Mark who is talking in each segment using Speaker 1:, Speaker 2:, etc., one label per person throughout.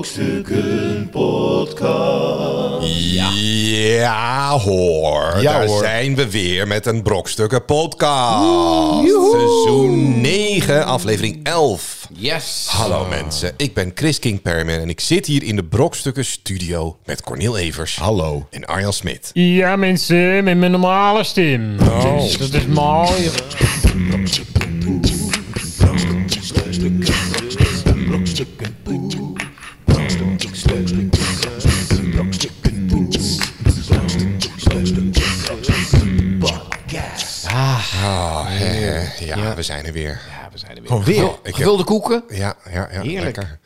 Speaker 1: Brokstukken Podcast.
Speaker 2: Ja. hoor,
Speaker 3: Ja,
Speaker 2: daar
Speaker 3: hoor.
Speaker 2: zijn we weer met een Brokstukken podcast. Seizoen 9, aflevering 11.
Speaker 3: Yes.
Speaker 2: Hallo mensen, ik ben Chris King Perman en ik zit hier in de Brokstukken studio met Cornel Evers
Speaker 3: Hallo.
Speaker 2: en Arjan Smit.
Speaker 4: Ja, mensen, met mijn normale stem. Dat is mooi.
Speaker 2: Oh, hè, hè. ja, we zijn er weer.
Speaker 3: Ja, we zijn er weer.
Speaker 2: Gewoon weer? Oh, ik heb-
Speaker 3: Gevulde koeken.
Speaker 2: Ja, ja, ja.
Speaker 3: Heerlijk.
Speaker 2: lekker.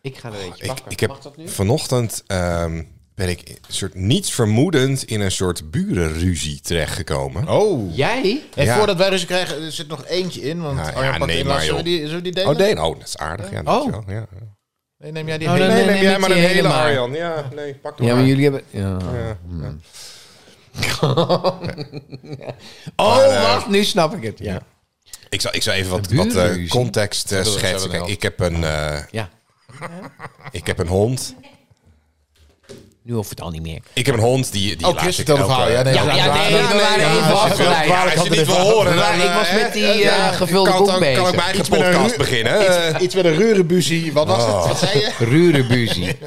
Speaker 3: Ik ga er eentje
Speaker 2: Ik,
Speaker 3: pakken.
Speaker 2: ik heb
Speaker 3: Mag dat nu?
Speaker 2: vanochtend ehm, ben ik een soort niets vermoedend in een soort burenruzie terechtgekomen.
Speaker 5: Oh.
Speaker 3: Jij?
Speaker 5: En
Speaker 2: Ja.
Speaker 5: voordat wij dus krijgen, er zit nog eentje in. Want
Speaker 2: Nou,
Speaker 5: Arjan
Speaker 2: ja,
Speaker 5: pakt
Speaker 2: nee,
Speaker 5: in.
Speaker 2: maar,
Speaker 5: Laat- zullen, we
Speaker 2: joh.
Speaker 5: die, zullen we die delen?
Speaker 2: Oh, nee, oh, dat is aardig. Ja, dankjewel. Ja, ja.
Speaker 5: Nee, neem jij die
Speaker 3: Oh,
Speaker 5: hele?
Speaker 3: nee, nee,
Speaker 2: Nee, neem
Speaker 3: neem
Speaker 2: jij
Speaker 3: ik
Speaker 2: maar
Speaker 3: die
Speaker 2: een hele,
Speaker 3: helemaal.
Speaker 2: Arjan. Ja, nee, pak hem
Speaker 3: Ja,
Speaker 2: maar.
Speaker 3: maar jullie hebben... Ja. Oh, wacht, nu snap ik het. Ja.
Speaker 2: Ik zal, ik zal even wat,
Speaker 3: Een
Speaker 2: wat eh,
Speaker 3: burenruzie.
Speaker 2: context eh,
Speaker 5: we-
Speaker 2: schetsen.
Speaker 5: zullen we
Speaker 2: Kijk,
Speaker 5: wel.
Speaker 2: ik heb een, eh,
Speaker 3: ja.
Speaker 2: ik heb een hond.
Speaker 3: Nu hoeft het al niet meer.
Speaker 2: Ik heb een hond die, die
Speaker 5: Oh,
Speaker 2: laat
Speaker 5: Chris
Speaker 2: ik
Speaker 5: vertelde het verhaal. Ja, nee,
Speaker 3: Ja, ja, nee, we waren even
Speaker 2: als je,
Speaker 3: afgeleid.
Speaker 2: ja, als je niet wil horen, dan,
Speaker 3: Ik was
Speaker 2: eh,
Speaker 3: met die, eh, gevulde
Speaker 2: kan,
Speaker 3: boek
Speaker 2: dan kan
Speaker 3: bezig.
Speaker 2: ik mijn eigen
Speaker 5: Iets met een
Speaker 2: podcast
Speaker 5: ru-
Speaker 2: beginnen. Eh,
Speaker 5: Iets, iets met een reurenbuzie. Wat was dat? Wat zei je?
Speaker 3: Rurenbuzie.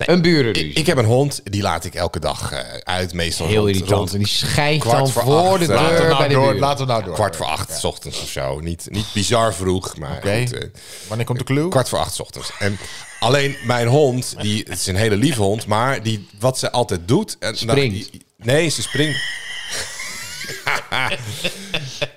Speaker 3: Een burenruzie.
Speaker 2: ik heb een hond, die laat ik elke dag eh, uit. Meestal
Speaker 3: Heel
Speaker 2: rond-
Speaker 3: irritant.
Speaker 2: rond
Speaker 3: En die schijnt
Speaker 2: kwart
Speaker 3: dan
Speaker 2: voor
Speaker 3: voor,
Speaker 2: acht,
Speaker 3: de
Speaker 2: eh, laten we
Speaker 3: deur bij
Speaker 5: nou
Speaker 3: de
Speaker 5: door,
Speaker 3: buren.
Speaker 5: laten we nou door.
Speaker 2: kwart voor acht 's ochtends of zo. Niet, niet bizar vroeg, maar
Speaker 5: Oké.
Speaker 2: goed, eh,
Speaker 5: Wanneer komt de clue?
Speaker 2: Kwart voor acht 's ochtends. En alleen mijn hond, die, het is een hele lieve hond, maar die, wat ze altijd doet. En,
Speaker 3: Springt.
Speaker 2: nou, nee, ze springt.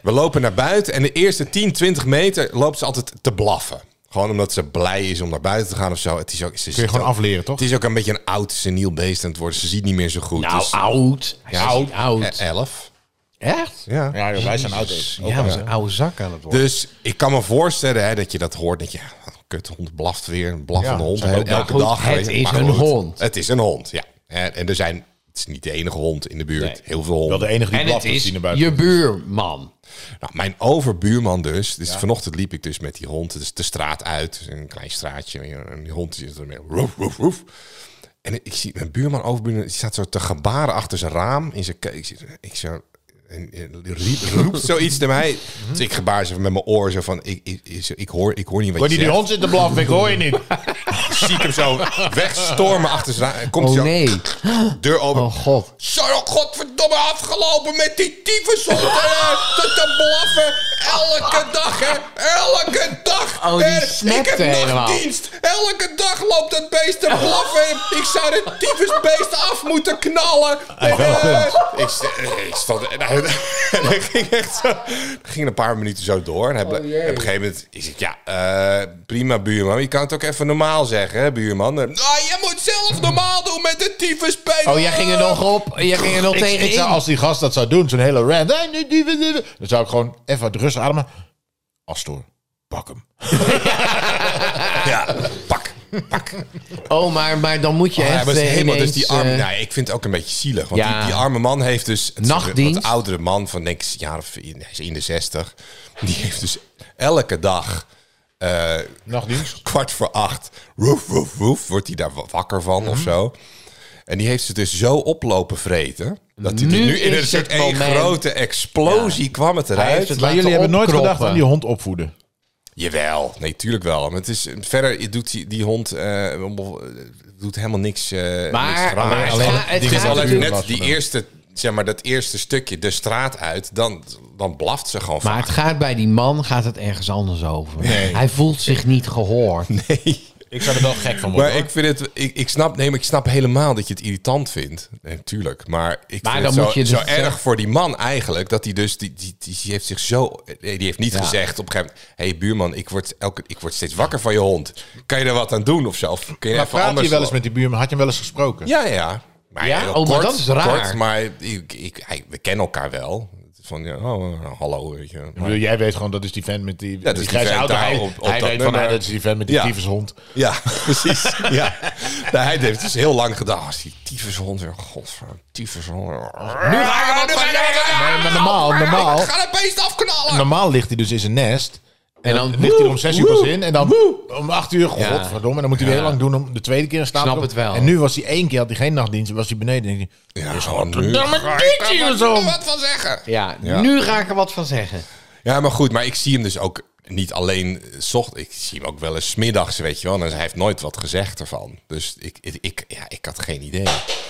Speaker 2: We lopen naar buiten en de eerste 10, 20 meter loopt ze altijd te blaffen. Gewoon omdat ze blij is om naar buiten te gaan of zo. Het is ook, ze
Speaker 5: Kun je gewoon
Speaker 2: ook-
Speaker 5: afleren, toch?
Speaker 2: Het is ook een beetje een oud seniel beest aan het worden. Ze ziet niet meer zo goed.
Speaker 3: Nou,
Speaker 2: Dus-
Speaker 3: oud. Hij is
Speaker 2: oud.
Speaker 3: niet oud.
Speaker 2: Eh, elf.
Speaker 3: Echt?
Speaker 2: Ja.
Speaker 5: Ja, joh, wij zijn oud.
Speaker 3: Ja, dat was een oude zak aan het worden.
Speaker 2: Dus ik kan me voorstellen hè, dat je dat hoort. Dat je, ja, kut, hond blaft weer. Een blaffende
Speaker 5: Ja,
Speaker 2: hond.
Speaker 5: zijn
Speaker 2: hè,
Speaker 5: ook-
Speaker 2: elke
Speaker 3: maar goed,
Speaker 2: dag.
Speaker 3: het
Speaker 2: weet je,
Speaker 3: is
Speaker 2: maar
Speaker 3: een
Speaker 2: goed,
Speaker 3: hond.
Speaker 2: Het is een hond, ja. En, en er zijn... Het is niet de enige hond in de buurt.
Speaker 3: Nee.
Speaker 2: Heel veel honden.
Speaker 5: Wel de enige die
Speaker 3: En het
Speaker 5: blaft
Speaker 3: is
Speaker 5: is naar buiten.
Speaker 3: je buurman.
Speaker 2: Nou, mijn overbuurman dus. dus Vanochtend liep ik dus met die hond dus de straat uit. Dus een klein straatje. En die hond zit ermee. Roef, roef, roef. En ik zie mijn buurman, overbuurman, die staat zo te gebaren achter zijn raam. In zijn keuken. Ik, zie- ik zo... En, en riep, roept zoiets naar mij. Dus ik gebaar ze met mijn oor zo van... Ik, ik, ik, ik hoor, ik hoor niet wat
Speaker 5: Hoor
Speaker 2: je
Speaker 5: die
Speaker 2: zegt.
Speaker 5: die hond zit te blaffen? Ik hoor je niet.
Speaker 2: zie ik hem zo wegstormen achter zijn raam. Komt
Speaker 3: Oh
Speaker 2: hij zo,
Speaker 3: nee.
Speaker 2: deur open.
Speaker 3: Oh god.
Speaker 2: Zo, godverdomme, afgelopen met die tyfushond eh, te, te blaffen. Elke dag, hè. Elke dag.
Speaker 3: Oh, die
Speaker 2: Eh, Ik
Speaker 3: snapte
Speaker 2: heb
Speaker 3: helemaal.
Speaker 2: nachtdienst. Elke dag loopt dat beest te blaffen. Ik zou dit tyfusbeest af moeten knallen. Eh, ik, st- eh, ik stond... En hij, en hij ging echt zo... hij ging een paar minuten zo door. En hij ble- op een gegeven moment... Ik zeg, ja, eh, prima, buurman. Je kan het ook even normaal zeggen, hè, buurman. Eh, Nou, je moet zelf normaal doen met een tyfusbeest.
Speaker 3: Oh, jij ging er nog op. Jij ging er nog
Speaker 5: Ik,
Speaker 3: tegen
Speaker 5: ik zou, als die gast dat zou doen, zo'n hele rant. eh, nu, nu, nu, nu, Dan zou ik gewoon even uit rust ademen. Astor, pak hem.
Speaker 2: Ja, pak. Pak.
Speaker 3: Oh, maar, maar dan moet je
Speaker 2: Ja,
Speaker 3: echt
Speaker 2: maar het is
Speaker 3: eh,
Speaker 2: helemaal, dus
Speaker 3: ineens,
Speaker 2: die arme,
Speaker 3: eh,
Speaker 2: nou, ik vind het ook een beetje zielig. Want
Speaker 3: Ja.
Speaker 2: die, die arme man heeft dus... Het is een
Speaker 3: Nachtdienst.
Speaker 2: wat oudere man van, denk ik, een jaar of in, hij is in de zestig. Die heeft dus elke dag, eh,
Speaker 5: Nachtdienst.
Speaker 2: kwart voor acht, roef, roef, roef, wordt hij daar wa- wakker van of
Speaker 3: Mhm.
Speaker 2: zo. En die heeft ze dus zo oplopen vreten. Dat hij er
Speaker 3: Nu
Speaker 2: nu in een
Speaker 3: is
Speaker 2: soort
Speaker 3: het
Speaker 2: één
Speaker 3: moment.
Speaker 2: grote explosie kwam het eruit.
Speaker 3: heeft het
Speaker 5: Maar
Speaker 3: Laten
Speaker 5: jullie hebben nooit
Speaker 3: opkroppen.
Speaker 5: gedacht aan die hond opvoeden.
Speaker 2: Jawel, nee, tuurlijk wel. Maar het is, verder doet die, die hond eh, doet helemaal niks. eh,
Speaker 3: Maar-
Speaker 2: niks raars.
Speaker 3: maar het Alleen gaat- het
Speaker 2: het
Speaker 3: die
Speaker 2: is
Speaker 3: gaat
Speaker 2: alleen
Speaker 3: natuurlijk-
Speaker 2: net die eerste, zeg maar, dat eerste stukje de straat uit. Dan, dan blaft ze gewoon
Speaker 3: Maar
Speaker 2: vaak.
Speaker 3: het gaat bij die man gaat het ergens anders over. Hij voelt zich niet gehoord.
Speaker 2: Nee.
Speaker 5: Ik zou er wel gek van
Speaker 2: Maar ik vind het, ik, ik snap, nee, maar ik snap helemaal dat je het irritant vindt. Natuurlijk. tuurlijk. maar ik
Speaker 3: Maar
Speaker 2: vind
Speaker 3: dan
Speaker 2: het zo,
Speaker 3: moet je
Speaker 2: zo
Speaker 3: dus, eh,
Speaker 2: erg voor die man eigenlijk dat hij dus die, die, die, die heeft zich zo, nee, die heeft niet gezegd op een gegeven moment, hey buurman, ik word elke, ik word steeds wakker van je hond. Kan je er wat aan doen of zo? Of kun je
Speaker 5: Maar
Speaker 2: even
Speaker 5: praat
Speaker 2: anders
Speaker 5: je wel eens met die buurman? Had je hem wel eens gesproken?
Speaker 2: Ja, ja. Maar
Speaker 3: Ja?
Speaker 2: heel
Speaker 3: Oh, maar dat is raar.
Speaker 2: Kort, maar ik, ik, hij- we kennen elkaar wel. Van, ja, oh, eh, hallo, weet je.
Speaker 5: Ik bedoel, jij weet gewoon dat is die vent met die,
Speaker 2: dat
Speaker 5: die
Speaker 2: is die
Speaker 5: grijze
Speaker 2: vent
Speaker 5: auto.
Speaker 2: daar
Speaker 5: Hij,
Speaker 2: op- op
Speaker 5: hij
Speaker 2: dat
Speaker 5: weet van,
Speaker 2: nummer.
Speaker 5: hij, dat is die vent met die
Speaker 2: Ja.
Speaker 5: tyfushond.
Speaker 2: Ja, precies. ja. Nou, hij heeft dus heel lang gedaan. Als die tyfushond weer, godverdomme, tyfushond. Ah, Nu ga
Speaker 3: ik wat van
Speaker 2: je Ah,
Speaker 3: Nee, maar normaal, normaal.
Speaker 2: Ik ga dat beest afknallen.
Speaker 5: Normaal ligt hij dus in zijn nest.
Speaker 3: En dan
Speaker 5: ligt hij er om zes uur pas in. En dan om acht uur,
Speaker 3: Ja.
Speaker 5: godverdomme. En dan moet hij weer heel lang doen om de tweede keer een slaap te
Speaker 3: Snap
Speaker 5: komen.
Speaker 3: het wel.
Speaker 5: En nu was hij één keer, had hij geen nachtdienst. was hij beneden. En hij-
Speaker 2: Ja, gewoon nu.
Speaker 5: Ja, maar dit
Speaker 2: Ik
Speaker 5: hier
Speaker 2: kan
Speaker 5: zo.
Speaker 2: er wat van zeggen.
Speaker 3: Ja,
Speaker 2: Ja.
Speaker 3: nu ga ik er wat van zeggen.
Speaker 2: Ja, maar goed, maar ik zie hem dus ook niet alleen zocht. Ik zie hem ook wel eens 's middags, weet je wel. En hij heeft nooit wat gezegd ervan. Dus ik, ik, ik- ja, ik had geen idee.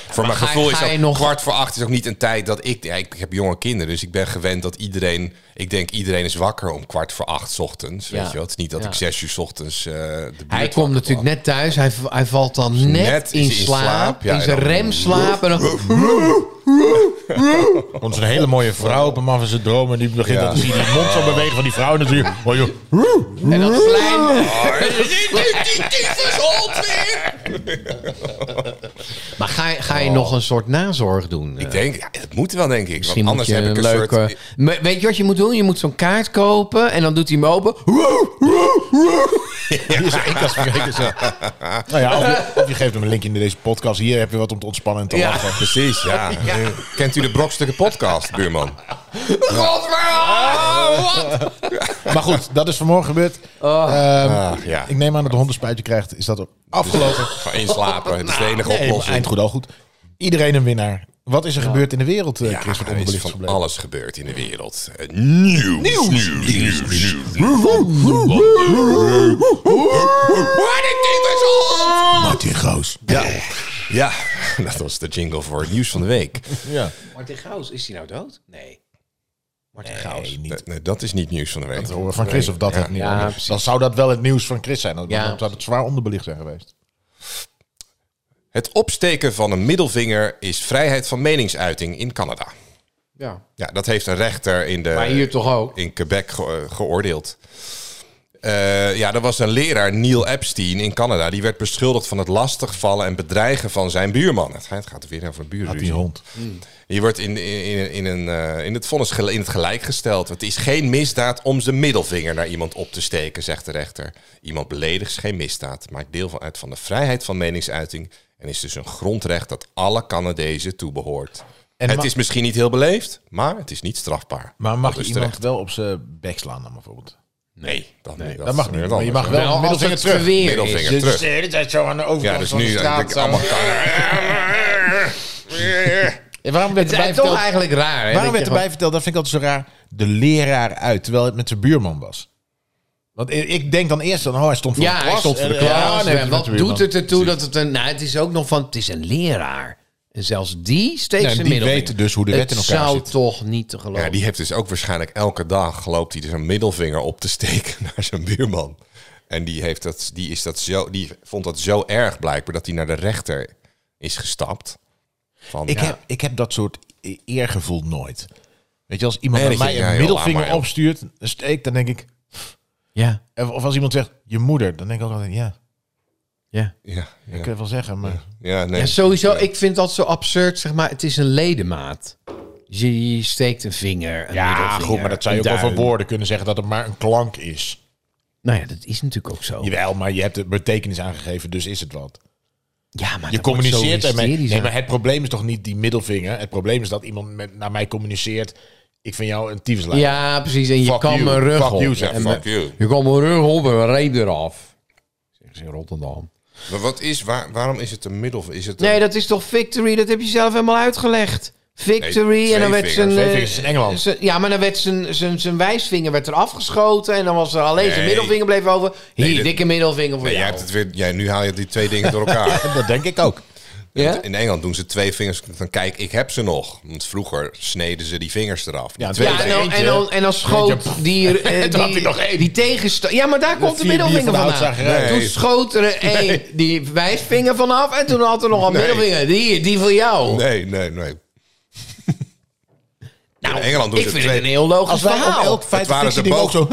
Speaker 2: Voor mijn
Speaker 3: ga je-
Speaker 2: gevoel is
Speaker 3: ga
Speaker 2: dat
Speaker 3: je nog-
Speaker 2: kwart voor acht is ook niet een tijd dat ik, ja, ik... ik heb jonge kinderen, dus ik ben gewend dat iedereen... Ik denk iedereen is wakker om kwart voor acht 's ochtends, weet
Speaker 3: Ja.
Speaker 2: je wel. Het is niet dat
Speaker 3: Ja.
Speaker 2: ik zes uur 's ochtends eh, de buurt
Speaker 3: Hij komt
Speaker 2: wakker
Speaker 3: natuurlijk net thuis. Hij, v- hij valt dan net,
Speaker 2: Net
Speaker 3: in,
Speaker 2: is hij in
Speaker 3: slaap.
Speaker 2: slaap, ja,
Speaker 3: in
Speaker 2: en
Speaker 3: zijn
Speaker 2: dan-
Speaker 3: remslaap. En dan,
Speaker 5: Komt zo'n hele mooie vrouw op een man van zijn dromen. Die begint
Speaker 2: Ja.
Speaker 5: dan te zien die mond zo bewegen van die vrouw. En dan zie je, oh joh,
Speaker 3: en dan slijm. Maar ga, je- ga je nog een soort nazorg doen? Eh,
Speaker 2: Ik denk, ja, het moet wel, denk ik.
Speaker 3: Misschien
Speaker 2: want anders
Speaker 3: moet je
Speaker 2: heb ik
Speaker 3: een
Speaker 2: een
Speaker 3: leuke...
Speaker 2: soort...
Speaker 3: Maar Weet je wat je moet doen? Je moet zo'n kaart kopen en dan doet hij hem open.
Speaker 5: die is er één keer als vergeten. Zo. Nou ja, of je, of je geeft hem een linkje in deze podcast. Hier heb je wat om te ontspannen en te
Speaker 3: Ja.
Speaker 5: lachen.
Speaker 2: Precies, ja. Kent u de Brokstukken podcast, buurman?
Speaker 5: Maar goed, dat is vanmorgen gebeurd. Ehm,
Speaker 2: Ah, ja.
Speaker 5: Ik neem aan dat de hond een spuitje krijgt. Is dat ook afgelopen?
Speaker 2: Dus Gewoon inslapen. Het is de enige
Speaker 5: Nee, maar
Speaker 2: oplossing.
Speaker 5: eind goed, al goed. Iedereen een winnaar. Wat is er gebeurd in de wereld, eh,
Speaker 2: Ja,
Speaker 5: Chris?
Speaker 2: er is
Speaker 5: Wat onderbelicht
Speaker 2: van
Speaker 5: gebleven?
Speaker 2: alles gebeurd in de wereld. Eh, Nieuws, nieuws, nieuws, nieuws,
Speaker 5: Martin Goos.
Speaker 2: Ja. ja, dat was de jingle voor het nieuws van de week.
Speaker 5: Ja.
Speaker 3: Martin Gaus, is hij nou dood? Nee. Martin
Speaker 5: Nee, niet.
Speaker 2: Nee, dat is niet nieuws van de week.
Speaker 5: te horen van Chris of dat het niet.
Speaker 3: Ja,
Speaker 5: hoor.
Speaker 3: precies.
Speaker 5: dan zou dat wel het nieuws van Chris zijn. Dan
Speaker 3: Ja.
Speaker 5: zou het zwaar onderbelicht zijn geweest.
Speaker 2: Het opsteken van een middelvinger is vrijheid van meningsuiting in Canada.
Speaker 3: Ja.
Speaker 2: Ja, dat heeft een rechter in de...
Speaker 3: Maar hier toch ook?
Speaker 2: in Quebec ge- geoordeeld. Eh, ja, er was een leraar, Neil Epstein in Canada. Die werd beschuldigd van het lastigvallen en bedreigen van zijn buurman. Het gaat- het gaat weer over een
Speaker 5: Had die
Speaker 2: buurruzie.
Speaker 5: hond.
Speaker 2: Die wordt in, in, in, in, een, eh, in, het vonnis gel- in het gelijk gesteld. Het is geen misdaad om zijn middelvinger naar iemand op te steken, zegt de rechter. Iemand beledigt is geen misdaad, maakt deel van uit van de vrijheid van meningsuiting... en is dus een grondrecht dat alle Canadezen toebehoort.
Speaker 5: En
Speaker 2: het
Speaker 5: ma-
Speaker 2: is misschien niet heel beleefd, maar het is niet strafbaar.
Speaker 5: Maar
Speaker 2: Dat
Speaker 5: mag
Speaker 2: is
Speaker 5: je
Speaker 2: de
Speaker 5: iemand
Speaker 2: rechter.
Speaker 5: wel op zijn bek slaan dan bijvoorbeeld?
Speaker 2: Nee, dat, niet.
Speaker 5: dat mag
Speaker 2: is
Speaker 5: niet,
Speaker 2: weer
Speaker 5: maar
Speaker 2: anders.
Speaker 5: je mag wel
Speaker 3: Wel, als
Speaker 5: middelvinger
Speaker 3: het
Speaker 5: terug.
Speaker 3: geweer is.
Speaker 2: Middelvinger
Speaker 3: Dus-
Speaker 2: terug.
Speaker 5: hele tijd eh, zo aan de
Speaker 2: Ja,
Speaker 5: overkant
Speaker 2: dus nu denk ik allemaal
Speaker 5: waarom werd
Speaker 3: Het is
Speaker 5: erbij
Speaker 3: toch
Speaker 5: verteld,
Speaker 3: eigenlijk raar, hè?
Speaker 5: waarom
Speaker 3: dat
Speaker 5: werd
Speaker 3: je
Speaker 5: erbij verteld, dat vind ik altijd zo raar, de leraar uit, terwijl het met zijn buurman was? Want i- ik denk dan eerst, dan, oh hij stond voor
Speaker 3: Ja,
Speaker 5: de klas.
Speaker 3: hij stond voor de
Speaker 5: en- ja,
Speaker 3: klas.
Speaker 5: en heeft
Speaker 3: en
Speaker 5: met
Speaker 3: wat
Speaker 5: zijn buurman.
Speaker 3: doet het ertoe dat het een... Nou, het is ook nog van... Het is een leraar. En zelfs die steekt
Speaker 5: Nee,
Speaker 3: zijn
Speaker 5: die
Speaker 3: middelvinger.
Speaker 5: weten dus hoe de wet in elkaar
Speaker 3: Het zou
Speaker 5: zit.
Speaker 3: toch niet te geloven.
Speaker 2: Ja, die heeft dus ook waarschijnlijk elke dag loopt hij dus een middelvinger op te steken naar zijn buurman. En die, heeft dat, die, is dat zo, die vond dat zo erg blijkbaar dat hij naar de rechter is gestapt. Van,
Speaker 5: Ik,
Speaker 2: ja,
Speaker 5: heb, ik heb dat soort e- eergevoel nooit. Weet je, als iemand
Speaker 2: Nee,
Speaker 5: aan
Speaker 2: dat je-
Speaker 5: mij een
Speaker 2: ja, joh,
Speaker 5: middelvinger
Speaker 2: laat maar, joh.
Speaker 5: opstuurt, een steek, dan denk ik...
Speaker 3: Ja,
Speaker 5: Of of als iemand zegt, je moeder, dan denk ik ook altijd, ja,
Speaker 3: ja.
Speaker 2: ja,
Speaker 5: dat
Speaker 2: ja,
Speaker 5: kun je wel zeggen, maar...
Speaker 2: ja, nee.
Speaker 3: Ja, sowieso, ik vind dat zo absurd, zeg maar. Het is een ledemaat. Je je steekt een vinger, een
Speaker 5: Ja,
Speaker 3: middelvinger,
Speaker 5: goed, maar dat zou je
Speaker 3: een
Speaker 5: ook wel
Speaker 3: duim.
Speaker 5: van woorden kunnen zeggen dat het maar een klank is.
Speaker 3: Nou ja, dat is natuurlijk ook zo.
Speaker 5: Jawel, maar je hebt de betekenis aangegeven, dus is het wat.
Speaker 3: Ja, maar
Speaker 5: Je
Speaker 3: dat wordt zo
Speaker 5: communiceert ermee.
Speaker 3: hysterisch
Speaker 5: Nee,
Speaker 3: aan.
Speaker 5: maar het probleem is toch niet die middelvinger? Het probleem is dat iemand met, naar mij communiceert, ik vind jou een tyfuslijn.
Speaker 3: Ja, precies. En je
Speaker 5: Fuck
Speaker 3: kan
Speaker 5: you.
Speaker 3: mijn rug
Speaker 5: Fuck
Speaker 3: op.
Speaker 5: you, zeg.
Speaker 3: En
Speaker 2: Fuck
Speaker 3: me-
Speaker 2: you.
Speaker 3: Je kan mijn rug op en mijn reep eraf. Zeggen ze in Rotterdam.
Speaker 2: Maar wat is, waar, waarom is het een middel? Is het een-
Speaker 3: Nee, dat is toch victory? Dat heb je zelf helemaal uitgelegd. Victory.
Speaker 2: Nee, twee
Speaker 3: en dan werd
Speaker 2: vingers.
Speaker 3: zijn.
Speaker 5: Twee
Speaker 3: eh,
Speaker 5: vingers in Engeland.
Speaker 3: zijn- ja, maar dan werd zijn, zijn, zijn wijsvinger werd er afgeschoten. En dan was er alleen zijn
Speaker 2: Nee.
Speaker 3: middelvinger bleef over. Hier,
Speaker 2: Nee, dit-
Speaker 3: dikke middelvinger voor
Speaker 2: Nee, jij
Speaker 3: jou.
Speaker 2: hebt het weer, jij, nu haal je die twee dingen door elkaar.
Speaker 5: Dat denk ik ook.
Speaker 3: ja?
Speaker 2: In Engeland doen ze twee vingers. Dan kijk, ik heb ze nog. Want vroeger sneden ze die vingers eraf. Die
Speaker 5: Ja,
Speaker 2: twee
Speaker 5: ja,
Speaker 3: Ja, en dan,
Speaker 5: Eentje.
Speaker 3: en dan, en dan schoot
Speaker 5: Eentje, pff.
Speaker 3: die, eh,
Speaker 5: En toen had hij nog
Speaker 3: die,
Speaker 5: één.
Speaker 3: die tegensta- Ja, maar daar komt de
Speaker 5: vier bier
Speaker 3: middelvinger
Speaker 5: van de
Speaker 3: vandaan.
Speaker 5: houtzagerij.
Speaker 3: Toen
Speaker 2: Nee.
Speaker 3: schoot er één die wijsvinger vanaf. En toen had er nog een
Speaker 2: Nee.
Speaker 3: middelvinger. Die, die voor jou.
Speaker 2: Nee, nee, nee.
Speaker 3: nou,
Speaker 2: in Engeland doen
Speaker 3: ik
Speaker 2: ze
Speaker 3: vind
Speaker 2: twee-
Speaker 3: het een heel logisch
Speaker 5: Als wij op
Speaker 3: verhaal.
Speaker 5: elk feit
Speaker 2: Het waren
Speaker 5: fictie
Speaker 2: de
Speaker 5: ding ook zo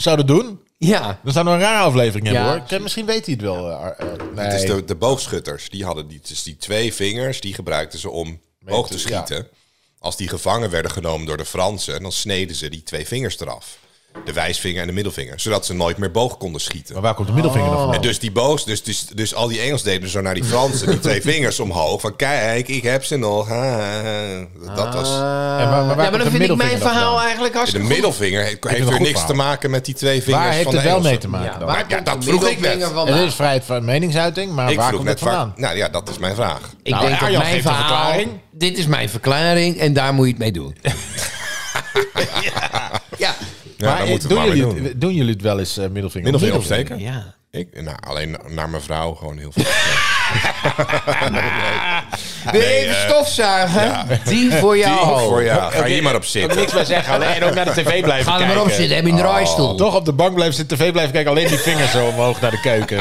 Speaker 5: zouden doen,
Speaker 3: Ja.
Speaker 5: Dan zouden we een rare aflevering hebben
Speaker 3: Ja.
Speaker 5: hoor. Kijk, misschien weet hij het wel. eh, Ar- eh, nee.
Speaker 2: Het is de, de boogschutters. Die hadden die, dus die twee vingers, die gebruikten ze om boog te
Speaker 5: ja.
Speaker 2: schieten. Als die gevangen werden genomen door de Fransen, dan sneden ze die twee vingers eraf. de wijsvinger en de middelvinger. Zodat ze nooit meer boog konden schieten.
Speaker 5: Maar waar komt de middelvinger dan
Speaker 2: En
Speaker 5: vandaan?
Speaker 2: dus die boos, dus, dus, dus al die Engels deden zo naar die Fransen, die twee vingers omhoog. Van kijk, ik heb ze nog. Ah, dat was.
Speaker 5: En waar- waar
Speaker 3: ja, maar
Speaker 5: komt
Speaker 3: dan
Speaker 5: de
Speaker 3: vind ik mijn
Speaker 5: middelvinger dan
Speaker 3: verhaal
Speaker 5: vandaan?
Speaker 3: eigenlijk
Speaker 2: De
Speaker 3: hartstikke goed.
Speaker 2: middelvinger heeft, heeft
Speaker 5: een
Speaker 2: weer
Speaker 5: goed
Speaker 2: niks te
Speaker 5: verhaal.
Speaker 2: maken met die twee vingers
Speaker 5: Waar heeft
Speaker 2: van de
Speaker 5: het wel
Speaker 2: Engelsen.
Speaker 5: mee te maken
Speaker 3: Ja,
Speaker 5: dan?
Speaker 3: waar
Speaker 2: Maar ja,
Speaker 3: komt
Speaker 2: dat
Speaker 3: de
Speaker 2: vroeg ik net.
Speaker 3: middelvinger vandaan?
Speaker 5: Het is vrijheid van meningsuiting, maar
Speaker 2: Ik
Speaker 5: waar
Speaker 2: vroeg
Speaker 5: komt het
Speaker 2: net
Speaker 5: vandaan?
Speaker 2: waar. Nou ja, dat is mijn vraag.
Speaker 3: Ik
Speaker 5: Nou,
Speaker 3: denk dat
Speaker 5: Arjan
Speaker 3: mijn
Speaker 5: geeft een
Speaker 3: verhaal...
Speaker 5: verklaring.
Speaker 3: Dit is mijn verklaring en daar moet je het mee doen. ja. ja.
Speaker 2: Ja, daar
Speaker 5: eh,
Speaker 2: moeten we
Speaker 5: doen,
Speaker 2: maar mee
Speaker 5: jullie,
Speaker 2: doen.
Speaker 5: het- doen jullie het wel eens eh, middelvinger?
Speaker 2: Middelvinger opsteken?
Speaker 3: Ja.
Speaker 2: Ik, nou, alleen naar mijn vrouw gewoon heel veel.
Speaker 3: Weer
Speaker 2: Nee,
Speaker 3: even
Speaker 2: eh,
Speaker 3: stofzuigen. Die voor jou.
Speaker 2: Die voor jou. Ga hier maar op
Speaker 5: oh. Ik kan
Speaker 2: zitten.
Speaker 5: niks meer zeggen, alleen ook naar de tv blijven
Speaker 3: Ga er
Speaker 5: kijken.
Speaker 3: maar op zitten, heb je een draaistoel.
Speaker 2: Oh,
Speaker 5: Toch op de bank blijven zitten, tv blijven kijken, alleen die vingers zo omhoog naar de keuken.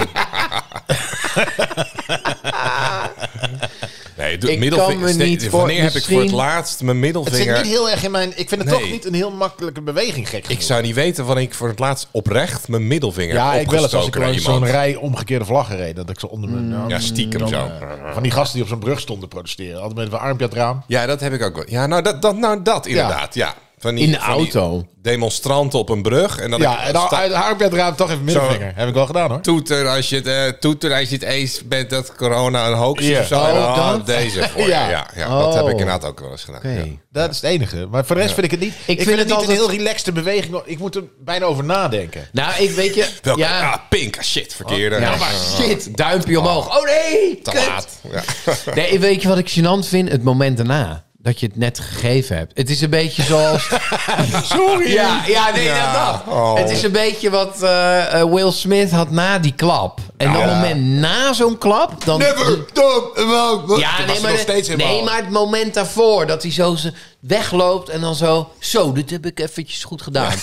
Speaker 2: Nee, doe-
Speaker 3: Ik
Speaker 2: middelvinger-
Speaker 3: kan me
Speaker 2: steek-
Speaker 3: niet
Speaker 2: Wanneer
Speaker 3: voor-
Speaker 2: heb ik voor het
Speaker 3: misschien-
Speaker 2: laatst mijn
Speaker 5: Het zit niet
Speaker 2: middelvinger...
Speaker 5: heel erg in mijn... Ik vind het
Speaker 2: Nee.
Speaker 5: toch niet een heel makkelijke beweging, gek
Speaker 2: Ik
Speaker 5: genoeg.
Speaker 2: zou niet weten wanneer ik voor het laatst oprecht mijn middelvinger
Speaker 5: Ja,
Speaker 2: heb
Speaker 5: ik wel eens als ik
Speaker 2: opgestoken naar
Speaker 5: langs
Speaker 2: iemand.
Speaker 5: zo'n rij omgekeerde vlaggen reed. Dat ik ze onder mijn... eh,
Speaker 2: Ja, stiekem zo.
Speaker 5: Van die gasten die op zo'n brug stonden protesteren. Altijd met een armpje aan het raam.
Speaker 2: Ja, dat heb ik ook wel. Ja, nou dat, dat, nou, dat inderdaad. Ja. Van die,
Speaker 3: In de
Speaker 2: van die
Speaker 3: auto.
Speaker 2: Demonstranten op een brug. En dan
Speaker 5: Ja, en dan
Speaker 2: sta-
Speaker 5: uit het armpje aan het raam toch even middelvinger. Heb ik wel gedaan hoor.
Speaker 2: toeter als je het, eh, toeter als je het eens bent dat corona een hoax is
Speaker 5: Ja.
Speaker 2: of zo.
Speaker 5: Oh,
Speaker 2: En dan, ah,
Speaker 3: dat?
Speaker 2: Deze voor je.
Speaker 5: Ja.
Speaker 2: ja. Ja, dat heb
Speaker 3: Oh.
Speaker 2: ik inderdaad ook wel eens gedaan.
Speaker 3: Oké.
Speaker 2: ja.
Speaker 5: Dat is het enige. Maar voor de rest vind ik het niet. Ik, vind, het niet
Speaker 3: altijd-
Speaker 5: een heel relaxte beweging. Ik moet er bijna over nadenken.
Speaker 3: Nou, ik weet je...
Speaker 2: Welke?
Speaker 3: ja, Oh,
Speaker 2: Ah, pink. Ah, shit, verkeerde. eh,
Speaker 3: ja, maar shit, duimpje omhoog. Oh nee,
Speaker 2: Te
Speaker 3: kut.
Speaker 2: laat. Ja.
Speaker 3: Nee, weet je wat ik gênant vind? Het moment daarna. Dat je het net gegeven hebt. Het is een beetje zoals...
Speaker 2: Sorry.
Speaker 3: ja, ja, nee,
Speaker 2: Ja,
Speaker 3: dat dat.
Speaker 2: oh.
Speaker 3: Het is een beetje wat eh, eh, Will Smith had na die klap. En op het moment na zo'n klap... Dan,
Speaker 2: Never stop.
Speaker 3: Ja, nee,
Speaker 2: nog
Speaker 3: maar, de-
Speaker 2: steeds helemaal.
Speaker 3: nee, maar het moment daarvoor dat hij zo ze- wegloopt en dan zo... Zo, dit heb ik eventjes goed gedaan.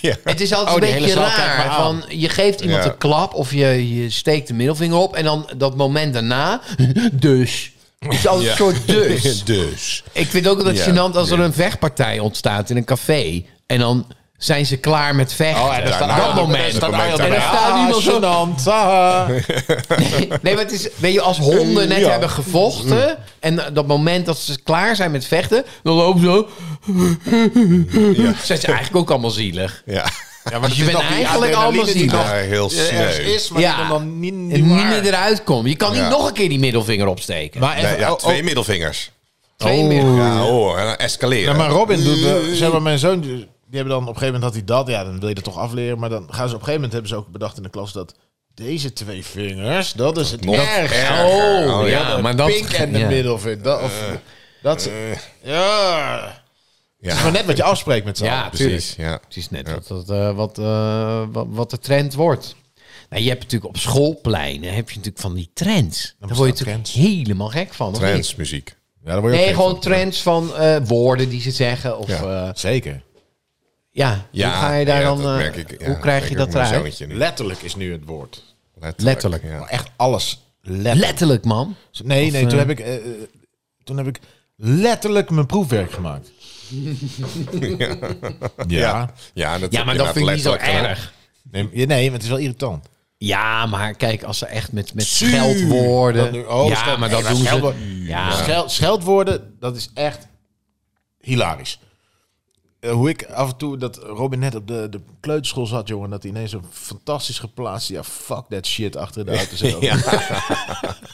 Speaker 2: Ja.
Speaker 3: Het is altijd
Speaker 5: Oh, die
Speaker 3: een beetje
Speaker 5: hele zaal kijkt
Speaker 3: raar.
Speaker 5: me aan.
Speaker 3: Van, je geeft iemand
Speaker 2: Ja.
Speaker 3: een klap of je, je steekt de middelvinger op... en dan dat moment daarna, dus... Het is altijd
Speaker 2: Ja.
Speaker 3: een soort dus.
Speaker 2: Dus.
Speaker 3: Ik vind ook dat
Speaker 2: Ja,
Speaker 3: het gênant als er een vechtpartij ontstaat in een café... en dan zijn ze klaar met vechten.
Speaker 5: Oh, en dan staat
Speaker 2: daarna-
Speaker 5: Arjan-
Speaker 3: dat moment.
Speaker 5: dan staat
Speaker 2: Dat
Speaker 5: Arjan
Speaker 2: moment
Speaker 5: erbij.
Speaker 3: daarna. En dan staat
Speaker 5: Ah,
Speaker 3: iemand zo-
Speaker 5: gênant. Ah. Haha.
Speaker 3: Nee, maar het is, weet je, als honden net
Speaker 5: Ja. Mm.
Speaker 3: hebben gevochten. en dat moment dat ze klaar zijn met vechten. dan lopen ze. zo. Zijn ze eigenlijk ook allemaal zielig?
Speaker 2: Ja.
Speaker 5: Ja, maar
Speaker 3: je
Speaker 5: dat is
Speaker 3: bent
Speaker 5: nog die
Speaker 3: eigenlijk
Speaker 5: adrenaline
Speaker 3: allemaal
Speaker 5: die
Speaker 3: zielig.
Speaker 5: nog
Speaker 2: Ja, heel
Speaker 5: ergens
Speaker 2: sneu.
Speaker 5: is, maar die
Speaker 3: Ja.
Speaker 5: er dan niet, niet
Speaker 3: En niet
Speaker 5: waar.
Speaker 3: meer eruit komen. Je kan niet
Speaker 2: Ja.
Speaker 3: nog een keer die middelvinger opsteken.
Speaker 5: Maar even-
Speaker 2: Nee, ja,
Speaker 5: oh,
Speaker 2: twee
Speaker 5: oh,
Speaker 2: middelvingers.
Speaker 3: Twee meer.
Speaker 2: Ja, oh, en dan escaleren.
Speaker 5: Ja, maar Robin doet... eh, zeg maar, mijn zoon... Die hebben dan op een gegeven moment had hij dat. Ja, dan wil je dat toch afleren. Maar dan gaan ze op een gegeven moment... Hebben ze ook bedacht in de klas dat... Deze twee vingers, dat is het
Speaker 2: Nog
Speaker 5: ergste.
Speaker 2: erger. Oh, ja,
Speaker 5: de
Speaker 3: maar dat-
Speaker 5: Pink en de
Speaker 3: ja.
Speaker 5: middelvinger. Dat, of, dat, is- Eh, ja. Het is maar net wat je afspreekt met z'n
Speaker 3: Ja,
Speaker 5: allen.
Speaker 3: precies.
Speaker 2: Precies, ja.
Speaker 3: Precies net wat, dat, eh, wat, eh, wat, wat de trend wordt. Nou, je hebt natuurlijk op schoolpleinen heb je natuurlijk van die trends. Daar word je
Speaker 5: bestaan
Speaker 3: natuurlijk helemaal gek van. of niet?
Speaker 2: Trends, muziek.
Speaker 5: Ja, daar word je ook
Speaker 3: Nee,
Speaker 5: gek van.
Speaker 3: gewoon trends van eh, woorden die ze zeggen. Of,
Speaker 2: Ja.
Speaker 3: eh,
Speaker 5: Zeker.
Speaker 3: Ja,
Speaker 2: Ja,
Speaker 3: hoe ga je daar
Speaker 2: ja,
Speaker 3: dan...
Speaker 2: dat
Speaker 3: eh,
Speaker 2: merk ik, ja,
Speaker 3: hoe krijg
Speaker 2: zeker
Speaker 3: je
Speaker 2: met
Speaker 3: dat
Speaker 2: mijn
Speaker 3: eruit?
Speaker 2: zoontje nu.
Speaker 5: Letterlijk is nu het woord.
Speaker 2: Letterlijk.
Speaker 3: Letterlijk.
Speaker 2: Ja.
Speaker 5: Echt alles letterlijk.
Speaker 3: Letterlijk, man.
Speaker 5: Nee, nee, toen heb ik... eh, eh, toen heb ik letterlijk mijn proefwerk gemaakt. ja.
Speaker 2: Ja. Ja, dat,
Speaker 3: Ja, maar dat vind ik niet zo erg.
Speaker 5: Nee, ja, nee, maar het is wel irritant.
Speaker 3: Ja, maar kijk, als ze echt met, met scheldwoorden...
Speaker 5: Dat nu- oh,
Speaker 3: ja,
Speaker 5: scheld-
Speaker 3: maar dat
Speaker 5: nee,
Speaker 3: doen ze...
Speaker 5: scheldwoorden-
Speaker 3: Ja,
Speaker 5: Schel- scheldwoorden, dat is echt hilarisch. Eh, hoe ik af en toe, dat Robin net op de, de kleuterschool zat, jongen, dat hij ineens zo fantastisch geplaatst, ja, fuck that shit, achter in de auto zit.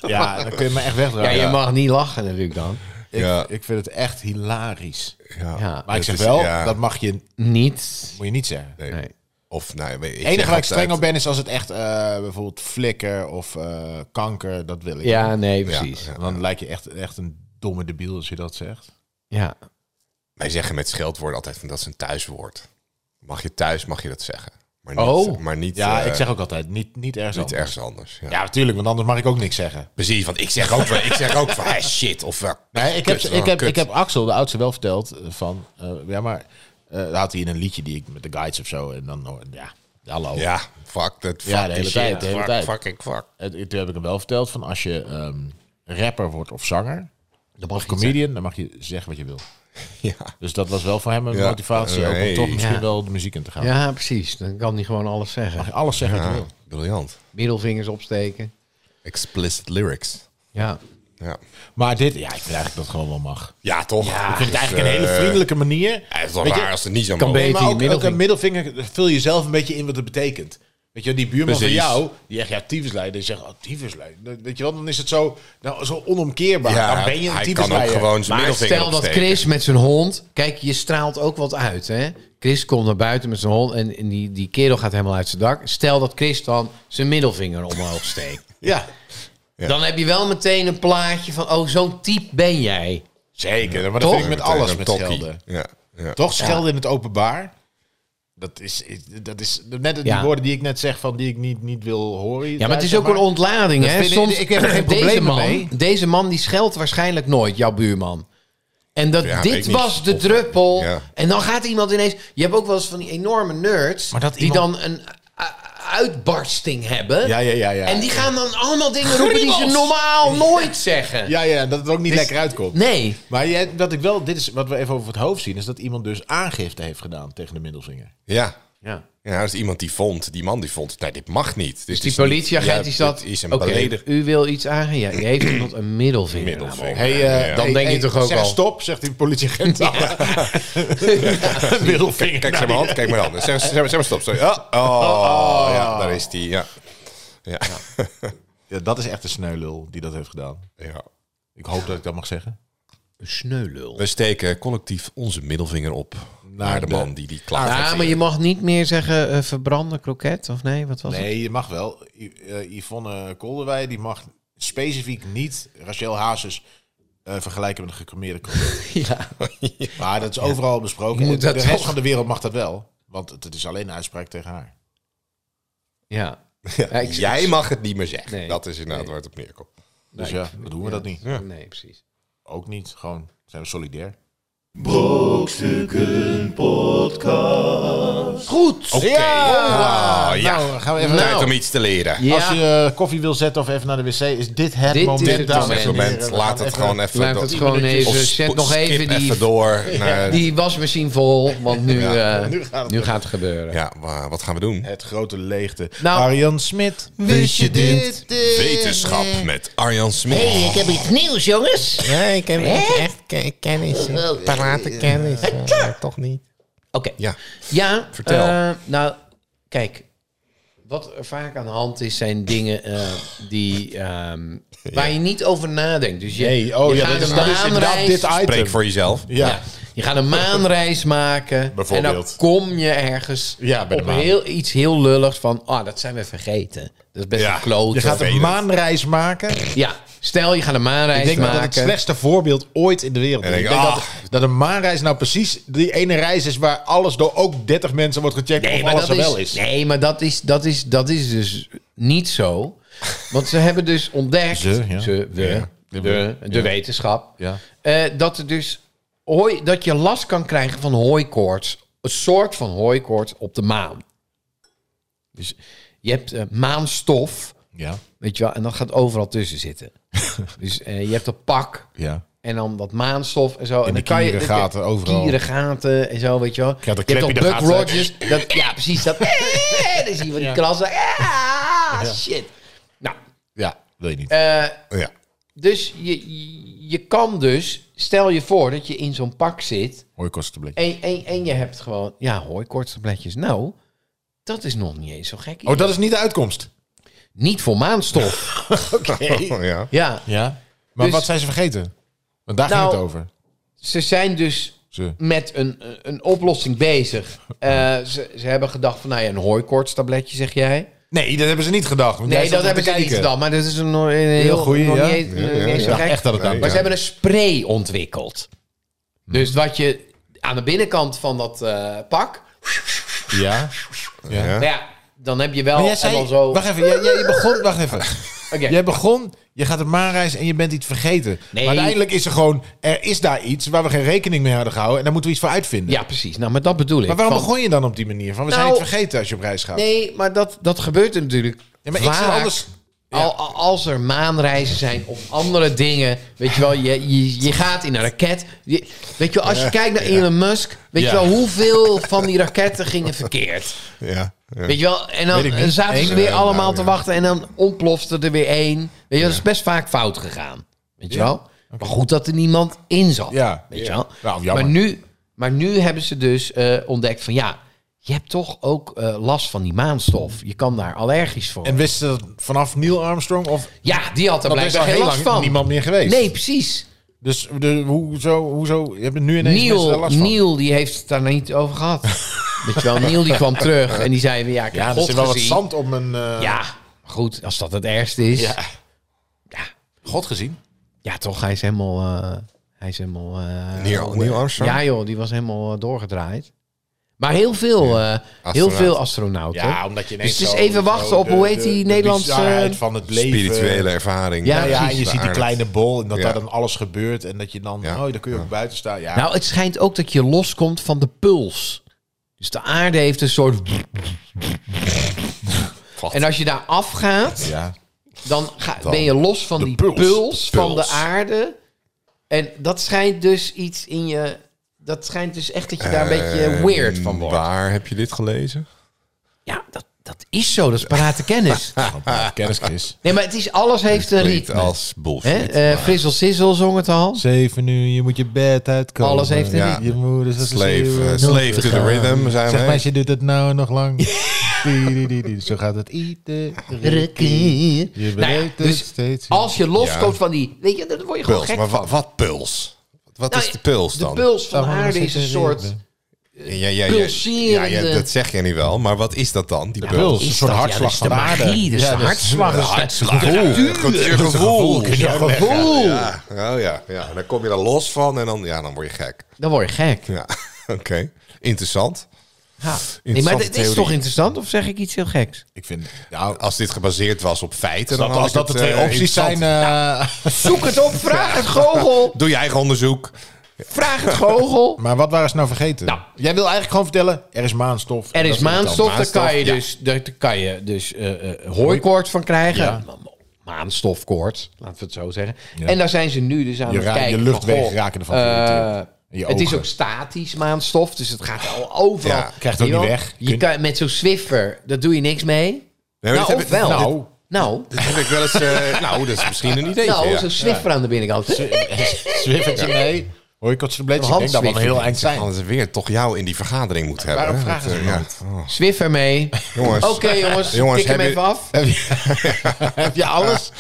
Speaker 5: ja. dan kun je me echt
Speaker 3: ja,
Speaker 5: wegdraaien.
Speaker 3: je mag niet lachen natuurlijk dan.
Speaker 5: ik,
Speaker 2: Ja.
Speaker 5: ik vind het echt hilarisch.
Speaker 3: Ja,
Speaker 5: Maar ik
Speaker 2: Dat
Speaker 5: zeg
Speaker 2: is-
Speaker 5: wel,
Speaker 2: ja.
Speaker 5: dat mag je,
Speaker 3: niet...
Speaker 5: moet je niet zeggen.
Speaker 2: Nee.
Speaker 3: Nee.
Speaker 2: Of, nou, weet- ik
Speaker 5: Het enige
Speaker 2: zeg
Speaker 5: waar ik streng
Speaker 2: altijd-
Speaker 5: op ben is als het echt eh, bijvoorbeeld flikker of eh, kanker, dat wil ik.
Speaker 3: Ja, nee,
Speaker 2: Ja,
Speaker 3: precies.
Speaker 2: ja.
Speaker 5: Dan lijk je echt, echt een domme debiel als je dat zegt.
Speaker 3: Ja.
Speaker 2: Wij zeggen met scheldwoorden altijd van dat is een thuiswoord. Mag je thuis, mag je dat zeggen. Maar niet,
Speaker 3: Oh.
Speaker 2: maar niet,
Speaker 5: Ja,
Speaker 2: eh,
Speaker 5: ik zeg ook altijd, niet, niet ergens
Speaker 2: niet
Speaker 5: anders.
Speaker 2: ergens anders. Ja.
Speaker 5: Ja, natuurlijk, want anders mag ik ook niks zeggen.
Speaker 2: Precies, want ik zeg ook, wel- ik zeg ook van hey, shit of wel.
Speaker 5: Nee, ik, heb,
Speaker 2: Kut,
Speaker 5: ik,
Speaker 2: oh,
Speaker 5: heb,
Speaker 2: kut.
Speaker 5: ik heb Axel, de oudste, wel verteld eh, van... eh, ja, maar eh, had hij in een liedje die ik met de guides of zo... En dan, hoor- ja, hallo.
Speaker 2: Ja, fuck dat.
Speaker 5: Ja,
Speaker 2: fuck
Speaker 5: de
Speaker 2: die
Speaker 5: hele
Speaker 2: shit,
Speaker 5: tijd, de hele
Speaker 2: fuck,
Speaker 5: tijd.
Speaker 2: Fucking fuck.
Speaker 5: En, toen heb ik hem wel verteld van als je ehm, rapper wordt of zanger...
Speaker 3: Dat mag
Speaker 5: Of comedian, dan mag je zeggen wat je wil.
Speaker 2: Ja.
Speaker 5: Dus dat was wel voor hem een
Speaker 2: Ja.
Speaker 5: motivatie ook om
Speaker 2: Nee.
Speaker 5: toch misschien
Speaker 3: Ja.
Speaker 5: wel de muziek in te gaan.
Speaker 3: Ja, precies. Dan kan hij gewoon alles zeggen.
Speaker 5: Mag je alles zeggen wat je
Speaker 2: Ah,
Speaker 5: wil.
Speaker 2: briljant.
Speaker 3: Middelvingers opsteken.
Speaker 2: Explicit lyrics.
Speaker 3: Ja.
Speaker 2: Ja,
Speaker 5: Maar dit, ja, ik vind eigenlijk dat het gewoon wel mag.
Speaker 2: ja toch?
Speaker 5: ik vind het eigenlijk een
Speaker 2: eh,
Speaker 5: hele vriendelijke manier.
Speaker 2: Ja, het is wel
Speaker 5: Weet je,
Speaker 2: raar als het niet zo
Speaker 3: kan
Speaker 2: mogen.
Speaker 3: beter.
Speaker 5: maar ook,
Speaker 3: middelvinger.
Speaker 5: ook een middelvinger vul jezelf een beetje in wat het betekent. Weet je, wel, die buurman
Speaker 2: Precies.
Speaker 5: van jou, die echt ja, tyfusleider, die zegt, oh, tyfusleider. Weet je wel, dan is het zo, nou, zo onomkeerbaar.
Speaker 2: Ja,
Speaker 5: dan ben je een
Speaker 2: hij kan ook
Speaker 5: tyfusleider.
Speaker 2: gewoon zijn
Speaker 3: Maar
Speaker 2: middelvinger
Speaker 3: stel dat
Speaker 2: opsteken.
Speaker 3: Chris met zijn hond... Kijk, je straalt ook wat uit, hè? Chris komt naar buiten met zijn hond en, en die, die kerel gaat helemaal uit zijn dak. Stel dat Chris dan zijn middelvinger omhoog steekt.
Speaker 5: Ja,
Speaker 2: Ja.
Speaker 3: Dan heb je wel meteen een plaatje van... Oh, zo'n type ben jij.
Speaker 5: zeker. Maar dat
Speaker 3: Toch?
Speaker 5: vind ik met
Speaker 2: Meteen
Speaker 5: alles
Speaker 2: een
Speaker 5: met
Speaker 2: tokkie.
Speaker 5: schelden.
Speaker 2: Ja, ja.
Speaker 5: Toch schelden in het openbaar. Dat is, is- dat is net die
Speaker 3: Ja.
Speaker 5: woorden die ik net zeg van die ik niet, niet wil horen.
Speaker 3: Ja, maar het is
Speaker 5: zeg
Speaker 3: ook een ontlading,
Speaker 5: Dat
Speaker 3: hè?
Speaker 5: vind ik-
Speaker 3: Soms,
Speaker 5: ik heb er geen
Speaker 3: deze
Speaker 5: problemen
Speaker 3: man,
Speaker 5: mee.
Speaker 3: Deze man die scheldt waarschijnlijk nooit, jouw buurman. En dat
Speaker 2: Ja, weet
Speaker 3: dit
Speaker 2: ik niet.
Speaker 3: was de
Speaker 2: Of-
Speaker 3: druppel.
Speaker 2: ja.
Speaker 3: En dan gaat iemand ineens... Je hebt ook wel eens van die enorme nerds...
Speaker 5: Maar dat
Speaker 3: die
Speaker 5: iemand-
Speaker 3: dan een a- uitbarsting hebben.
Speaker 5: Ja, ja, ja, ja.
Speaker 3: En die gaan dan allemaal dingen roepen die ze
Speaker 5: Grimmels.
Speaker 3: normaal nooit zeggen.
Speaker 5: Ja, ja, dat het ook niet lekker uitkomt.
Speaker 3: Nee.
Speaker 5: Maar jij- wat ik wel, dit is wat we even over het hoofd zien, is dat iemand dus aangifte heeft gedaan tegen de middelvinger.
Speaker 2: ja.
Speaker 5: Ja.
Speaker 2: Ja, dat is iemand die vond, die man die vond, nee, dit mag niet. Dit
Speaker 3: Dus die
Speaker 2: is niet-
Speaker 3: politieagent
Speaker 2: ja,
Speaker 3: die zat...
Speaker 2: dit is een
Speaker 3: Oké,
Speaker 2: beledig
Speaker 3: u wil iets aangeven. Ja, u heeft iemand een middelvinger.
Speaker 2: middelvinger.
Speaker 5: Hey, eh,
Speaker 2: Ja.
Speaker 3: dan
Speaker 5: hey,
Speaker 3: denk je
Speaker 5: hey,
Speaker 3: toch ook
Speaker 5: zeg
Speaker 3: al-
Speaker 5: stop, zegt die politieagent. dan. middelvinger.
Speaker 2: Kijk, zeg maar hand, kijk maar hand. Zeg, zeg, zeg maar stop, sorry. Oh, oh, ja, daar is die, ja. Ja.
Speaker 5: Ja, dat is echt een sneulul die dat heeft gedaan.
Speaker 2: ja.
Speaker 5: Ik hoop dat ik dat mag zeggen.
Speaker 3: Een sneulul.
Speaker 2: We steken collectief onze middelvinger op naar, de,
Speaker 5: de-
Speaker 2: man die die klacht heeft
Speaker 3: Ja, maar je mag niet meer zeggen eh verbranden kroket, of nee? Wat was het?
Speaker 5: Nee, je mag wel. I- eh, Yvonne Kolderwij, die mag specifiek niet Rachel Hazes eh, vergelijken met een gecremeerde kroket.
Speaker 3: Ja.
Speaker 5: Maar dat is overal besproken.
Speaker 3: Je moet
Speaker 5: En
Speaker 3: dat
Speaker 5: de rest
Speaker 3: toch-
Speaker 5: van de wereld mag dat wel. Want het het is alleen een uitspraak tegen haar.
Speaker 3: Ja. Ja,
Speaker 2: gegeven.
Speaker 3: ik-
Speaker 2: Jij mag het niet meer zeggen.
Speaker 3: Nee.
Speaker 2: Dat is inderdaad waar het op neerkomt.
Speaker 5: Dus ja, dan doen we dat niet.
Speaker 3: Nee, precies.
Speaker 5: Ook niet. Gewoon zijn we solidair.
Speaker 1: Brokstukken Podcast.
Speaker 3: Goed.
Speaker 2: Oké. Ah, ja.
Speaker 5: Nou, gaan we even...
Speaker 3: Nou.
Speaker 2: Tijd om iets te leren.
Speaker 3: Ja.
Speaker 5: Als je eh, koffie wil zetten of even naar de wc, is dit het
Speaker 3: Dit is
Speaker 5: moment.
Speaker 3: het
Speaker 5: dames en
Speaker 3: moment.
Speaker 5: heren.
Speaker 2: Moment,
Speaker 5: We
Speaker 2: laat
Speaker 5: gaan
Speaker 2: het gewoon even...
Speaker 3: Laat
Speaker 2: door-
Speaker 3: het gewoon
Speaker 2: Of
Speaker 3: even.
Speaker 2: sp-
Speaker 3: Zet nog
Speaker 2: skip
Speaker 3: even die,
Speaker 2: even door naar...
Speaker 3: die wasmachine vol, want nu, eh, nu, gaat,
Speaker 5: gaat
Speaker 3: het
Speaker 5: het
Speaker 3: gebeuren.
Speaker 2: Ja, wa- wat gaan we doen?
Speaker 5: Het grote leegte.
Speaker 3: Nou.
Speaker 5: Arjan Smit.
Speaker 3: Wist je dit?
Speaker 2: Wetenschap met Arjan Smit.
Speaker 6: Ik heb iets nieuws, jongens. Oké,
Speaker 7: Ja, ik heb echt ke- kennis.
Speaker 3: Oh, eh,
Speaker 7: Parate kennis. Ja, toch niet.
Speaker 2: Ja,
Speaker 3: Ja,
Speaker 2: Vertel.
Speaker 3: eh, nou, kijk. Wat er vaak aan de hand is, zijn dingen eh, die, ehm, waar je niet over nadenkt. Dus je,
Speaker 5: Nee, oh
Speaker 3: je
Speaker 5: ja,
Speaker 3: gaat
Speaker 5: dat is,
Speaker 3: een
Speaker 5: dat is inderdaad
Speaker 3: maanreis-
Speaker 5: dit item.
Speaker 2: spreek voor jezelf.
Speaker 5: Ja.
Speaker 3: Ja. Je gaat een maanreis maken. En dan
Speaker 5: Bijvoorbeeld.
Speaker 3: kom je ergens
Speaker 5: Ja, bij de
Speaker 3: op
Speaker 5: maan.
Speaker 3: heel, iets heel lulligs van... Ah, dat zijn we vergeten. Dat is best
Speaker 2: Ja,
Speaker 3: een klote.
Speaker 5: Je gaat een
Speaker 2: Vervelend.
Speaker 5: maanreis maken. Ik
Speaker 3: Ja, stel je gaat een maanreis
Speaker 5: denk dat
Speaker 3: maken.
Speaker 5: dat het slechtste voorbeeld ooit in de wereld is.
Speaker 2: En
Speaker 5: Ik
Speaker 2: ik-
Speaker 5: denk
Speaker 2: ah.
Speaker 5: dat, dat een maanreis nou precies die ene reis is waar alles door ook 30 mensen wordt gecheckt
Speaker 3: Nee,
Speaker 5: of
Speaker 3: maar,
Speaker 5: alles
Speaker 3: dat
Speaker 5: er
Speaker 3: is,
Speaker 5: wel is.
Speaker 3: nee, maar dat is, dat, is, dat is dus niet zo. Want ze hebben dus ontdekt...
Speaker 5: Ze, ja.
Speaker 3: ze, we, de, de, wetenschap...
Speaker 5: Ja.
Speaker 3: eh, dat, er dus hooi, dat je last kan krijgen van hooikoorts. Een soort van hooikoorts op de maan. Dus je hebt eh, maanstof...
Speaker 5: Ja,
Speaker 3: Weet je wel, en dat gaat overal tussen zitten. dus eh, je hebt een pak
Speaker 5: ja.
Speaker 3: en dan wat maanstof en zo. en
Speaker 5: de
Speaker 3: dan kan je
Speaker 5: kieren gaten, overal.
Speaker 3: Kieren gaten en zo, weet je wel.
Speaker 5: krijgt een
Speaker 3: je
Speaker 5: klep in
Speaker 3: hebt
Speaker 5: de
Speaker 3: toch Buck
Speaker 5: gaten.
Speaker 3: Rogers. Dat, ja, precies dat. Eh, dan zie je van die krassen. Ah, shit. Nou,
Speaker 5: Ja, wil je niet.
Speaker 3: eh,
Speaker 2: Ja.
Speaker 3: dus je, je- je kan dus... Stel je voor dat je in zo'n pak zit
Speaker 5: Hoor kost blik.
Speaker 3: en, en, en je hebt gewoon... Ja, hoor, kortstabletjes. Nou, dat is nog niet eens zo gek.
Speaker 5: Oh, dat is niet de uitkomst.
Speaker 3: Niet voor maanstof.
Speaker 2: Oh, ja.
Speaker 3: ja,
Speaker 5: Ja. Maar
Speaker 3: Dus-
Speaker 5: wat zijn ze vergeten? Want daar
Speaker 3: Nou,
Speaker 5: ging het over.
Speaker 3: ze zijn dus
Speaker 5: Ze.
Speaker 3: met een, een oplossing bezig. Eh, ze, ze hebben gedacht van, nou ja, een hooikoortstabletje, zeg jij.
Speaker 5: Nee, dat hebben ze niet gedacht. want jij
Speaker 3: Nee,
Speaker 5: zat
Speaker 3: dat
Speaker 5: er
Speaker 3: hebben
Speaker 5: te
Speaker 3: ze niet
Speaker 5: kijken.
Speaker 3: gedaan. Maar dat is een, eh, een heel
Speaker 5: Heel goeie,
Speaker 3: nog
Speaker 5: ja.
Speaker 3: niet eens- nog niet
Speaker 2: ja,
Speaker 3: eens
Speaker 5: Ik
Speaker 3: zo
Speaker 5: dacht
Speaker 3: gek.
Speaker 5: echt dat het Hmm.
Speaker 2: Nee,
Speaker 5: dan
Speaker 3: Maar
Speaker 2: ja.
Speaker 3: ze hebben een spray ontwikkeld. Dus wat je aan de binnenkant van dat eh, pak...
Speaker 5: Ja. Ja.
Speaker 2: Ja.
Speaker 3: Nou ja, dan heb je wel
Speaker 5: Maar jij
Speaker 3: allemaal
Speaker 5: zei...
Speaker 3: zo...
Speaker 5: Wacht even, jij, jij- je begon... Wacht even.
Speaker 3: Oké.
Speaker 5: Jij begon, je gaat op maanreis en je bent iets vergeten.
Speaker 3: Nee.
Speaker 5: Maar uiteindelijk is er gewoon, er is daar iets waar we geen rekening mee hadden gehouden. En daar moeten we iets voor uitvinden.
Speaker 3: Ja, precies. Nou, maar dat bedoel ik.
Speaker 5: Maar waarom
Speaker 3: van-
Speaker 5: begon je dan op die manier? Van, we zijn
Speaker 3: Nou,
Speaker 5: iets vergeten als je op reis gaat.
Speaker 3: Nee, maar dat, dat gebeurt er natuurlijk
Speaker 5: Ja, maar ik
Speaker 3: vaak.
Speaker 5: zie alles- Ja.
Speaker 3: Al, al- als er maanreizen zijn of andere dingen. Weet je wel, je, je, je gaat in een raket. Je- weet je wel, als je kijkt naar Elon Musk. Weet je
Speaker 5: Ja.
Speaker 3: wel, hoeveel van die raketten gingen verkeerd?
Speaker 2: Ja. ja.
Speaker 3: Weet je wel, en dan
Speaker 5: Weet ik niet.
Speaker 3: en zaten
Speaker 5: Eén?
Speaker 3: ze weer
Speaker 2: Eh,
Speaker 3: allemaal
Speaker 2: nou,
Speaker 3: te
Speaker 2: ja.
Speaker 3: wachten. En dan ontplofte er weer één. Weet je wel, dat is best vaak fout gegaan. Weet je wel? Maar goed dat er niemand in zat.
Speaker 5: Ja.
Speaker 3: Weet je wel?
Speaker 5: Nou, jammer.
Speaker 3: maar, nu, maar nu hebben ze dus eh, ontdekt van ja, je hebt toch ook eh, last van die maanstof. Je kan daar allergisch voor.
Speaker 5: En wisten ze dat vanaf Neil Armstrong? Of
Speaker 3: ja, die had er
Speaker 5: dat is
Speaker 3: blijkbaar
Speaker 5: al
Speaker 3: geen
Speaker 5: heel
Speaker 3: last
Speaker 5: lang
Speaker 3: van.
Speaker 5: niemand meer geweest?
Speaker 3: Nee, precies.
Speaker 5: Dus de, hoezo, hoezo? Je hebt het nu ineens mensen daar
Speaker 3: Neil,
Speaker 5: last van.
Speaker 3: Neil, die heeft het daar niet over gehad. Weet je wel, Neil die kwam terug en die zei ja, ik heb
Speaker 5: Ja, er
Speaker 3: God
Speaker 5: zit wel wat
Speaker 3: gezien.
Speaker 5: zand op mijn... eh,
Speaker 3: Ja, maar goed, als dat het ergste is. Ja,
Speaker 5: Ja. God gezien.
Speaker 3: toch, hij is helemaal... eh, hij is helemaal... eh,
Speaker 2: Neil, Neil Armstrong?
Speaker 3: Ja joh, die was helemaal eh, doorgedraaid. Maar heel veel, eh, heel veel astronauten.
Speaker 5: Ja, omdat je ineens
Speaker 3: Dus het is
Speaker 5: zo-
Speaker 3: even wachten
Speaker 5: zo
Speaker 3: op, hoe heet die Nederlandse-
Speaker 5: De bizarheid van het leven.
Speaker 2: Spirituele ervaring.
Speaker 3: Ja,
Speaker 5: Ja, ja, en je
Speaker 2: precies.
Speaker 5: ziet die
Speaker 2: Aardig.
Speaker 5: kleine bol en dat
Speaker 2: Ja.
Speaker 5: daar dan alles gebeurt. En dat je dan,
Speaker 2: Ja.
Speaker 5: oh, dan kun je ook buiten staan. Ja,
Speaker 3: Nou, het schijnt ook dat je loskomt van de puls. Dus de aarde heeft een soort... En als je daar afgaat,
Speaker 5: ja.
Speaker 3: dan, ga, ben je los van
Speaker 5: de
Speaker 3: die puls,
Speaker 5: puls. De
Speaker 3: van de
Speaker 5: puls.
Speaker 3: aarde. En dat schijnt dus iets in je... Dat schijnt dus echt dat je daar een beetje
Speaker 2: Eh,
Speaker 3: weird van wordt.
Speaker 2: Waar heb je dit gelezen?
Speaker 3: Ja, dat, dat is zo. Dat is parate kennis.
Speaker 5: kennisquiz.
Speaker 3: Nee, maar het is, alles heeft een
Speaker 2: Klinkt
Speaker 3: ritme.
Speaker 2: als
Speaker 3: Hè?
Speaker 2: bullshit.
Speaker 3: Eh Frizzle Sizzle zong het al.
Speaker 5: Zeven uur, je moet je bed uitkomen.
Speaker 3: Alles heeft een
Speaker 2: Ja.
Speaker 3: ritme.
Speaker 5: Je moeder zat
Speaker 2: Slave, eh, slave to the rhythm, zijn
Speaker 5: Zeg
Speaker 2: we.
Speaker 5: maar, je doet het nou nog lang. Die, die, die, die. Zo gaat het iedere
Speaker 6: Rukken.
Speaker 5: keer. Je
Speaker 3: Nou ja,
Speaker 5: bereikt het
Speaker 3: dus
Speaker 5: steeds.
Speaker 3: als je loskomt
Speaker 2: Ja.
Speaker 3: van die... Weet je, dan word je gewoon
Speaker 2: Puls.
Speaker 3: gek
Speaker 2: Maar wa-
Speaker 3: van.
Speaker 2: wat puls? Wat
Speaker 3: Nou,
Speaker 2: is de puls dan?
Speaker 3: De puls van de
Speaker 5: Daarvan
Speaker 3: aarde
Speaker 5: zit
Speaker 3: is een
Speaker 5: er
Speaker 3: soort...
Speaker 5: ritme.
Speaker 2: Ja, ja, ja, ja,
Speaker 3: pulserende-
Speaker 2: ja, dat zeg je niet wel, maar wat is dat dan? Die
Speaker 5: puls.
Speaker 2: puls.
Speaker 5: Een soort hartslag
Speaker 3: ja, dat is de
Speaker 5: van de aarde.
Speaker 3: magie, dat is
Speaker 5: Ja,
Speaker 3: de
Speaker 5: dat is-
Speaker 3: hartslag. dat is de-
Speaker 2: Gevoel. Goed, je gevoel.
Speaker 5: kun je
Speaker 2: Ja,
Speaker 5: uitleggen.
Speaker 3: Gevoel.
Speaker 2: Ja, oh ja, ja. Dan kom je er los van en dan, ja, dan word je gek.
Speaker 3: Dan word je gek.
Speaker 2: Ja, oké. Interessant.
Speaker 3: Ja. Nee, maar
Speaker 2: Interessante
Speaker 3: het is toch
Speaker 2: theorie.
Speaker 3: interessant? Of zeg ik iets heel geks?
Speaker 5: Ik vind, nou,
Speaker 2: Als dit gebaseerd was op feiten, dan
Speaker 5: dat,
Speaker 2: had
Speaker 5: als
Speaker 2: ik
Speaker 5: dat de
Speaker 2: het,
Speaker 5: twee
Speaker 2: eh,
Speaker 5: opties zijn...
Speaker 2: interessant.
Speaker 5: eh,
Speaker 3: Zoek het op, vraag het gogel.
Speaker 2: Doe je eigen onderzoek.
Speaker 3: Vraag het gogel.
Speaker 5: maar wat waren ze nou vergeten?
Speaker 3: Nou.
Speaker 5: Jij wil eigenlijk gewoon vertellen, er is maanstof.
Speaker 3: Er
Speaker 5: En
Speaker 3: is
Speaker 5: dat het dan.
Speaker 3: maanstof, daar
Speaker 2: Maanstof,
Speaker 3: kan je
Speaker 2: ja.
Speaker 3: dus, daar kan je dus eh, eh, hooikoorts van krijgen. Maanstofkoorts, laten we het zo zeggen. En daar zijn ze nu dus aan
Speaker 5: Je
Speaker 3: het
Speaker 5: ra- je
Speaker 3: kijken. van,
Speaker 5: luchtwegen
Speaker 3: goh,
Speaker 5: raken ervan
Speaker 3: eh,
Speaker 5: geïrriteerd. En je
Speaker 3: het is
Speaker 5: ogen.
Speaker 3: ook statisch maanstof, dus het gaat al overal.
Speaker 2: Ja,
Speaker 5: krijgt het ook
Speaker 3: Weet je
Speaker 5: niet
Speaker 3: wel?
Speaker 5: weg.
Speaker 3: Je
Speaker 5: Kun-
Speaker 3: kan, met zo'n Swiffer, daar doe je niks mee.
Speaker 2: Nee, maar
Speaker 3: nou,
Speaker 2: dit
Speaker 3: of
Speaker 2: heb ik-
Speaker 3: wel.
Speaker 2: Nou,
Speaker 3: Nou, nou,
Speaker 2: dit heb ik wel eens... eh, nou, dat is misschien een idee.
Speaker 3: nou
Speaker 2: ja.
Speaker 3: zo'n Swiffer aan de binnenkant.
Speaker 5: Zwiffertje, nee. Hoor je kort Ik denk dat we een heel eind zijn.
Speaker 2: Anders weer toch jou in die vergadering moet hebben.
Speaker 5: Waarom
Speaker 2: hè?
Speaker 5: vragen
Speaker 2: Dat,
Speaker 5: ze
Speaker 2: eh,
Speaker 5: dat?
Speaker 2: Oh,
Speaker 3: Swiffer mee.
Speaker 2: Jongens.
Speaker 3: Oké jongens,
Speaker 2: Jongens,
Speaker 3: tik hem
Speaker 2: heb je-
Speaker 3: even af.
Speaker 5: Heb je, heb je alles?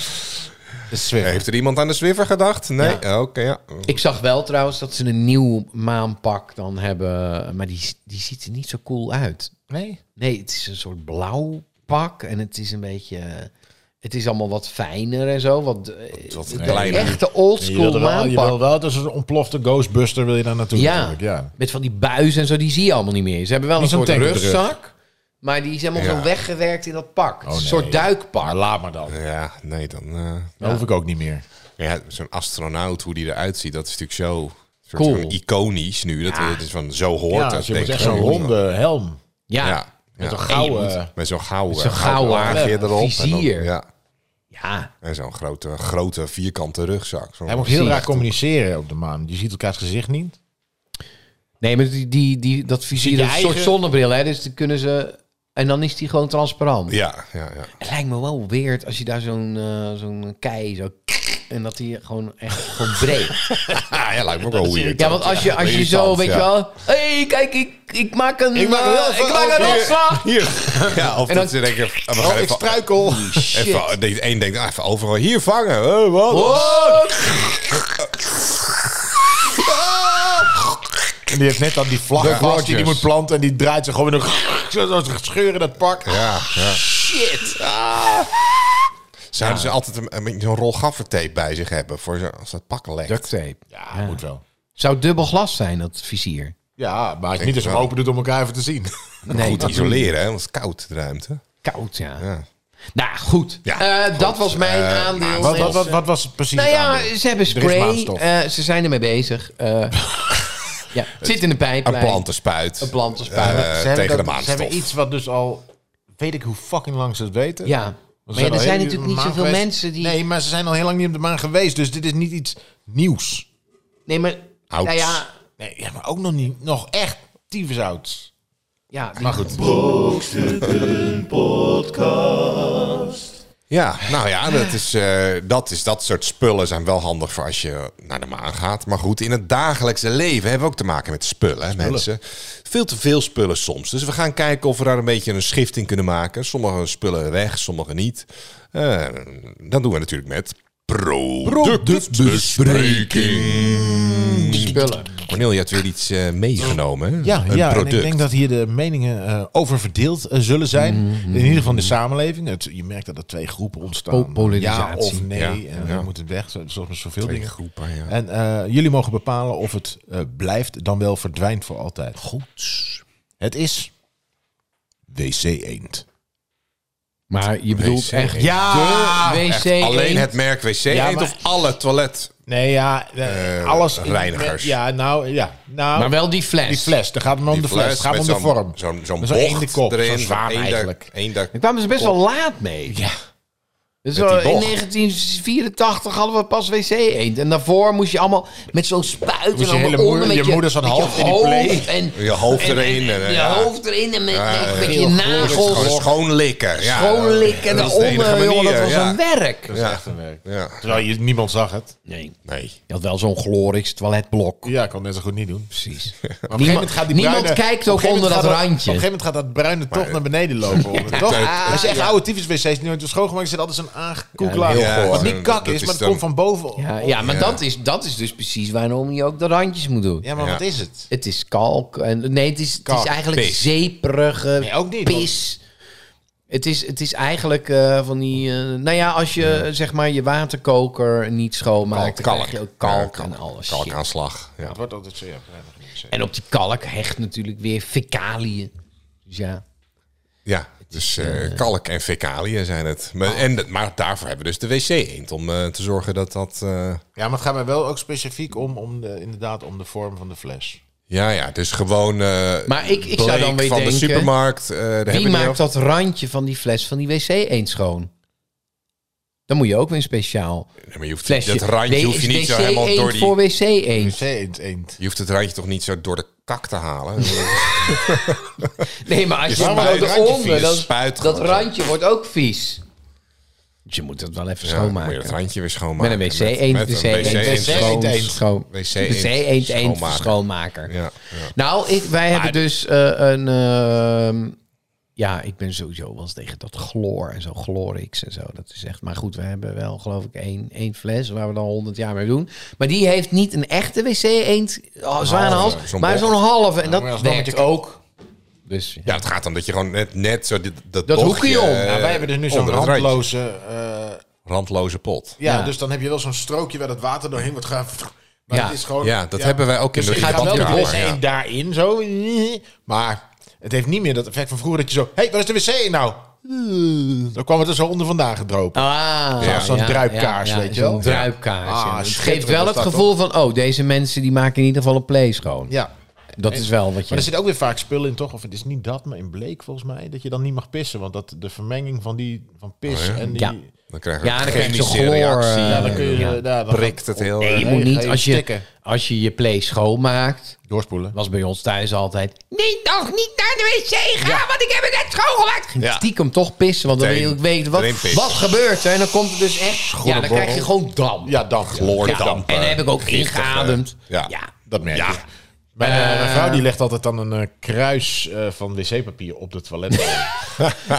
Speaker 5: De Zwift.
Speaker 2: Heeft er iemand aan de Swiffer gedacht? Nee? Oh, Oké, ja.
Speaker 3: Ik zag wel trouwens dat ze een nieuw maanpak dan hebben. Maar die, die ziet er niet zo cool uit.
Speaker 5: Nee.
Speaker 3: Nee, het is een soort blauw pak. En het is een beetje... Het is allemaal wat fijner en zo. Wat, eh,
Speaker 2: Wat
Speaker 3: de
Speaker 2: kleiner.
Speaker 3: echte
Speaker 5: Je wil,
Speaker 3: oldschool
Speaker 5: er wel, je wil
Speaker 3: maanpak.
Speaker 5: wel, dus een ontplofte Ghostbuster wil je daar naartoe.
Speaker 3: Ja,
Speaker 5: natuurlijk, ja.
Speaker 3: met van die buizen en zo. Die zie je allemaal niet meer. Ze hebben wel
Speaker 5: Niet
Speaker 3: een
Speaker 5: zo'n
Speaker 3: soort
Speaker 5: tank op de rug. Oh,
Speaker 3: rugzak. Maar die is helemaal
Speaker 2: Ja.
Speaker 3: zo weggewerkt in dat pak. Het is
Speaker 5: nee.
Speaker 3: Een soort duikpak.
Speaker 5: Maar laat maar dan. Dat
Speaker 2: Ja, nee, dan... eh,
Speaker 5: hoef ik ook niet meer.
Speaker 2: Ja, zo'n astronaut, hoe die eruit ziet, dat is natuurlijk zo soort
Speaker 3: Cool.
Speaker 2: van iconisch nu. Dat het is van zo hoort
Speaker 5: Ja,
Speaker 2: dat.
Speaker 5: dus je moet
Speaker 2: denk
Speaker 5: echt
Speaker 2: ik.
Speaker 5: zo'n ronde helm.
Speaker 3: Ja. ja.
Speaker 2: Ja.
Speaker 5: Met
Speaker 2: ja.
Speaker 5: een gouden...
Speaker 2: Met zo'n gouden,
Speaker 3: zo'n gouden
Speaker 2: laagje
Speaker 3: lep,
Speaker 2: erop. En,
Speaker 3: vizier.
Speaker 2: dan- ja. en zo'n grote, grote vierkante rugzak. Zo'n-
Speaker 5: Hij moet heel
Speaker 3: Precies.
Speaker 5: raar communiceren op de maan. Je ziet elkaars gezicht niet.
Speaker 3: Nee, maar die, die, die, dat vizier
Speaker 5: Zie je
Speaker 3: dat is een soort
Speaker 5: eigen-
Speaker 3: zonnebril. Hè? Dus dan kunnen ze... En dan is die gewoon transparant.
Speaker 2: Ja, ja, ja.
Speaker 3: Het lijkt me wel weird als je daar zo'n eh, zo'n kei zo... En dat die gewoon echt gewoon breekt.
Speaker 2: Ah, ja, lijkt me ook wel weird.
Speaker 3: Ja, want als je, als je zo,
Speaker 2: irritant,
Speaker 3: weet je
Speaker 2: ja.
Speaker 3: wel... Hé, hey, kijk, ik, ik maak een...
Speaker 2: Ik maak een
Speaker 3: eh,
Speaker 2: heel-
Speaker 3: ik maak een
Speaker 2: hier.
Speaker 3: opslag!
Speaker 2: Hier. Ja, of
Speaker 3: En
Speaker 2: dat
Speaker 3: dan- Oh,
Speaker 2: ze denken... ah, We gaan even,
Speaker 5: struikel.
Speaker 2: even, de een denkt, ah, even overal hier vangen. Eh, wat?
Speaker 3: Oh,
Speaker 5: En die heeft net dan die vlag
Speaker 2: De
Speaker 5: vast die die
Speaker 2: Rodgers.
Speaker 5: moet planten. En die draait zich gewoon weer zo, zo zo scheuren in dat pak.
Speaker 2: Ja, ja.
Speaker 3: shit!
Speaker 2: Zouden ze altijd een, een beetje zo'n rol gaffertape bij zich hebben? Voor zo, als dat pak lekt.
Speaker 3: Duct tape.
Speaker 5: Ja, moet wel.
Speaker 3: Zou dubbel glas zijn, dat vizier?
Speaker 5: Ja, maar niet als je hem open doet om elkaar even te zien.
Speaker 3: Nee,
Speaker 2: Goed isoleren, hè, want het is koud, de ruimte.
Speaker 3: koud, ja.
Speaker 2: Ja.
Speaker 3: Nou, goed.
Speaker 2: Ja,
Speaker 3: Eh,
Speaker 2: goed.
Speaker 3: dat was mijn
Speaker 2: Eh,
Speaker 3: aandeel.
Speaker 5: Wat, wat, wat,
Speaker 3: mensen.
Speaker 5: wat was het precies?
Speaker 3: Nou
Speaker 5: het
Speaker 3: ja,
Speaker 5: aandeel?
Speaker 3: ze hebben
Speaker 5: Er is
Speaker 3: spray.
Speaker 5: maanstof.
Speaker 3: eh, ze zijn ermee bezig. Eh, ja, het zit in de
Speaker 2: Een
Speaker 3: pijplijn.
Speaker 2: plantenspuit.
Speaker 3: Een plantenspuit.
Speaker 2: Eh,
Speaker 5: Ze hebben
Speaker 2: tegen de
Speaker 5: dat- Ze
Speaker 2: maanstof.
Speaker 5: hebben iets wat dus al... Weet ik hoe fucking lang ze het weten?
Speaker 3: Ja.
Speaker 5: Want
Speaker 3: Maar
Speaker 5: ze
Speaker 3: ja, er
Speaker 5: al
Speaker 3: zijn
Speaker 5: heel-
Speaker 3: natuurlijk
Speaker 5: op
Speaker 3: niet
Speaker 5: de maan
Speaker 3: zoveel
Speaker 5: geweest.
Speaker 3: mensen die...
Speaker 5: Nee, maar ze zijn al heel lang niet op de maan geweest. Dus dit is niet iets nieuws.
Speaker 3: Nee, maar...
Speaker 2: Ouds.
Speaker 3: Nou ja,
Speaker 5: Nee, ja, maar ook nog niet. Nog echt tyfusouds.
Speaker 3: ja die-
Speaker 5: Maar goed.
Speaker 1: Brokstukken Podcast.
Speaker 2: Ja, nou ja, dat is, eh, dat is dat soort spullen zijn wel handig voor als je naar de maan gaat. Maar goed, in het dagelijkse leven hebben we ook te maken met spullen, hè, mensen. Veel te veel spullen soms. Dus we gaan kijken of we daar een beetje een schift in kunnen maken. Sommige spullen weg, sommige niet. Eh, dat doen we natuurlijk met productbespreking.
Speaker 3: Spullen.
Speaker 2: Cornel, je hebt weer iets eh, meegenomen. hè?
Speaker 5: Ja,
Speaker 2: een
Speaker 5: ja en
Speaker 2: product.
Speaker 5: ik denk dat hier de meningen eh, over verdeeld eh, zullen zijn.
Speaker 2: Mhm,
Speaker 5: In ieder geval in de samenleving. Het, je merkt dat er twee groepen ontstaan.
Speaker 3: Po- polarisatie.
Speaker 5: Ja of nee.
Speaker 2: Ja,
Speaker 5: En
Speaker 2: ja.
Speaker 5: we moeten weg, zo- zoals met zoveel
Speaker 2: Twee
Speaker 5: dingen.
Speaker 2: groepen, ja.
Speaker 5: En eh, jullie mogen bepalen of het eh, blijft, dan wel verdwijnt voor altijd.
Speaker 2: Goed.
Speaker 5: Het is WC Eend.
Speaker 3: Maar je bedoelt
Speaker 2: WC.
Speaker 3: echt
Speaker 5: Ja!
Speaker 3: de wc
Speaker 2: Echt alleen
Speaker 3: eend?
Speaker 2: het merk wc
Speaker 5: Ja,
Speaker 2: eend
Speaker 5: maar-
Speaker 2: of alle toilet.
Speaker 5: Nee, ja, eh,
Speaker 2: Eh,
Speaker 5: alles. in-
Speaker 2: reinigers.
Speaker 5: Ja, nou, ja. Nou,
Speaker 3: Maar wel die fles.
Speaker 5: die fles. Daar gaat het maar om
Speaker 2: Die
Speaker 5: de fles. Het gaat
Speaker 2: met
Speaker 5: om de
Speaker 2: zo'n-
Speaker 5: vorm.
Speaker 2: Zo'n zo'n
Speaker 5: Met
Speaker 2: bocht
Speaker 5: zo'n eendekop,
Speaker 2: erin.
Speaker 5: zo'n
Speaker 2: zo'n
Speaker 5: zwaan
Speaker 2: eender-
Speaker 5: eigenlijk.
Speaker 2: eender-
Speaker 3: Daar kwamen ze best wel laat mee.
Speaker 5: Ja.
Speaker 3: Dus
Speaker 2: Met
Speaker 3: wel-
Speaker 2: die
Speaker 3: in
Speaker 2: bocht.
Speaker 3: 1984 hadden we pas wc-eend. En daarvoor moest je allemaal met zo'n spuit en
Speaker 5: je
Speaker 3: allemaal
Speaker 5: hele
Speaker 3: onder
Speaker 5: moeder-
Speaker 3: met
Speaker 5: je moeder zat
Speaker 3: met
Speaker 5: half in die
Speaker 3: hoofd en
Speaker 2: Je hoofd erin. En, eh,
Speaker 3: en je
Speaker 2: ja.
Speaker 3: hoofd erin en met,
Speaker 2: Ja,
Speaker 3: met
Speaker 2: heel
Speaker 3: je nagels
Speaker 2: Gewoon schoonlikken. Ja.
Speaker 3: schoonlikken
Speaker 2: Dat is de enige
Speaker 3: daaronder. Jongen, dat
Speaker 2: manier,
Speaker 3: was
Speaker 2: ja.
Speaker 3: een Oh, werk.
Speaker 2: Ja. Ja.
Speaker 5: Terwijl je, niemand zag het.
Speaker 3: Nee,
Speaker 2: Nee.
Speaker 3: je had wel zo'n glorix toiletblok.
Speaker 5: Ja, ik kon net zo goed niet doen.
Speaker 3: Precies.
Speaker 5: Maar op een gegeven moment gaat die
Speaker 3: Niemand
Speaker 5: bruine-
Speaker 3: kijkt
Speaker 5: op een
Speaker 3: ook
Speaker 5: gegeven moment
Speaker 3: onder
Speaker 5: gaat
Speaker 3: dat randje.
Speaker 5: Op een gegeven moment gaat dat bruine toch naar beneden lopen. hoor. toch?
Speaker 2: het-
Speaker 5: Als je echt oude tyfus wc's die nooit wordt schoongemaakt, zit altijd zo'n aangekoeklaar.
Speaker 3: Ja,
Speaker 2: heel goor.
Speaker 5: wat niet kak
Speaker 2: Dat
Speaker 5: is,
Speaker 2: is
Speaker 5: maar het
Speaker 2: dan-
Speaker 5: komt van boven.
Speaker 3: Ja, ja maar Dat, is, dat is dus precies waarom je ook de randjes moet doen.
Speaker 5: Ja, maar
Speaker 2: Ja.
Speaker 5: wat is het?
Speaker 3: Het is kalk. En, nee, het is, het is
Speaker 5: Kalk,
Speaker 3: eigenlijk
Speaker 2: pis.
Speaker 3: zeeperige
Speaker 5: Nee, ook niet,
Speaker 3: pis. Het is, het is eigenlijk eh, van die... eh, nou ja, als je zeg maar je waterkoker niet schoonmaakt... dan
Speaker 2: Kalk.
Speaker 3: krijg je ook kalk
Speaker 2: Ja,
Speaker 3: en alles. shit.
Speaker 2: Kalkaanslag. Ja.
Speaker 5: Het wordt altijd zo, ja. weinig in de wc.
Speaker 3: En op die kalk hecht natuurlijk weer fecaliën. Dus ja.
Speaker 2: ja. Dus eh, kalk en fecaliën zijn het. Maar,
Speaker 3: Oh.
Speaker 2: en, dat- maar daarvoor hebben we dus de wc-eend. Om eh, te zorgen dat dat... eh,
Speaker 5: Ja, maar het gaat mij wel ook specifiek om, om de, inderdaad, om de vorm van de fles.
Speaker 2: ja, ja. Dus gewoon... eh,
Speaker 3: Maar ik, ik zou
Speaker 2: bleek
Speaker 3: dan weer
Speaker 2: van
Speaker 3: denken...
Speaker 2: de supermarkt. eh, daar hebben
Speaker 3: wie
Speaker 2: die
Speaker 3: maakt
Speaker 2: ook.
Speaker 3: dat randje van die fles van die wc eens schoon? Dan moet je ook weer een speciaal
Speaker 2: Nee, maar je hoeft,
Speaker 3: flesje.
Speaker 2: dat randje
Speaker 3: Nee,
Speaker 2: hoef je
Speaker 3: is
Speaker 2: niet zo
Speaker 3: wc
Speaker 2: helemaal
Speaker 3: eend
Speaker 2: door die...
Speaker 3: voor wc eend.
Speaker 5: WC eend, eend.
Speaker 2: Je hoeft het randje toch niet zo door de kak te halen?
Speaker 3: Nee, maar als je
Speaker 2: spuit
Speaker 3: het
Speaker 2: het randje
Speaker 3: eronder,
Speaker 2: vies.
Speaker 3: dan,
Speaker 2: Spuit
Speaker 3: dat
Speaker 2: gewoon zo.
Speaker 3: randje wordt ook vies. Dus je moet het wel even
Speaker 2: Ja, dan moet je dat
Speaker 3: schoonmaken.
Speaker 2: randje weer
Speaker 3: Met
Speaker 2: schoonmaken.
Speaker 3: een wc eend,
Speaker 2: met
Speaker 3: wc
Speaker 2: een
Speaker 3: eend,
Speaker 2: wc-eend.
Speaker 3: wc eend,
Speaker 2: schoon-
Speaker 3: schoon- wc
Speaker 2: wc-eend
Speaker 3: eend, eend
Speaker 2: schoonmaker.
Speaker 3: schoonmaker.
Speaker 2: Ja, ja.
Speaker 3: Nou, ik, wij hebben dus eh, een. ehm, ja, ik ben sowieso wel eens tegen dat chloor en zo, chlorix en zo. Dat is echt. Maar goed, we hebben wel, geloof ik, één, één fles waar we dan 100 jaar mee doen. Maar die heeft niet een echte wc-eend, oh, zwaanhals,
Speaker 2: Halve, zo'n
Speaker 3: maar
Speaker 2: bocht.
Speaker 3: zo'n halve. En
Speaker 5: maar
Speaker 3: dat
Speaker 5: alsnog
Speaker 3: werkt
Speaker 5: moet
Speaker 3: ook. Dus
Speaker 2: Ja, het gaat om dat je gewoon net, net zo dit, dat,
Speaker 3: Dat
Speaker 2: bochtje,
Speaker 3: hoekje om.
Speaker 2: eh,
Speaker 5: nou, wij hebben dus nu zo'n
Speaker 2: onder het randje.
Speaker 5: randloze... eh,
Speaker 2: randloze pot.
Speaker 5: ja,
Speaker 3: Ja.
Speaker 5: dus dan heb je wel zo'n strookje waar dat water doorheen wordt gaan... Maar
Speaker 3: Ja.
Speaker 5: het is gewoon...
Speaker 2: Ja, dat hebben wij ook in
Speaker 5: Dus
Speaker 2: de
Speaker 5: je gaat wel de
Speaker 2: badkamer,
Speaker 5: wc
Speaker 2: ja.
Speaker 5: eend daarin, zo. Maar het heeft niet meer dat effect van vroeger dat je zo... Hé, hey, waar is de wc eend nou? Dan kwam het er zo onder vandaan gedropen.
Speaker 3: Ah,
Speaker 5: Ja, zo'n druipkaars, weet je wel.
Speaker 3: Zo'n
Speaker 5: Ja.
Speaker 3: druipkaars. ja.
Speaker 5: Ah,
Speaker 3: het geeft
Speaker 5: schitterend
Speaker 3: wel
Speaker 5: was
Speaker 3: het
Speaker 5: dat,
Speaker 3: gevoel van, oh, deze mensen die maken in ieder geval een play schoon.
Speaker 5: Ja.
Speaker 3: Dat is wel wat je...
Speaker 5: Maar er zit ook weer vaak spul in, toch? Of het is niet dat, maar in bleek volgens mij, dat je dan niet mag pissen. Want dat de vermenging van die van pis
Speaker 2: Oh ja?
Speaker 5: en die...
Speaker 3: Ja.
Speaker 2: Dan krijg je
Speaker 3: Ja,
Speaker 2: een
Speaker 3: dan krijg je
Speaker 2: chemische
Speaker 3: chloor,
Speaker 2: reactie.
Speaker 3: eh,
Speaker 5: Ja, dan kun je...
Speaker 3: Ja.
Speaker 5: Ja. dan
Speaker 2: prikt het heel eh,
Speaker 3: Nee, je
Speaker 2: erg.
Speaker 3: moet
Speaker 5: ga
Speaker 3: niet,
Speaker 5: je
Speaker 3: als je,
Speaker 5: stikken.
Speaker 3: als je je play schoonmaakt,
Speaker 5: Doorspoelen.
Speaker 3: was bij ons thuis altijd,
Speaker 6: Nee, toch niet naar de wc gaan, want ik heb het net schoongemaakt.
Speaker 2: Ja.
Speaker 3: stiekem toch pissen, want dan wil je ook weten,
Speaker 2: Erin
Speaker 3: wat,
Speaker 2: pissen.
Speaker 3: wat gebeurt er? En dan komt het dus echt, ja, dan krijg je gewoon damp.
Speaker 5: Ja, dan.
Speaker 3: Ja,
Speaker 2: Chloordamp.
Speaker 3: en dan heb ik ook
Speaker 2: Giftig, eh,
Speaker 3: ingeademd.
Speaker 2: ja.
Speaker 3: ja.
Speaker 5: Dat merk je.
Speaker 2: Ja.
Speaker 5: Mijn, eh, mijn vrouw die legt altijd dan een eh, kruis eh, van wc-papier op de toilet.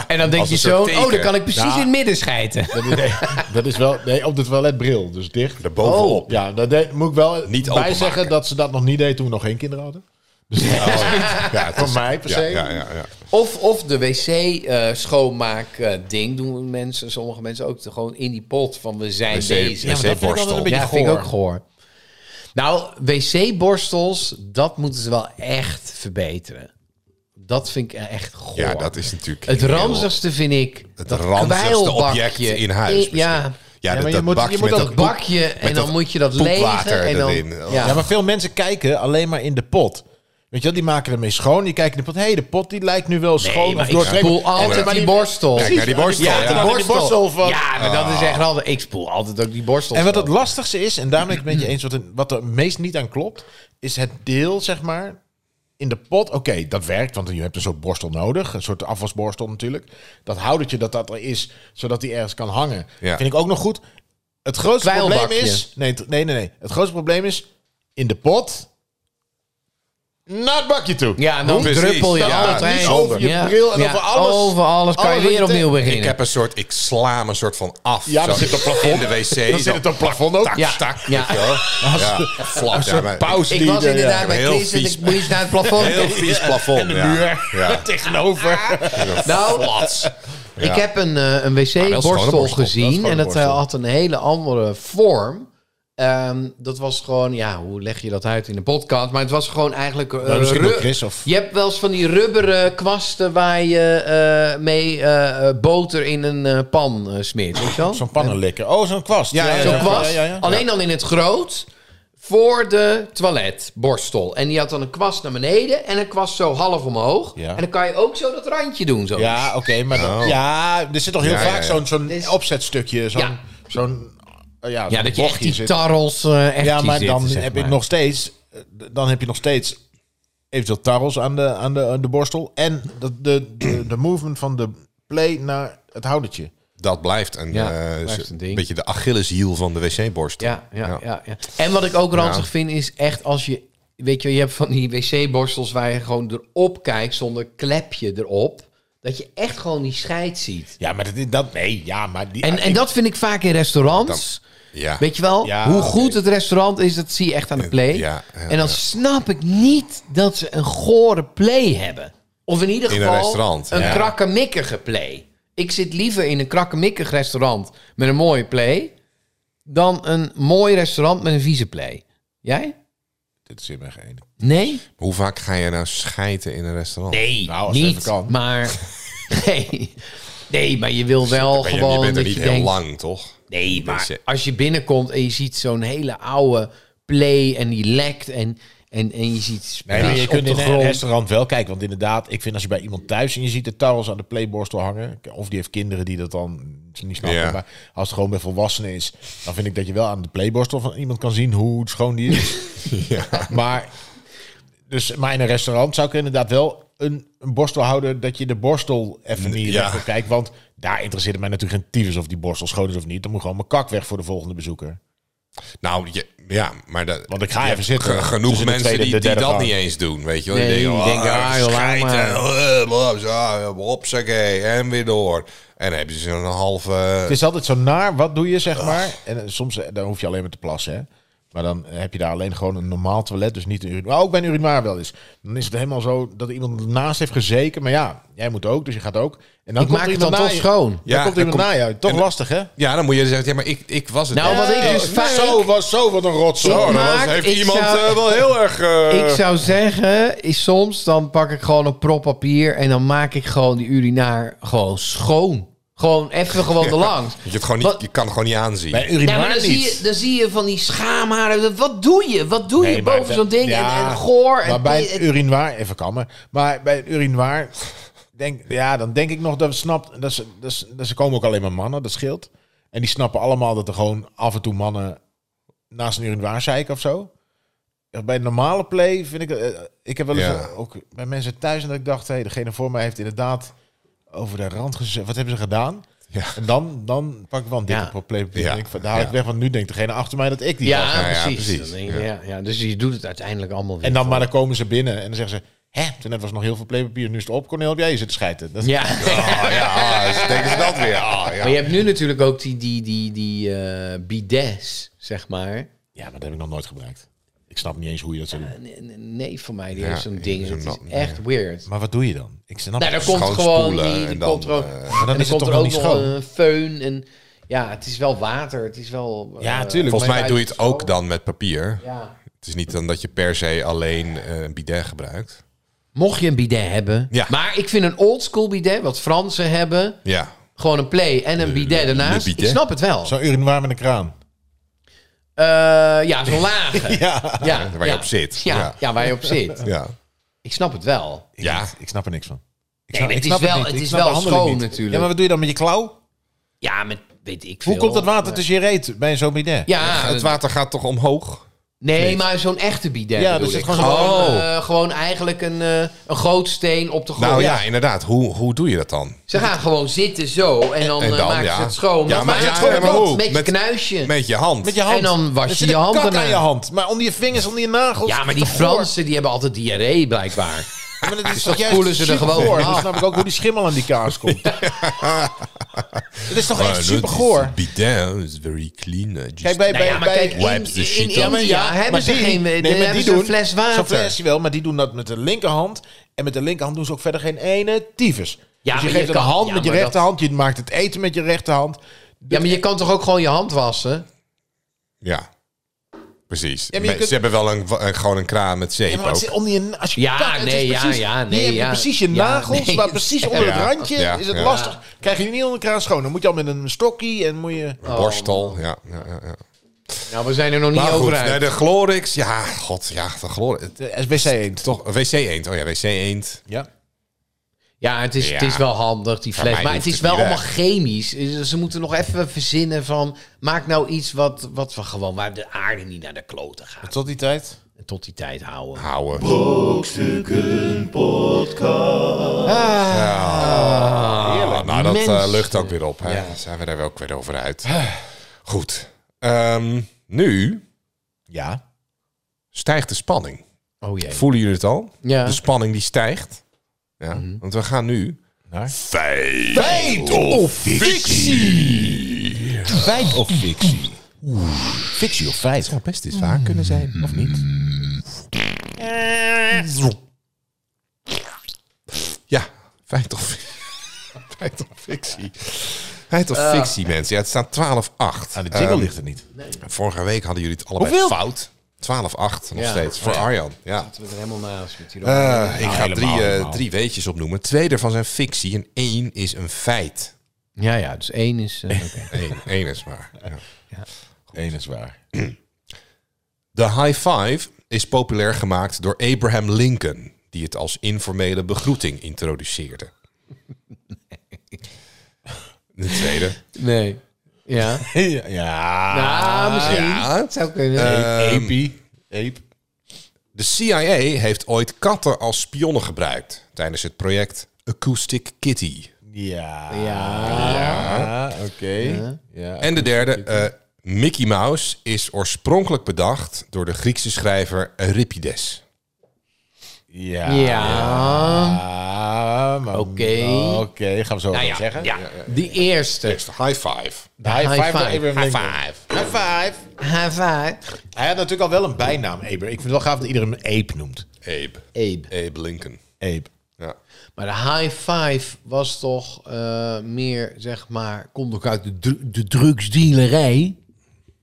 Speaker 3: En dan denk
Speaker 2: Als
Speaker 3: je
Speaker 2: een
Speaker 3: zo,
Speaker 2: soort
Speaker 3: oh, dan
Speaker 2: teken.
Speaker 3: kan ik precies
Speaker 5: Ja.
Speaker 3: in het midden schijten.
Speaker 5: dat, is, nee, dat is wel... Nee, op de toiletbril, dus dicht.
Speaker 2: Daarbovenop.
Speaker 5: Ja, dat deed- moet ik wel
Speaker 2: Niet
Speaker 5: bij
Speaker 2: openmaken.
Speaker 5: zeggen dat ze dat nog niet deed toen we nog geen kinderen hadden. Dus
Speaker 2: Ja, het
Speaker 5: Van
Speaker 2: is-
Speaker 5: mij per
Speaker 2: ja,
Speaker 5: se.
Speaker 2: Ja, ja, ja.
Speaker 3: Of, of de wc eh, schoonmaak eh, ding doen mensen, sommige mensen ook te- gewoon in die pot van we zijn
Speaker 2: Wc
Speaker 3: bezig.
Speaker 5: dat vind ik altijd
Speaker 2: wc-borstel.
Speaker 5: een beetje
Speaker 3: Ja, vind ik
Speaker 5: goor.
Speaker 3: ook gehoor. Nou, wc-borstels, dat moeten ze wel echt verbeteren. Dat vind ik echt goor.
Speaker 2: Ja, dat is natuurlijk...
Speaker 3: Het
Speaker 2: heel-
Speaker 3: ranzigste vind ik
Speaker 2: Het
Speaker 3: dat
Speaker 2: ranzigste
Speaker 3: kwijlbakje.
Speaker 2: object in huis.
Speaker 3: I- ja,
Speaker 2: misschien. Ja, dat,
Speaker 5: maar je
Speaker 2: dat
Speaker 5: moet- je
Speaker 2: bakje
Speaker 5: moet
Speaker 2: met
Speaker 5: ook
Speaker 2: dat
Speaker 5: bak-
Speaker 3: bakje en
Speaker 2: met
Speaker 3: dan
Speaker 2: dat
Speaker 3: moet je dat
Speaker 2: poepwater
Speaker 3: legen. En dan,
Speaker 2: erin.
Speaker 3: Ja.
Speaker 2: Oh.
Speaker 5: Ja. maar veel mensen kijken alleen maar in de pot. Weet je wel, die maken ermee schoon. Die kijken in de pot. Hé, hey, de pot die lijkt nu wel schoon.
Speaker 3: maar
Speaker 5: of
Speaker 3: ik
Speaker 5: doortrekt.
Speaker 3: spoel
Speaker 5: En-
Speaker 3: altijd
Speaker 5: maar
Speaker 3: die borstel.
Speaker 2: Kijk naar die borstel.
Speaker 5: Ja,
Speaker 2: ja.
Speaker 5: de borstel. van-
Speaker 3: Ja, maar dat is echt handig. Ik spoel altijd ook die borstel.
Speaker 5: En wat het lastigste is, en daar ben ik het met je eens, wat, er- wat er meest niet aan klopt, is het deel, zeg maar, in de pot, oké, dat werkt, want je hebt een soort borstel nodig. Een soort afwasborstel natuurlijk. Dat houdertje dat dat er is, zodat die ergens kan hangen.
Speaker 2: Ja.
Speaker 5: Vind ik ook nog goed. Het grootste probleem
Speaker 3: Kwijlbakje.
Speaker 5: is... Nee, t- nee, nee, nee. Het grootste probleem is, in de pot, naar het bakje toe.
Speaker 3: Ja, en dan
Speaker 2: Precies,
Speaker 3: druppel je
Speaker 2: ja,
Speaker 3: altijd
Speaker 2: niet
Speaker 3: heen.
Speaker 5: over je
Speaker 3: ja.
Speaker 5: bril en over alles.
Speaker 3: Over alles kan
Speaker 5: Alles
Speaker 3: je
Speaker 5: wat
Speaker 3: weer
Speaker 5: je
Speaker 3: opnieuw
Speaker 5: denkt.
Speaker 3: beginnen.
Speaker 2: Ik heb een soort, ik sla me een soort van af.
Speaker 5: Ja, dan
Speaker 2: Zo
Speaker 5: zit het op plafond.
Speaker 2: In de wc.
Speaker 5: Dan
Speaker 2: zo.
Speaker 5: zit het op het plafond ook.
Speaker 2: Tak,
Speaker 3: Ja.
Speaker 2: tak.
Speaker 3: Ja.
Speaker 2: weet je wel. Ja, flap. ja, maar-
Speaker 5: pauze
Speaker 3: Ik was
Speaker 5: die er-
Speaker 3: inderdaad
Speaker 5: ja.
Speaker 3: bij
Speaker 2: Heel
Speaker 3: Chris en
Speaker 2: vies.
Speaker 3: ik moest naar het plafond.
Speaker 2: Heel vies plafond.
Speaker 5: En de
Speaker 2: ja.
Speaker 5: muur
Speaker 2: Ja.
Speaker 5: tegenover.
Speaker 3: Nou, ik
Speaker 2: Ja.
Speaker 3: heb een,
Speaker 5: Ah,
Speaker 2: gewoon
Speaker 3: eh, een
Speaker 2: een borstel.
Speaker 3: wc-borstel
Speaker 2: Dat is
Speaker 3: gezien
Speaker 5: gewoon
Speaker 3: en
Speaker 5: een
Speaker 3: dat eh,
Speaker 5: borstel.
Speaker 3: had een hele andere vorm. Ehm, dat was gewoon, ja, hoe leg je dat uit in de podcast? Maar het was gewoon eigenlijk... eh,
Speaker 5: Nou, misschien
Speaker 3: ru-
Speaker 5: ook Chris of-
Speaker 3: Je hebt wel eens van die rubberen kwasten waar je eh, mee eh, eh, boter in een eh, pan eh, smeert, weet je wel?
Speaker 5: Zo'n pannenlikker. Oh, zo'n kwast.
Speaker 3: Ja, zo'n kwast.
Speaker 5: Ja, ja, ja.
Speaker 3: Alleen dan in het groot voor de toiletborstel. En die had dan een kwast naar beneden en een kwast zo half omhoog.
Speaker 5: Ja.
Speaker 3: En dan kan je ook zo dat randje doen. Zo.
Speaker 5: Ja, oké, maar dat-
Speaker 2: Oh.
Speaker 5: ja, er zit toch heel
Speaker 2: Ja,
Speaker 5: vaak
Speaker 2: ja, ja.
Speaker 5: zo'n zo'n
Speaker 3: Dit is-
Speaker 5: opzetstukje, zo'n
Speaker 3: Ja.
Speaker 5: zo'n eh, ja,
Speaker 3: Ja,
Speaker 5: zo'n
Speaker 3: dat je echt
Speaker 5: bochtje
Speaker 3: die
Speaker 5: zit.
Speaker 3: tarrels eh, echt
Speaker 5: Ja, maar
Speaker 3: hier
Speaker 5: dan
Speaker 3: zitten, zeg
Speaker 5: heb
Speaker 3: maar.
Speaker 5: ik nog steeds, eh, dan heb je nog steeds eventueel tarrels aan de, aan de, aan de borstel en de, de, de, de movement van de play naar het houdertje.
Speaker 2: Dat blijft een,
Speaker 3: Ja,
Speaker 2: eh,
Speaker 3: blijft een ding.
Speaker 2: beetje de Achilleshiel van de wc-borstel.
Speaker 3: Ja, ja, ja. ja, En wat ik ook ranzig
Speaker 2: Ja.
Speaker 3: vind is echt als je... Weet je, je hebt van die wc-borstels waar je gewoon erop kijkt zonder klepje erop. Dat je echt gewoon die scheid ziet.
Speaker 5: Ja, maar dat, is- dat nee, ja, maar die
Speaker 3: En, en dat vind ik vaak in restaurants.
Speaker 2: Ja.
Speaker 3: Weet je wel,
Speaker 5: Ja,
Speaker 3: hoe
Speaker 5: oké.
Speaker 3: goed het restaurant is, dat zie je echt aan de play.
Speaker 2: Ja, ja,
Speaker 3: en
Speaker 2: ja.
Speaker 3: dan snap ik niet dat ze een gore play hebben. Of in ieder
Speaker 2: In een
Speaker 3: geval
Speaker 2: restaurant,
Speaker 3: een
Speaker 2: ja.
Speaker 3: krakkemikkige play. Ik zit liever in een krakkemikkig restaurant met een mooie play... dan een mooi restaurant met een vieze play. Jij?
Speaker 5: dit is in mijn geen.
Speaker 3: Nee?
Speaker 2: Hoe vaak ga je nou schijten in een restaurant?
Speaker 3: Nee,
Speaker 5: Nou, als het
Speaker 3: niet.
Speaker 5: even kan.
Speaker 3: Maar... Nee. nee, maar je wil wel
Speaker 2: Ben je,
Speaker 3: gewoon...
Speaker 2: je bent er
Speaker 3: dat
Speaker 2: niet
Speaker 3: je
Speaker 2: heel
Speaker 3: denkt,
Speaker 2: lang, toch?
Speaker 3: Nee, maar
Speaker 2: Dus, eh,
Speaker 3: als je binnenkomt en je ziet zo'n hele oude play en die lekt en, en, en je ziet
Speaker 5: Nee,
Speaker 3: splits
Speaker 5: maar je
Speaker 3: op
Speaker 5: kunt
Speaker 3: de
Speaker 5: in een
Speaker 3: grond.
Speaker 5: restaurant wel kijken. Want inderdaad, ik vind als je bij iemand thuis en je ziet de tarrels aan de playborstel hangen. Of die heeft kinderen die dat dan niet snappen.
Speaker 2: Ja.
Speaker 5: Maar als het gewoon bij volwassenen is, dan vind ik dat je wel aan de playborstel van iemand kan zien hoe schoon die is. Maar, dus, maar in een restaurant zou ik inderdaad wel een, een borstel houden dat je de borstel even niet
Speaker 2: ja.
Speaker 5: voor kijkt. Want daar interesseert het mij natuurlijk geen tyfus of die borstel schoon is of niet. Dan moet gewoon mijn kak weg voor de volgende bezoeker.
Speaker 2: Nou, je- ja, maar dat,
Speaker 5: Want ik ga
Speaker 2: je
Speaker 5: even
Speaker 2: hebt
Speaker 3: Dus
Speaker 5: zitten.
Speaker 2: ge- Genoeg
Speaker 5: Tussen de
Speaker 2: mensen
Speaker 5: tweede en
Speaker 2: die,
Speaker 5: de
Speaker 2: die
Speaker 5: derde
Speaker 2: dat
Speaker 5: gang.
Speaker 2: niet eens doen, weet je wel.
Speaker 3: Nee,
Speaker 2: die denken,
Speaker 3: die denken, ah, joh, laat
Speaker 2: schijten,
Speaker 3: maar.
Speaker 2: eh, blab, zo, hopsakee, en weer door. En dan heb je zo'n halve...
Speaker 5: Het is altijd zo naar, wat doe je, zeg maar. En eh, soms, eh, dan hoef je alleen maar te plassen, hè. Maar dan eh, heb je daar alleen gewoon een normaal toilet, dus niet een urinoir. Maar ook bij een urinoir wel eens. Dan is het helemaal zo dat iemand naast heeft gezeken. Maar ja, jij moet ook, dus je gaat ook. En dan
Speaker 3: Ik
Speaker 5: komt
Speaker 3: maak
Speaker 5: er
Speaker 3: het
Speaker 5: iemand
Speaker 3: dan
Speaker 5: na
Speaker 3: toch
Speaker 5: je.
Speaker 3: schoon.
Speaker 5: Dan
Speaker 2: Ja,
Speaker 5: komt er
Speaker 2: dan
Speaker 5: iemand
Speaker 2: komt-
Speaker 5: na jou. Toch
Speaker 2: en-
Speaker 5: lastig, hè?
Speaker 2: Ja, dan moet je zeggen, ja, maar ik, ik was het.
Speaker 3: Nou,
Speaker 2: niet.
Speaker 3: wat ik dus
Speaker 5: Nee,
Speaker 3: vaak...
Speaker 5: zo, was, zo wat een rotzooi.
Speaker 2: Zo, dan was-
Speaker 3: maak,
Speaker 2: heeft
Speaker 3: ik
Speaker 2: iemand
Speaker 3: zou-
Speaker 2: eh, wel heel erg... eh,
Speaker 3: Ik zou zeggen, is soms dan pak ik gewoon een prop papier en dan maak ik gewoon die urinaar gewoon schoon. Gewoon even gewoon erlangs.
Speaker 2: je, het gewoon niet,
Speaker 3: Wat-
Speaker 2: je kan het gewoon niet aanzien.
Speaker 5: Bij een
Speaker 3: Ja,
Speaker 5: urinoir
Speaker 3: Nou, maar dan zie,
Speaker 5: niet.
Speaker 3: je, dan zie je van die schaamharen. Wat doe je? Wat doe je
Speaker 5: Nee, maar
Speaker 3: boven zo'n ding?
Speaker 5: ja,
Speaker 3: en, en goor. En
Speaker 5: Maar bij
Speaker 3: dit-
Speaker 5: een urinoir, even kammen. Maar bij een urinoir, denk, ja, dan denk ik nog dat we snapt. Dat ze, dat ze, dat ze komen ook alleen maar mannen, dat scheelt. En die snappen allemaal dat er gewoon af en toe mannen naast een urinoir zeiken of zo. Ja, Bij een normale play vind ik. eh, ik heb wel eens
Speaker 2: Ja.
Speaker 5: ook bij mensen thuis en dat ik dacht, hé, degene voor mij heeft inderdaad over de rand gezet. Wat hebben ze gedaan?
Speaker 2: Ja.
Speaker 5: En dan, dan pak ik wel een dikke
Speaker 3: Ja.
Speaker 5: play.
Speaker 2: Ja.
Speaker 5: Ja. Daar haal
Speaker 2: Ja.
Speaker 5: ik weg, want nu denkt degene achter mij dat ik die gast
Speaker 3: ja,
Speaker 5: ben.
Speaker 2: ja,
Speaker 3: precies.
Speaker 2: precies.
Speaker 3: Dan denk je, ja. Ja, dus je doet het uiteindelijk allemaal weer.
Speaker 5: En dan, maar dan komen ze binnen en dan zeggen ze... Hé, toen net was nog heel veel playpapier, nu is het op. Cornel, heb jij je zitten schijten? Dat,
Speaker 3: Ja.
Speaker 2: Ah, ja, ah, ze denken ze dat weer. Ah, ja.
Speaker 3: Maar je hebt nu natuurlijk ook die, die, die, die eh, bidets, zeg maar.
Speaker 5: ja, maar dat heb ik nog nooit gebruikt. Ik snap niet eens hoe je dat zou doen.
Speaker 3: Een- een- een neef van mij die
Speaker 2: Ja,
Speaker 3: heeft zo'n
Speaker 2: ik-
Speaker 3: ding.
Speaker 2: zo'n
Speaker 3: Dat
Speaker 2: nat-
Speaker 3: is echt weird.
Speaker 5: Maar wat doe je dan? Ik snap het.
Speaker 3: Nou, daar komt
Speaker 2: Schoon
Speaker 3: gewoon
Speaker 2: spoelen
Speaker 3: die,
Speaker 2: en
Speaker 3: die
Speaker 2: dan,
Speaker 3: komt er ook,
Speaker 2: eh, Maar
Speaker 5: dan
Speaker 3: en
Speaker 5: is het
Speaker 3: komt
Speaker 5: toch
Speaker 3: er
Speaker 5: wel
Speaker 3: ook
Speaker 5: niet
Speaker 3: nog
Speaker 5: schoon?
Speaker 3: een föhn en ja, het is wel water. Het is wel eh,
Speaker 5: Ja, tuurlijk.
Speaker 2: Volgens mij
Speaker 3: maar-
Speaker 2: doe je het ook dan met papier.
Speaker 3: ja.
Speaker 2: Het is niet dan dat je per se alleen eh, een bidet gebruikt.
Speaker 3: Mocht je een bidet hebben,
Speaker 2: Ja.
Speaker 3: maar ik vind een oldschool bidet, wat Fransen hebben,
Speaker 2: Ja.
Speaker 3: gewoon een play en een bidet daarnaast.
Speaker 2: le bidet.
Speaker 3: Ik snap het wel.
Speaker 5: Zo'n urinoir met een kraan.
Speaker 3: Eh, ja, zo'n lage.
Speaker 5: Ja.
Speaker 3: ja,
Speaker 2: Waar je op zit.
Speaker 3: Ja,
Speaker 2: Ja.
Speaker 3: ja. waar je op zit.
Speaker 2: Ja.
Speaker 3: Ik snap het wel.
Speaker 2: Ja.
Speaker 5: Ik, ik snap er niks van. Ik
Speaker 3: Nee,
Speaker 5: snap,
Speaker 3: maar
Speaker 5: ik
Speaker 3: het is
Speaker 5: snap
Speaker 3: wel-
Speaker 5: niet.
Speaker 3: het
Speaker 5: Ik
Speaker 3: is
Speaker 5: snap
Speaker 3: wel
Speaker 5: de handeling
Speaker 3: schoon
Speaker 5: niet.
Speaker 3: natuurlijk.
Speaker 5: Ja, maar wat doe je dan met je klauw?
Speaker 3: Ja, met weet ik veel.
Speaker 5: Hoe komt dat water
Speaker 3: Maar-
Speaker 5: tussen je reet bij zo'n bidet?
Speaker 3: Ja,
Speaker 2: het water gaat toch omhoog?
Speaker 3: Nee, maar zo'n echte bidet.
Speaker 5: Ja,
Speaker 3: bedoel
Speaker 5: dus het
Speaker 3: ik.
Speaker 5: is
Speaker 3: gewoon,
Speaker 5: gewoon-
Speaker 3: eh, gewoon eigenlijk een, eh een gootsteen op de grond.
Speaker 2: Nou ja, inderdaad. Hoe, hoe doe je dat dan?
Speaker 3: Ze gaan gewoon zitten zo en dan,
Speaker 2: En
Speaker 3: eh,
Speaker 2: dan,
Speaker 3: maken ze
Speaker 2: ja.
Speaker 3: het schoon.
Speaker 2: Ja, maar-
Speaker 3: Dan maken ze
Speaker 2: ja,
Speaker 3: het
Speaker 2: ja,
Speaker 3: gewoon
Speaker 2: maar
Speaker 3: plat,
Speaker 2: hoe?
Speaker 3: Met,
Speaker 2: Met-
Speaker 3: je knuisje.
Speaker 2: Met je hand.
Speaker 5: Met je hand.
Speaker 3: En dan was
Speaker 5: Er
Speaker 3: je
Speaker 5: zit
Speaker 3: je
Speaker 5: een
Speaker 3: hand
Speaker 5: kak
Speaker 3: daarna.
Speaker 5: aan je hand. Maar onder je vingers, onder je nagels.
Speaker 3: Ja, maar die Fransen die hebben altijd diarree blijkbaar.
Speaker 5: Maar dat is
Speaker 3: dat
Speaker 5: toch juist
Speaker 3: spoelen ze er
Speaker 5: supergoor?
Speaker 3: gewoon af.
Speaker 5: Dan snap ik ook hoe die schimmel aan die kaas komt. Het is toch
Speaker 2: Ah,
Speaker 5: echt
Speaker 2: dat
Speaker 5: super
Speaker 2: is-
Speaker 5: goor.
Speaker 2: Bidet is very clean. eh, just-
Speaker 5: Kijk, bij,
Speaker 3: Nou
Speaker 5: bij,
Speaker 3: ja, maar
Speaker 5: bij-
Speaker 3: kijk,
Speaker 2: Wipes
Speaker 3: in,
Speaker 2: the
Speaker 3: in,
Speaker 2: shit
Speaker 3: in
Speaker 2: up.
Speaker 3: India hebben ze geen nee,
Speaker 5: maar
Speaker 3: hebben
Speaker 5: die
Speaker 3: ze een
Speaker 5: doen-
Speaker 3: fles
Speaker 5: Zo'n
Speaker 3: water.
Speaker 5: flesje wel, maar die doen dat met de linkerhand. En met de linkerhand doen ze ook verder geen ene tyfus.
Speaker 3: maar
Speaker 5: dus je
Speaker 3: je
Speaker 5: geeft een
Speaker 3: kan-
Speaker 5: hand
Speaker 3: ja,
Speaker 5: met je
Speaker 3: maar dat-
Speaker 5: rechterhand. Je maakt het eten met je rechterhand.
Speaker 3: Ja, maar je kan toch ook gewoon je hand wassen?
Speaker 2: Ja. Precies.
Speaker 5: maar je
Speaker 2: Me-
Speaker 5: kunt-
Speaker 2: Ze hebben wel een, wa- een- gewoon een kraan met zeep
Speaker 5: Ja, maar het
Speaker 2: ook.
Speaker 5: zit onder je, als je
Speaker 3: Ja,
Speaker 5: kakt, het is
Speaker 3: nee, ja,
Speaker 5: precies,
Speaker 3: ja,
Speaker 5: hier
Speaker 3: nee,
Speaker 5: heb je
Speaker 3: ja.
Speaker 5: precies je
Speaker 3: Ja,
Speaker 5: nagels,
Speaker 3: nee.
Speaker 5: maar precies onder
Speaker 2: Ja,
Speaker 5: het randje
Speaker 2: ja,
Speaker 5: is het
Speaker 2: ja.
Speaker 5: lastig. Krijg je niet onder elkaar schoon. Dan moet je al met een stokkie en moet je...
Speaker 3: Oh.
Speaker 2: Borstel. Ja, ja, ja, ja.
Speaker 3: Nou, we zijn er nog niet
Speaker 2: Maar goed,
Speaker 3: over uit.
Speaker 2: nee, de Glorix. Ja, god. Ja, de Glorix.
Speaker 5: De SBC eend.
Speaker 2: Toch, WC Eend. Oh ja, WC Eend.
Speaker 5: Ja.
Speaker 3: Ja, het is,
Speaker 2: Ja.
Speaker 3: het is wel handig, die
Speaker 2: mij
Speaker 3: fles. Maar
Speaker 2: hoeft
Speaker 3: het is
Speaker 2: het
Speaker 3: wel
Speaker 2: niet
Speaker 3: allemaal
Speaker 2: weg.
Speaker 3: chemisch. Dus, Ze moeten nog even verzinnen van... maak nou iets wat, wat we gewoon... waar de aarde niet naar de kloten gaat.
Speaker 5: Tot die tijd.
Speaker 3: Tot die tijd houden.
Speaker 2: Houden.
Speaker 1: Brokstukken Podcast.
Speaker 2: Ah, nou, dat eh,
Speaker 3: Mensen.
Speaker 2: lucht ook weer op. Hè? Zijn we daar wel ook weer over uit. Goed. Ehm, nu
Speaker 5: Ja.
Speaker 2: stijgt de spanning.
Speaker 3: Oh jee.
Speaker 2: Voelen jullie het al?
Speaker 3: Ja.
Speaker 2: De spanning die stijgt. Ja, Want we gaan nu...
Speaker 5: Naar?
Speaker 2: Feit.
Speaker 5: Feit of fictie? Feit of fictie? Fictie of feit?
Speaker 2: zou best eens waar kunnen zijn, of niet? Ja, feit of, feit of fictie. Feit of fictie, mensen. Ja, het staat 12-8.
Speaker 5: Aan Ah, de jingle
Speaker 2: Ehm,
Speaker 5: ligt er niet.
Speaker 2: Vorige week hadden jullie het allebei
Speaker 5: Hoeveel?
Speaker 2: fout. 12-8 nog
Speaker 3: Ja.
Speaker 2: steeds. Voor Arjan. Ja.
Speaker 3: Zitten we er helemaal naast met die
Speaker 2: Eh, ik ga
Speaker 5: helemaal,
Speaker 2: drie, eh,
Speaker 5: helemaal.
Speaker 2: drie weetjes opnoemen. Twee daarvan zijn fictie en één is een feit.
Speaker 3: Ja, ja, dus één is... eh, oké.
Speaker 2: Eén, één is waar. Ja.
Speaker 5: Eén is waar.
Speaker 2: De high five is populair gemaakt door Abraham Lincoln, die het als informele begroeting introduceerde. De tweede.
Speaker 3: Nee. Ja.
Speaker 5: ja.
Speaker 3: Ah, misschien.
Speaker 2: Ja.
Speaker 3: zou kunnen. Ehm,
Speaker 5: Epi. Ape.
Speaker 2: De CIA heeft ooit katten als spionnen gebruikt tijdens het project Acoustic Kitty.
Speaker 5: Ja.
Speaker 3: ja.
Speaker 5: Ja, Oké. Ja.
Speaker 2: En de derde, eh, Mickey Mouse, is oorspronkelijk bedacht door de Griekse schrijver Euripides.
Speaker 5: Ja.
Speaker 3: Ja.
Speaker 5: Ja, maar-
Speaker 3: Oké.
Speaker 5: Oké, gaan we zo
Speaker 3: Nou
Speaker 5: even
Speaker 3: ja,
Speaker 5: zeggen.
Speaker 3: ja. Die eerste.
Speaker 2: Eerst high five.
Speaker 5: De High,
Speaker 3: High
Speaker 5: five. door
Speaker 3: five.
Speaker 5: Abraham Lincoln.
Speaker 2: five.
Speaker 5: High five.
Speaker 3: Hava.
Speaker 5: Hij had natuurlijk al wel een bijnaam, Abe. Ik vind het wel gaaf dat iedereen hem Ape noemt.
Speaker 2: Abe.
Speaker 3: Abe.
Speaker 2: Abe Lincoln.
Speaker 5: Ape.
Speaker 2: Ja.
Speaker 3: Maar de high five was toch eh, meer, zeg maar, komt ook uit de, dru- de drugsdealerij.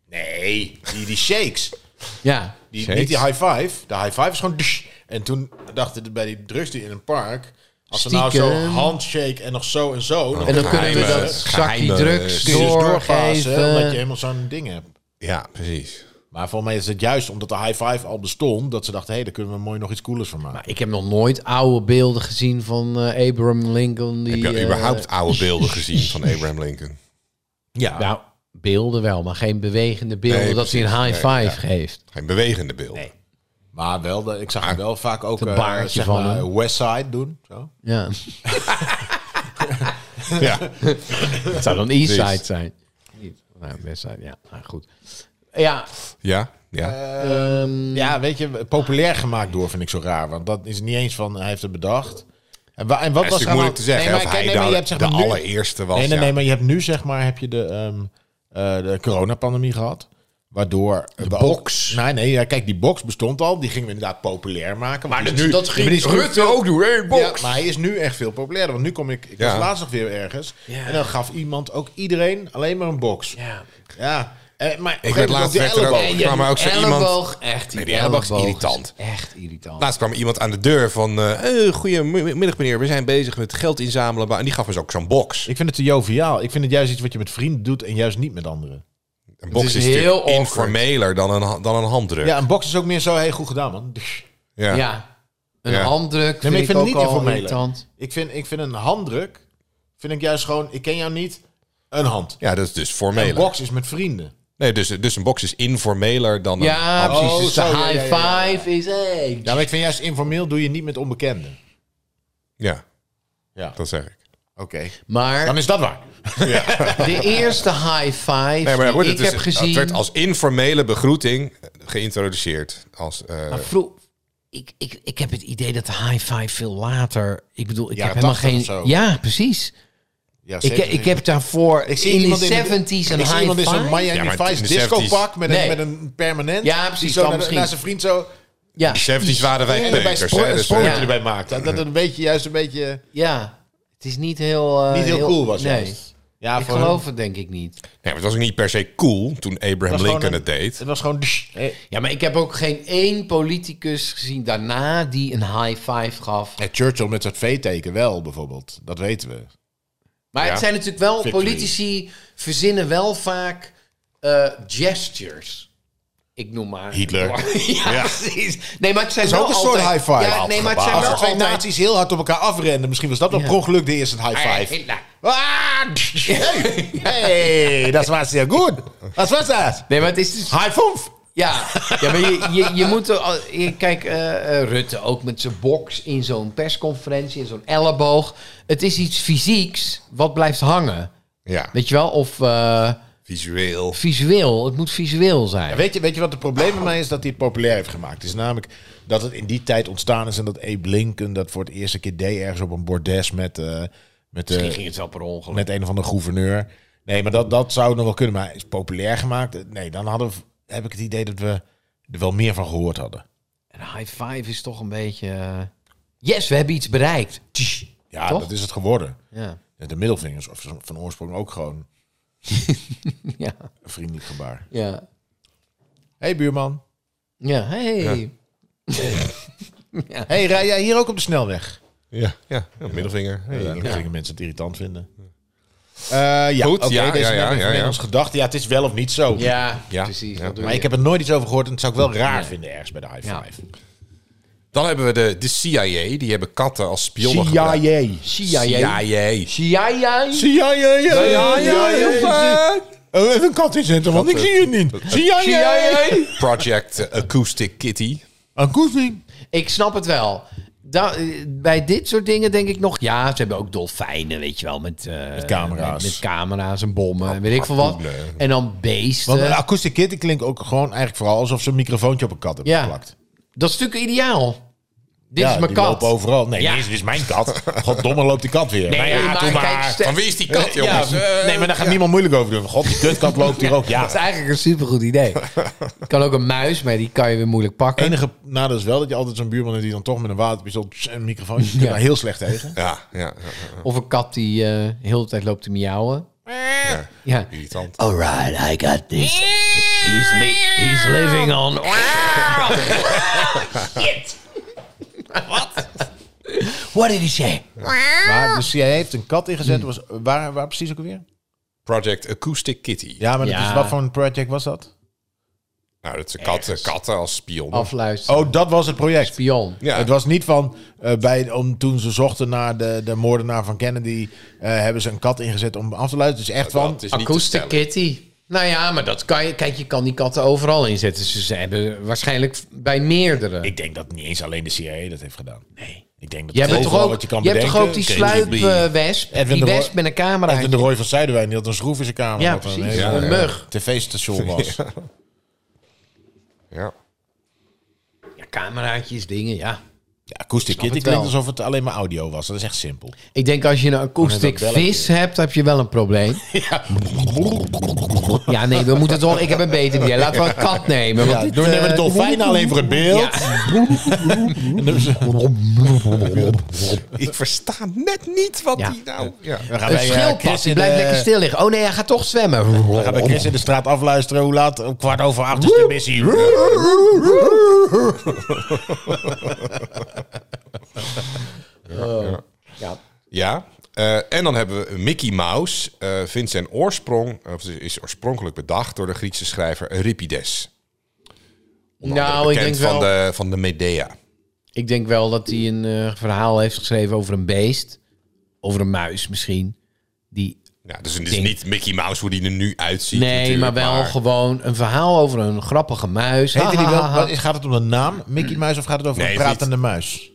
Speaker 5: Nee, die, die shakes.
Speaker 3: Ja.
Speaker 5: Die,
Speaker 2: Shakes?
Speaker 5: Niet die high five. De high five is gewoon... dsh. En toen dachten de- bij die drugs die in een park... Als ze nou zo
Speaker 3: Stiekem.
Speaker 5: handshake en nog zo en zo...
Speaker 3: En dan kunnen we
Speaker 2: Geheime-
Speaker 3: dat zakje
Speaker 2: geheime
Speaker 3: drugs
Speaker 5: kun je dus doorpassen, dus omdat je
Speaker 3: doorgeven.
Speaker 5: helemaal zo'n ding hebt.
Speaker 2: ja, precies.
Speaker 5: Maar voor mij is het juist omdat de high five al bestond... dat ze dachten, hé, hey, daar kunnen we mooi nog iets coolers van maken.
Speaker 3: Ik heb nog nooit oude beelden gezien van eh, Abraham Lincoln. Die,
Speaker 2: Heb je
Speaker 3: eh,
Speaker 2: überhaupt oude beelden gezien van Abraham Lincoln?
Speaker 5: Ja.
Speaker 3: nou, beelden wel, maar geen bewegende beelden
Speaker 2: Nee,
Speaker 3: dat hij een high
Speaker 2: precies.
Speaker 3: five
Speaker 2: Nee,
Speaker 3: geeft.
Speaker 2: Geen bewegende beelden.
Speaker 5: Maar wel, de, ik zag hem wel vaak ook
Speaker 3: een
Speaker 5: eh,
Speaker 3: baardje
Speaker 5: zeg
Speaker 3: van
Speaker 5: maar,
Speaker 3: hem.
Speaker 5: Westside doen. Zo.
Speaker 3: Ja.
Speaker 2: Ja.
Speaker 3: Het zou dan Eastside
Speaker 2: Precies.
Speaker 3: zijn. Niet. Nou, Westside, ja. Nou, goed. Ja,
Speaker 2: Ja? Ja.
Speaker 5: Eh,
Speaker 3: ehm,
Speaker 5: Ja, weet je, populair gemaakt door vind ik zo raar. Want dat is niet eens van, hij heeft het bedacht. En, wa- en wat
Speaker 2: Het is natuurlijk
Speaker 5: was nou...
Speaker 2: moeilijk te zeggen.
Speaker 5: Nee,
Speaker 2: hè,
Speaker 5: maar,
Speaker 2: of
Speaker 5: kijk,
Speaker 2: hij
Speaker 5: nee, maar
Speaker 2: nou
Speaker 5: je hebt zeg
Speaker 2: de
Speaker 5: maar nu-
Speaker 2: allereerste was.
Speaker 5: Nee, nee,
Speaker 2: ja.
Speaker 5: nee, maar je hebt nu zeg maar heb je de, ehm eh de coronapandemie gehad. Waardoor... De box. Nee, nee, ja, kijk, die box bestond al. Die gingen we inderdaad populair maken. Maar die is nu, maar die is nu veel-
Speaker 2: ook doen. Hey,
Speaker 5: Ja, maar hij is nu echt veel populairder. Want nu kom ik... Ik
Speaker 2: Ja.
Speaker 5: was laatst nog weer ergens.
Speaker 3: Ja.
Speaker 5: En dan gaf iemand, ook iedereen, alleen maar een box.
Speaker 3: ja.
Speaker 5: Ja. Eh, maar
Speaker 2: Ik werd laatst werd er ook, kwam er ook zo iemand...
Speaker 3: elleboog, echt die,
Speaker 2: Nee, die elleboog is
Speaker 3: elleboog
Speaker 2: irritant.
Speaker 3: echt irritant. Nou,
Speaker 2: Laatst kwam iemand aan de deur van... eh hey, goedemiddag meneer, we zijn bezig met geld inzamelen. maar- En die gaf ons ook zo'n box.
Speaker 5: Ik vind het te joviaal. Ik vind het juist iets wat je met vrienden doet en juist niet met anderen.
Speaker 2: Een box is,
Speaker 3: is
Speaker 2: natuurlijk
Speaker 3: heel awkward.
Speaker 2: informeler dan een, ha- dan een handdruk.
Speaker 5: Ja, een box is ook meer zo, hey, goed gedaan man. Dus
Speaker 2: Ja.
Speaker 3: ja. Een
Speaker 2: Ja.
Speaker 3: handdruk
Speaker 5: Nee, maar
Speaker 3: vind ik
Speaker 5: ik vind
Speaker 3: ook
Speaker 5: het niet
Speaker 3: al
Speaker 5: informeler.
Speaker 3: irritant.
Speaker 5: Ik vind, ik vind een handdruk, vind ik juist gewoon, ik ken jou niet, een hand.
Speaker 2: Ja, dat is dus
Speaker 5: Een
Speaker 2: formeler.
Speaker 5: box is met vrienden.
Speaker 2: Nee, dus, dus een box is informeler dan
Speaker 3: Ja,
Speaker 2: een...
Speaker 3: precies. Dus de
Speaker 5: zo, Oh, ja,
Speaker 3: high
Speaker 5: ja, ja,
Speaker 3: five is... Hey.
Speaker 5: Ja, maar ik vind juist informeel doe je niet met onbekenden.
Speaker 2: Ja,
Speaker 5: Ja,
Speaker 2: dat zeg ik.
Speaker 5: oké.
Speaker 3: Maar
Speaker 5: Dan is dat waar.
Speaker 3: de eerste high five
Speaker 2: Nee, maar
Speaker 3: die
Speaker 2: goed,
Speaker 3: ik
Speaker 2: het, is-
Speaker 3: heb
Speaker 2: het
Speaker 3: gezien...
Speaker 2: werd als informele begroeting eh, geïntroduceerd. Als, eh,
Speaker 3: Maar vroeg, ik, ik, ik heb het idee dat de high five veel later. Ik bedoel, ik
Speaker 5: Jaren
Speaker 3: heb helemaal
Speaker 5: 80
Speaker 3: geen.
Speaker 5: of zo.
Speaker 3: Ja, precies.
Speaker 5: Ja,
Speaker 3: Ik,
Speaker 5: zeker.
Speaker 3: ik heb daarvoor
Speaker 5: Ik zie
Speaker 3: in
Speaker 5: iemand
Speaker 3: de
Speaker 5: in
Speaker 3: 70s een
Speaker 5: Ik zie
Speaker 3: high
Speaker 5: iemand in zo'n
Speaker 3: five.
Speaker 5: Miami
Speaker 2: Ja, maar
Speaker 5: Vice
Speaker 2: in de
Speaker 5: disco
Speaker 2: 70s.
Speaker 5: pak met,
Speaker 3: Nee.
Speaker 5: een, met een permanent.
Speaker 3: Ja, precies,
Speaker 5: Die zo
Speaker 3: dan
Speaker 5: naar,
Speaker 3: misschien.
Speaker 5: naar zijn vriend zo...
Speaker 3: Ja,
Speaker 2: de 70s waren wij
Speaker 5: en erbij
Speaker 2: peuters,
Speaker 5: spro-
Speaker 2: hè,
Speaker 5: een
Speaker 2: dus,
Speaker 5: sprongetje
Speaker 2: eh,
Speaker 3: Ja.
Speaker 5: erbij maakt. Dat dat het een beetje, juist een beetje
Speaker 3: ja. Het is niet heel. eh,
Speaker 5: niet heel, cool was.
Speaker 3: Nee.
Speaker 5: juist. Ja,
Speaker 3: Ik
Speaker 5: voor hun-
Speaker 3: geloof het denk ik niet.
Speaker 2: Nee, maar het was ook niet per se cool toen
Speaker 5: was
Speaker 2: Abraham
Speaker 5: gewoon
Speaker 2: Lincoln
Speaker 5: een-
Speaker 2: het deed.
Speaker 5: Het was gewoon...
Speaker 3: Ja, maar ik heb ook geen één politicus gezien daarna die een high five gaf.
Speaker 5: Ja, Churchill met dat V-teken wel, bijvoorbeeld. Dat weten we.
Speaker 3: Maar het zijn natuurlijk wel
Speaker 5: Victory.
Speaker 3: politici verzinnen wel vaak eh, gestures. Ik noem maar
Speaker 5: Hitler.
Speaker 3: Ja, precies. Nee, maar het zijn
Speaker 5: Dat is ook
Speaker 3: wel
Speaker 5: een soort
Speaker 3: altijd-
Speaker 5: high five.
Speaker 3: Ja, nee, maar het zijn
Speaker 5: Als
Speaker 3: wel
Speaker 5: er twee
Speaker 3: altijd...
Speaker 5: naties heel hard op elkaar afrenden, misschien was dat wel per ongeluk de eerste high
Speaker 3: Hey,
Speaker 5: five.
Speaker 3: Hitler. Ah,
Speaker 5: Ah, hey, hey, dat was heel goed. Dat was dat.
Speaker 3: Nee, maar het is dus...
Speaker 5: High five.
Speaker 3: Ja, ja maar je, je, je moet... er al- je- Kijk, eh, eh, Rutte ook met zijn box in zo'n persconferentie, in zo'n elleboog. Het is iets fysieks wat blijft hangen.
Speaker 2: Ja,
Speaker 3: Weet je wel? Of eh,
Speaker 2: visueel.
Speaker 3: visueel. Het moet visueel zijn.
Speaker 5: Weet je, weet je wat het probleem met mij is? Dat hij het populair heeft gemaakt. Het is namelijk dat het in die tijd ontstaan is en dat Abe Lincoln dat voor het eerste keer deed ergens op een bordes met, eh, met, eh,
Speaker 3: Misschien ging het wel per ongeluk.
Speaker 5: met een of andere gouverneur. Nee, maar dat, dat zou nog wel kunnen. Maar is populair gemaakt? Nee, dan hadden we, heb ik het idee dat we er wel meer van gehoord hadden.
Speaker 3: Een high five is toch een beetje... eh, yes, we hebben iets bereikt. Tsch.
Speaker 5: Ja,
Speaker 3: Toch?
Speaker 5: dat is het geworden.
Speaker 3: Ja.
Speaker 5: De middelvingers of van oorsprong ook gewoon
Speaker 3: Ja.
Speaker 5: een vriendelijk gebaar.
Speaker 3: Ja.
Speaker 5: hey, buurman.
Speaker 3: Ja, hey.
Speaker 5: hey, rij jij hier ook op de snelweg?
Speaker 2: Ja, ja, middelvinger.
Speaker 5: Ja,
Speaker 2: Hey.
Speaker 5: dan gingen mensen het irritant vinden. Eh, ja,
Speaker 2: Goed,
Speaker 5: oké,
Speaker 2: ja,
Speaker 5: deze
Speaker 2: ja,
Speaker 5: is
Speaker 2: ja,
Speaker 5: net
Speaker 2: ja,
Speaker 5: even in
Speaker 2: ja.
Speaker 5: ons gedachten. Ja, het is wel of niet zo.
Speaker 3: Ja,
Speaker 2: Ja,
Speaker 3: precies.
Speaker 2: ja.
Speaker 3: dat doe
Speaker 5: Maar
Speaker 3: je.
Speaker 5: ik heb er nooit iets over gehoord en het zou ik wel raar vinden ergens bij de high
Speaker 3: Ja.
Speaker 5: five.
Speaker 2: Dan hebben we de, de CIA. Die hebben katten als spionnen gebruikt.
Speaker 3: CIA.
Speaker 2: CIA.
Speaker 3: CIA.
Speaker 5: CIA.
Speaker 2: CIA.
Speaker 5: Oh, even een kat eh. inzetten, want ik zie het niet. CIA.
Speaker 3: CIA.
Speaker 2: Project Acoustic Kitty.
Speaker 5: Een koefing.
Speaker 3: Ik snap het wel. Da- eh, bij dit soort dingen denk ik nog... Ja, ze hebben ook dolfijnen, weet je wel. Met, eh,
Speaker 5: camera's.
Speaker 3: Met, met camera's en bommen en weet ik veel wat.
Speaker 2: harpoenen.
Speaker 3: En dan beesten.
Speaker 5: Want eh, een acoustic kitty klinkt ook gewoon eigenlijk vooral alsof ze een microfoontje op een kat hebben
Speaker 3: Ja.
Speaker 5: geplakt.
Speaker 3: dat is natuurlijk ideaal. Dit
Speaker 5: Ja,
Speaker 3: is mijn
Speaker 5: die
Speaker 3: kat.
Speaker 5: lopen overal. Nee,
Speaker 3: Ja.
Speaker 5: dit, is, dit is mijn kat. Goddomme loopt die kat weer.
Speaker 3: Nee,
Speaker 5: Nou ja,
Speaker 3: maar
Speaker 5: doe
Speaker 3: kijk, stel-
Speaker 2: Van wie is die kat, jongens?
Speaker 5: Ja,
Speaker 2: Eh,
Speaker 5: nee, maar daar gaat niemand moeilijk over doen. God, die kutkat loopt hier ook. Ja.
Speaker 3: Dat is eigenlijk een supergoed idee. Je kan ook een muis, maar die kan je weer moeilijk
Speaker 5: Het
Speaker 3: pakken.
Speaker 5: enige nadeel is wel dat je altijd zo'n buurman hebt die dan toch met een waterpistool tss, en een microfoon. Je kunt daar heel slecht tegen.
Speaker 2: Ja, ja, ja, ja,
Speaker 3: Of een kat die eh heel de tijd loopt te miauwen.
Speaker 2: ja.
Speaker 3: Ja.
Speaker 2: Irritant.
Speaker 3: Oh. Alright, I got this. He's, li- he's living on.
Speaker 6: Shit.
Speaker 3: What did he say?
Speaker 5: Maar de CIA heeft een kat ingezet. Was, waar, waar precies ook alweer?
Speaker 2: Project Acoustic Kitty.
Speaker 5: Ja, maar
Speaker 3: Ja.
Speaker 5: Dat is, wat voor een project was dat?
Speaker 2: Nou, dat zijn katten, katten als spionnen.
Speaker 3: Afluisteren.
Speaker 5: Oh, dat was het project.
Speaker 3: Pion.
Speaker 2: Ja.
Speaker 5: Het was niet van, eh, bij, om, toen ze zochten naar de, de moordenaar van Kennedy, eh, hebben ze een kat ingezet om af te luisteren. Het is echt van,
Speaker 2: Dat is niet te
Speaker 3: Acoustic
Speaker 2: stellen.
Speaker 3: Kitty. Nou ja, maar dat kan je. Kijk, je kan die katten overal inzetten. Dus ze hebben waarschijnlijk bij meerdere.
Speaker 5: Ik denk dat niet eens alleen de CIA dat heeft gedaan. Nee. Ik denk dat
Speaker 3: Jij bent toch
Speaker 5: overal
Speaker 3: ook,
Speaker 5: wat je kan
Speaker 3: jij hebt
Speaker 5: bedenken...
Speaker 3: toch ook die sluipwesp?
Speaker 5: Edwin
Speaker 3: die
Speaker 5: de Ro-
Speaker 3: wesp met een camera.
Speaker 5: Edwin de Roy van Zuiderwijn, die had een schroef in zijn kamer.
Speaker 3: Ja,
Speaker 5: wat een
Speaker 3: precies.
Speaker 5: hele
Speaker 3: Een mug.
Speaker 5: TV-station was.
Speaker 2: Ja.
Speaker 3: Ja, cameraatjes, dingen, ja.
Speaker 5: Ja, Acoustic Kitty
Speaker 3: het wel.
Speaker 5: klinkt alsof het alleen maar audio was. Dat is echt simpel.
Speaker 3: Ik denk als je een acoustic
Speaker 5: Oh, nee, dat
Speaker 3: vis hebt, heb je wel een probleem. Ja, nee, we moeten toch... Ik heb een beter idee. Laten we een kat nemen. Want
Speaker 5: Ja,
Speaker 3: dit,
Speaker 5: door
Speaker 3: eh,
Speaker 5: nemen de dolfijnen alleen voor het beeld. En dan ze-
Speaker 2: Ik versta net niet wat
Speaker 3: Ja.
Speaker 2: die nou... Ja.
Speaker 5: Dan gaan
Speaker 3: een
Speaker 5: wij, eh,
Speaker 3: schildpad,
Speaker 5: Chris
Speaker 3: die
Speaker 5: in
Speaker 3: blijft
Speaker 5: de-
Speaker 3: lekker stil liggen. Oh nee, hij gaat toch zwemmen.
Speaker 5: Dan gaan wij Chris in de straat afluisteren. Hoe laat? Om kwart over acht is de missie.
Speaker 3: Ja.
Speaker 2: Ja, eh, en dan hebben we Mickey Mouse. eh vindt zijn oorsprong, of is oorspronkelijk bedacht door de Griekse schrijver Euripides. Onder andere
Speaker 3: Nou, ik denk,
Speaker 2: bekend van
Speaker 3: wel,
Speaker 2: de, van de Medea.
Speaker 3: ik denk wel dat hij een eh, verhaal heeft geschreven over een beest. Over een muis misschien. Die
Speaker 2: Ja, dus het is niet Mickey Mouse hoe die er nu uitziet.
Speaker 3: Nee, maar
Speaker 2: natuurlijk,
Speaker 3: wel gewoon een verhaal over een grappige muis.
Speaker 5: Heette die wel,
Speaker 3: Hahaha.
Speaker 5: wat is- gaat het om de naam Mickey Muis of gaat het over
Speaker 2: Nee,
Speaker 5: een
Speaker 2: het is niet-
Speaker 5: pratende muis?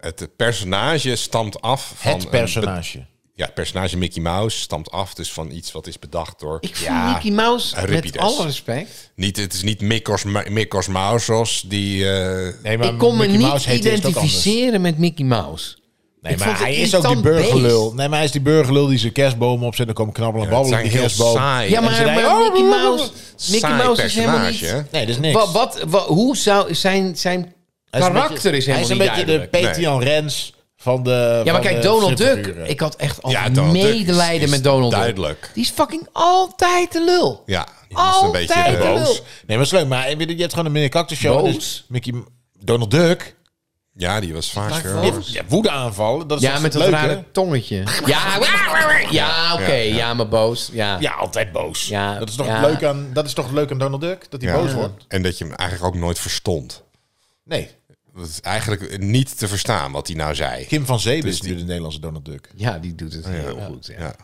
Speaker 2: Het personage stamt af van...
Speaker 5: Het
Speaker 2: een
Speaker 5: personage.
Speaker 2: be- ja, het personage Mickey Mouse stamt af dus van iets wat is bedacht door...
Speaker 3: Ik vind
Speaker 2: ja,
Speaker 3: Mickey Mouse, met
Speaker 2: Euripides.
Speaker 3: alle respect...
Speaker 2: niet, het is niet Mickos, Mickos Mousos die... eh,
Speaker 5: Nee,
Speaker 3: ik kon me
Speaker 5: Mickey
Speaker 3: niet
Speaker 5: Mouse heet is dat anders.
Speaker 3: identificeren met Mickey Mouse.
Speaker 5: Nee,
Speaker 3: Ik
Speaker 5: maar
Speaker 3: vond het
Speaker 5: hij is ook die
Speaker 3: irritant
Speaker 5: burgerlul.
Speaker 3: beest.
Speaker 5: Nee, maar hij is die burgerlul die zijn kerstboom opzet. Dan komen knabbelen en
Speaker 2: ja, het
Speaker 5: babbelen op
Speaker 2: zijn
Speaker 5: die
Speaker 2: heel
Speaker 5: kerstboom.
Speaker 2: saai.
Speaker 3: Ja,
Speaker 2: en
Speaker 3: maar,
Speaker 5: ze
Speaker 3: maar
Speaker 5: denken, oh,
Speaker 3: Mickey
Speaker 5: blablabla.
Speaker 3: Mouse, Mickey
Speaker 2: saai
Speaker 3: Mouse is helemaal
Speaker 2: personage, hè?
Speaker 3: niet...
Speaker 5: Nee, dat is niks.
Speaker 3: Wat, wat, wa- hoe zou zijn, zijn
Speaker 5: Hij een
Speaker 3: karakter
Speaker 5: beetje-
Speaker 3: is helemaal
Speaker 5: Hij is een
Speaker 3: niet
Speaker 5: beetje de
Speaker 3: duidelijk.
Speaker 5: Peter Jan Rens van de
Speaker 3: Ja, maar
Speaker 5: van eh,
Speaker 3: kijk,
Speaker 5: de
Speaker 3: Donald Duck.
Speaker 5: stripfiguren.
Speaker 3: Ik had echt al
Speaker 2: Ja, Donald Duck is-
Speaker 3: medelijden
Speaker 2: is
Speaker 3: met Donald
Speaker 2: duidelijk.
Speaker 3: Duck. Die is fucking altijd de lul.
Speaker 2: Ja, die is een
Speaker 3: Altijd
Speaker 2: beetje eh,
Speaker 3: de
Speaker 2: boos.
Speaker 3: lul.
Speaker 5: Nee, maar is leuk. Maar je hebt gewoon een meneer Cactus Show.
Speaker 3: Boos?
Speaker 5: Dus Mickey, Donald Duck.
Speaker 2: Ja, die was vaak... eh,
Speaker 5: Je hebt- je hebt woedeaanvallen. Dat is
Speaker 3: Ja,
Speaker 5: toch
Speaker 3: met dat
Speaker 5: leuk, hè?
Speaker 3: rare tongetje. Ja, ja oké.
Speaker 2: ja.
Speaker 3: ja. maar boos. Ja.
Speaker 5: Ja, altijd boos.
Speaker 3: Ja,
Speaker 5: dat, is toch
Speaker 3: ja.
Speaker 5: leuk aan, dat is toch leuk aan Donald Duck? Dat hij
Speaker 2: ja.
Speaker 5: boos wordt?
Speaker 2: En dat je hem eigenlijk ook nooit verstond.
Speaker 5: Nee.
Speaker 2: Dat is eigenlijk niet te verstaan wat hij nou zei.
Speaker 5: Kim van Zeven
Speaker 2: Dus
Speaker 5: is nu de Nederlandse Donald Duck.
Speaker 3: Ja, die doet het heel goed. Ja.
Speaker 2: Ja.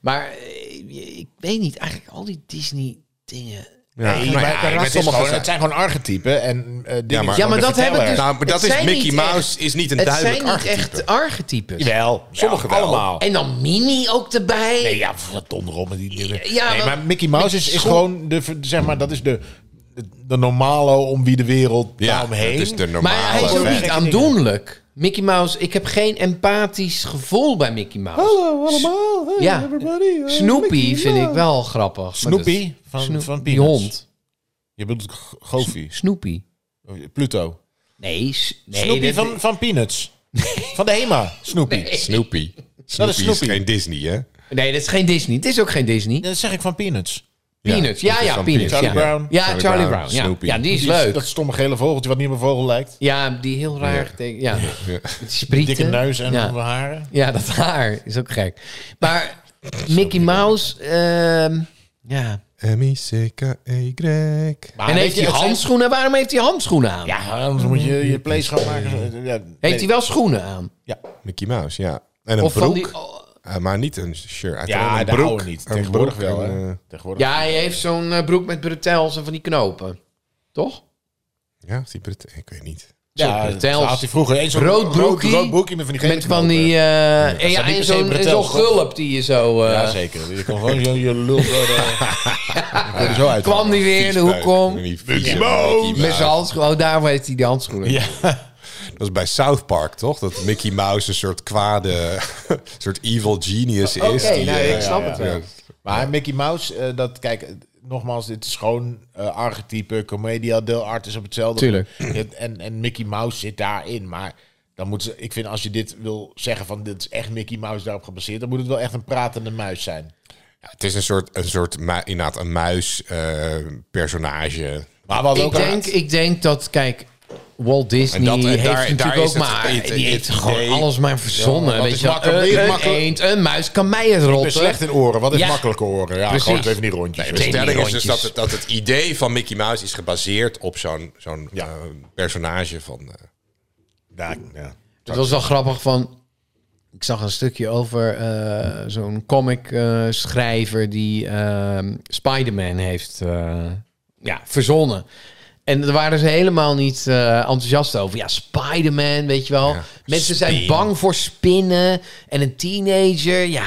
Speaker 3: Maar eh, ik weet niet, eigenlijk al die Disney dingen.
Speaker 2: Ja,
Speaker 5: Nee,
Speaker 2: nou
Speaker 5: maar
Speaker 2: ja,
Speaker 5: het,
Speaker 2: maar
Speaker 5: is
Speaker 2: het is
Speaker 5: gewoon,
Speaker 2: gewoon-
Speaker 5: het zijn gewoon archetypen. En, eh
Speaker 2: Ja,
Speaker 5: ja,
Speaker 2: maar-
Speaker 5: maar,
Speaker 3: Ja, maar dat hebben dus...
Speaker 2: Nou, maar dat
Speaker 3: het
Speaker 2: is
Speaker 3: zijn
Speaker 2: Mickey
Speaker 3: niet
Speaker 2: Mouse
Speaker 3: echt-
Speaker 2: is niet een
Speaker 3: Het
Speaker 2: duidelijk
Speaker 3: zijn niet
Speaker 2: archetype.
Speaker 3: echt archetypes.
Speaker 5: Wel, sommige
Speaker 2: wel.
Speaker 5: allemaal.
Speaker 3: En dan Minnie ook erbij.
Speaker 5: Nee, ja, wat donder op met die dingen.
Speaker 3: Ja,
Speaker 5: nee,
Speaker 3: maar-
Speaker 5: maar Mickey Mouse is, is gewoon de, ver- zeg maar, dat is de, de, de normalo om wie de wereld
Speaker 2: Ja,
Speaker 5: daaromheen.
Speaker 2: het is de normale
Speaker 3: Maar hij is ook
Speaker 2: vent.
Speaker 3: niet aandoenlijk. Mickey Mouse, ik heb geen empathisch gevoel bij Mickey Mouse.
Speaker 5: Hallo allemaal, hey
Speaker 3: Ja.
Speaker 5: everybody. eh,
Speaker 3: Snoopy
Speaker 5: Oh, Mickey
Speaker 3: vind ik
Speaker 5: Mouse.
Speaker 3: wel grappig. Maar dat
Speaker 5: Snoopy
Speaker 3: is-
Speaker 5: van,
Speaker 3: Snoop-
Speaker 5: van
Speaker 3: die
Speaker 5: Peanuts.
Speaker 3: hond.
Speaker 5: Je bedoelt G- Goofy, oh,
Speaker 3: Snoopy.
Speaker 5: Pluto.
Speaker 3: Nee, s- nee
Speaker 5: Snoopy
Speaker 3: dat-
Speaker 5: van, van Peanuts. Van de HEMA, Snoopy.
Speaker 2: Snoopy. Snoopy is,
Speaker 5: Snoopy.
Speaker 2: geen Disney, hè?
Speaker 3: nee, dat is geen Disney. Het is ook geen Disney.
Speaker 5: Dat zeg ik van Peanuts.
Speaker 3: Peanuts. Ja,
Speaker 2: dat
Speaker 3: ja,
Speaker 2: is van
Speaker 3: Peanuts.
Speaker 5: Charlie
Speaker 3: ja.
Speaker 5: Brown.
Speaker 3: Ja,
Speaker 2: Charlie
Speaker 3: Charlie,
Speaker 2: Brown,
Speaker 3: Brown. ja.
Speaker 2: Snoopy.
Speaker 3: ja, die is
Speaker 5: Die-
Speaker 3: leuk.
Speaker 5: Dat stomme gele vogeltje wat niet op een vogel lijkt.
Speaker 3: Ja, die heel raar geteken- Ja.
Speaker 2: Ja.
Speaker 3: Met sprieten.
Speaker 5: Dikke neus en
Speaker 3: ja.
Speaker 5: haren.
Speaker 3: Ja, dat haar is ook gek. Maar Mickey Mouse, ehm, ja.
Speaker 2: E M-I-C-K-E-Y.
Speaker 5: Maar
Speaker 3: en
Speaker 5: weet je,
Speaker 3: heeft hij
Speaker 5: het zijn-
Speaker 3: handschoenen? Waarom heeft hij handschoenen aan?
Speaker 5: Ja, anders moet
Speaker 3: Mm.
Speaker 5: je je play schoonmaken. Ja,
Speaker 3: Heeft hij wel schoenen aan?
Speaker 2: Mickey Mouse, ja. En een
Speaker 3: Of
Speaker 2: broek.
Speaker 3: van die... oh,
Speaker 2: eh, maar niet een shirt. Hij had
Speaker 5: Ja,
Speaker 2: alleen
Speaker 5: daar
Speaker 2: een
Speaker 5: houden
Speaker 2: broek.
Speaker 5: we niet.
Speaker 2: Een
Speaker 5: Tegenwoordig
Speaker 2: broek
Speaker 5: wel,
Speaker 2: en,
Speaker 5: hè.
Speaker 2: eh,
Speaker 5: Tegenwoordig.
Speaker 3: ja, hij heeft zo'n eh, broek met bretels en van die knopen. Toch?
Speaker 2: ja, is die Brit. Ik weet niet.
Speaker 5: Ja,
Speaker 3: Zo'n
Speaker 5: dat had hij vroeger eens zo'n
Speaker 3: Rood broekie.
Speaker 5: rood broekje met van die gele
Speaker 3: Met van
Speaker 5: knopen.
Speaker 3: die... eh, en
Speaker 5: zijn
Speaker 3: ja,
Speaker 5: niet
Speaker 3: en
Speaker 5: per se
Speaker 3: zo'n en
Speaker 5: bretels,
Speaker 3: zo'n
Speaker 5: toch?
Speaker 3: gulp die je zo... eh,
Speaker 5: Ja, zeker. Je kon gewoon je, je lul zo, eh, je kon er zo uit.
Speaker 3: kwam die weer in de hoek om.
Speaker 2: Mickey
Speaker 3: Met zijn handschoenen. Oh, daarvoor heeft hij die handschoenen.
Speaker 5: Ja.
Speaker 2: Dat was bij South Park, toch? Dat Mickey Mouse een soort kwade, soort evil genius is.
Speaker 3: Oké,
Speaker 2: die,
Speaker 3: nou,
Speaker 2: eh,
Speaker 3: ik snap
Speaker 5: ja,
Speaker 3: het
Speaker 5: ja.
Speaker 3: wel.
Speaker 5: Maar Mickey Mouse, eh, dat kijk, eh, nogmaals, dit is gewoon eh, archetype, comedia, deel art is op hetzelfde.
Speaker 3: Tuurlijk.
Speaker 5: Het- En, en Mickey Mouse zit daarin, maar dan moet ze, ik vind als je dit wil zeggen van dit is echt Mickey Mouse daarop gebaseerd, dan moet het wel echt een pratende muis zijn.
Speaker 2: ja, het is een soort, een soort mu- inderdaad, een eh, muis-personage.
Speaker 5: Maar we hadden
Speaker 3: Ik
Speaker 5: ook
Speaker 3: denk, ik denk dat, kijk, Walt Disney
Speaker 2: En dat- en
Speaker 3: heeft
Speaker 2: daar-
Speaker 3: natuurlijk
Speaker 2: daar is
Speaker 3: ook
Speaker 2: het-
Speaker 3: maar...
Speaker 2: het-
Speaker 3: die
Speaker 2: het
Speaker 3: heeft gewoon
Speaker 2: idee-
Speaker 3: alles maar verzonnen.
Speaker 5: Ja, dat
Speaker 3: weet
Speaker 5: is
Speaker 3: je, wel.
Speaker 5: makkelijk,
Speaker 3: een,
Speaker 5: makkelijk.
Speaker 3: eend, een muis, kan mij het
Speaker 5: ik ben
Speaker 3: rotten.
Speaker 5: slecht in oren. Wat is
Speaker 3: Ja.
Speaker 5: makkelijke oren? Ja,
Speaker 3: Precies.
Speaker 5: gewoon even die rondjes.
Speaker 2: de stelling is dus
Speaker 3: rondjes.
Speaker 2: dat het, dat het idee van Mickey Mouse is gebaseerd op zo'n zo'n eh, personage van... eh,
Speaker 5: Ja, Nou, ja.
Speaker 3: Het was Dus wel grappig van... Ik zag een stukje over eh, zo'n comic-schrijver die ehm Spider-Man heeft eh, ja, verzonnen. En daar waren ze helemaal niet eh, enthousiast over. Ja, Spider-Man, weet je wel.
Speaker 2: Ja,
Speaker 3: Mensen
Speaker 2: spin.
Speaker 3: zijn bang voor spinnen. En een teenager, ja,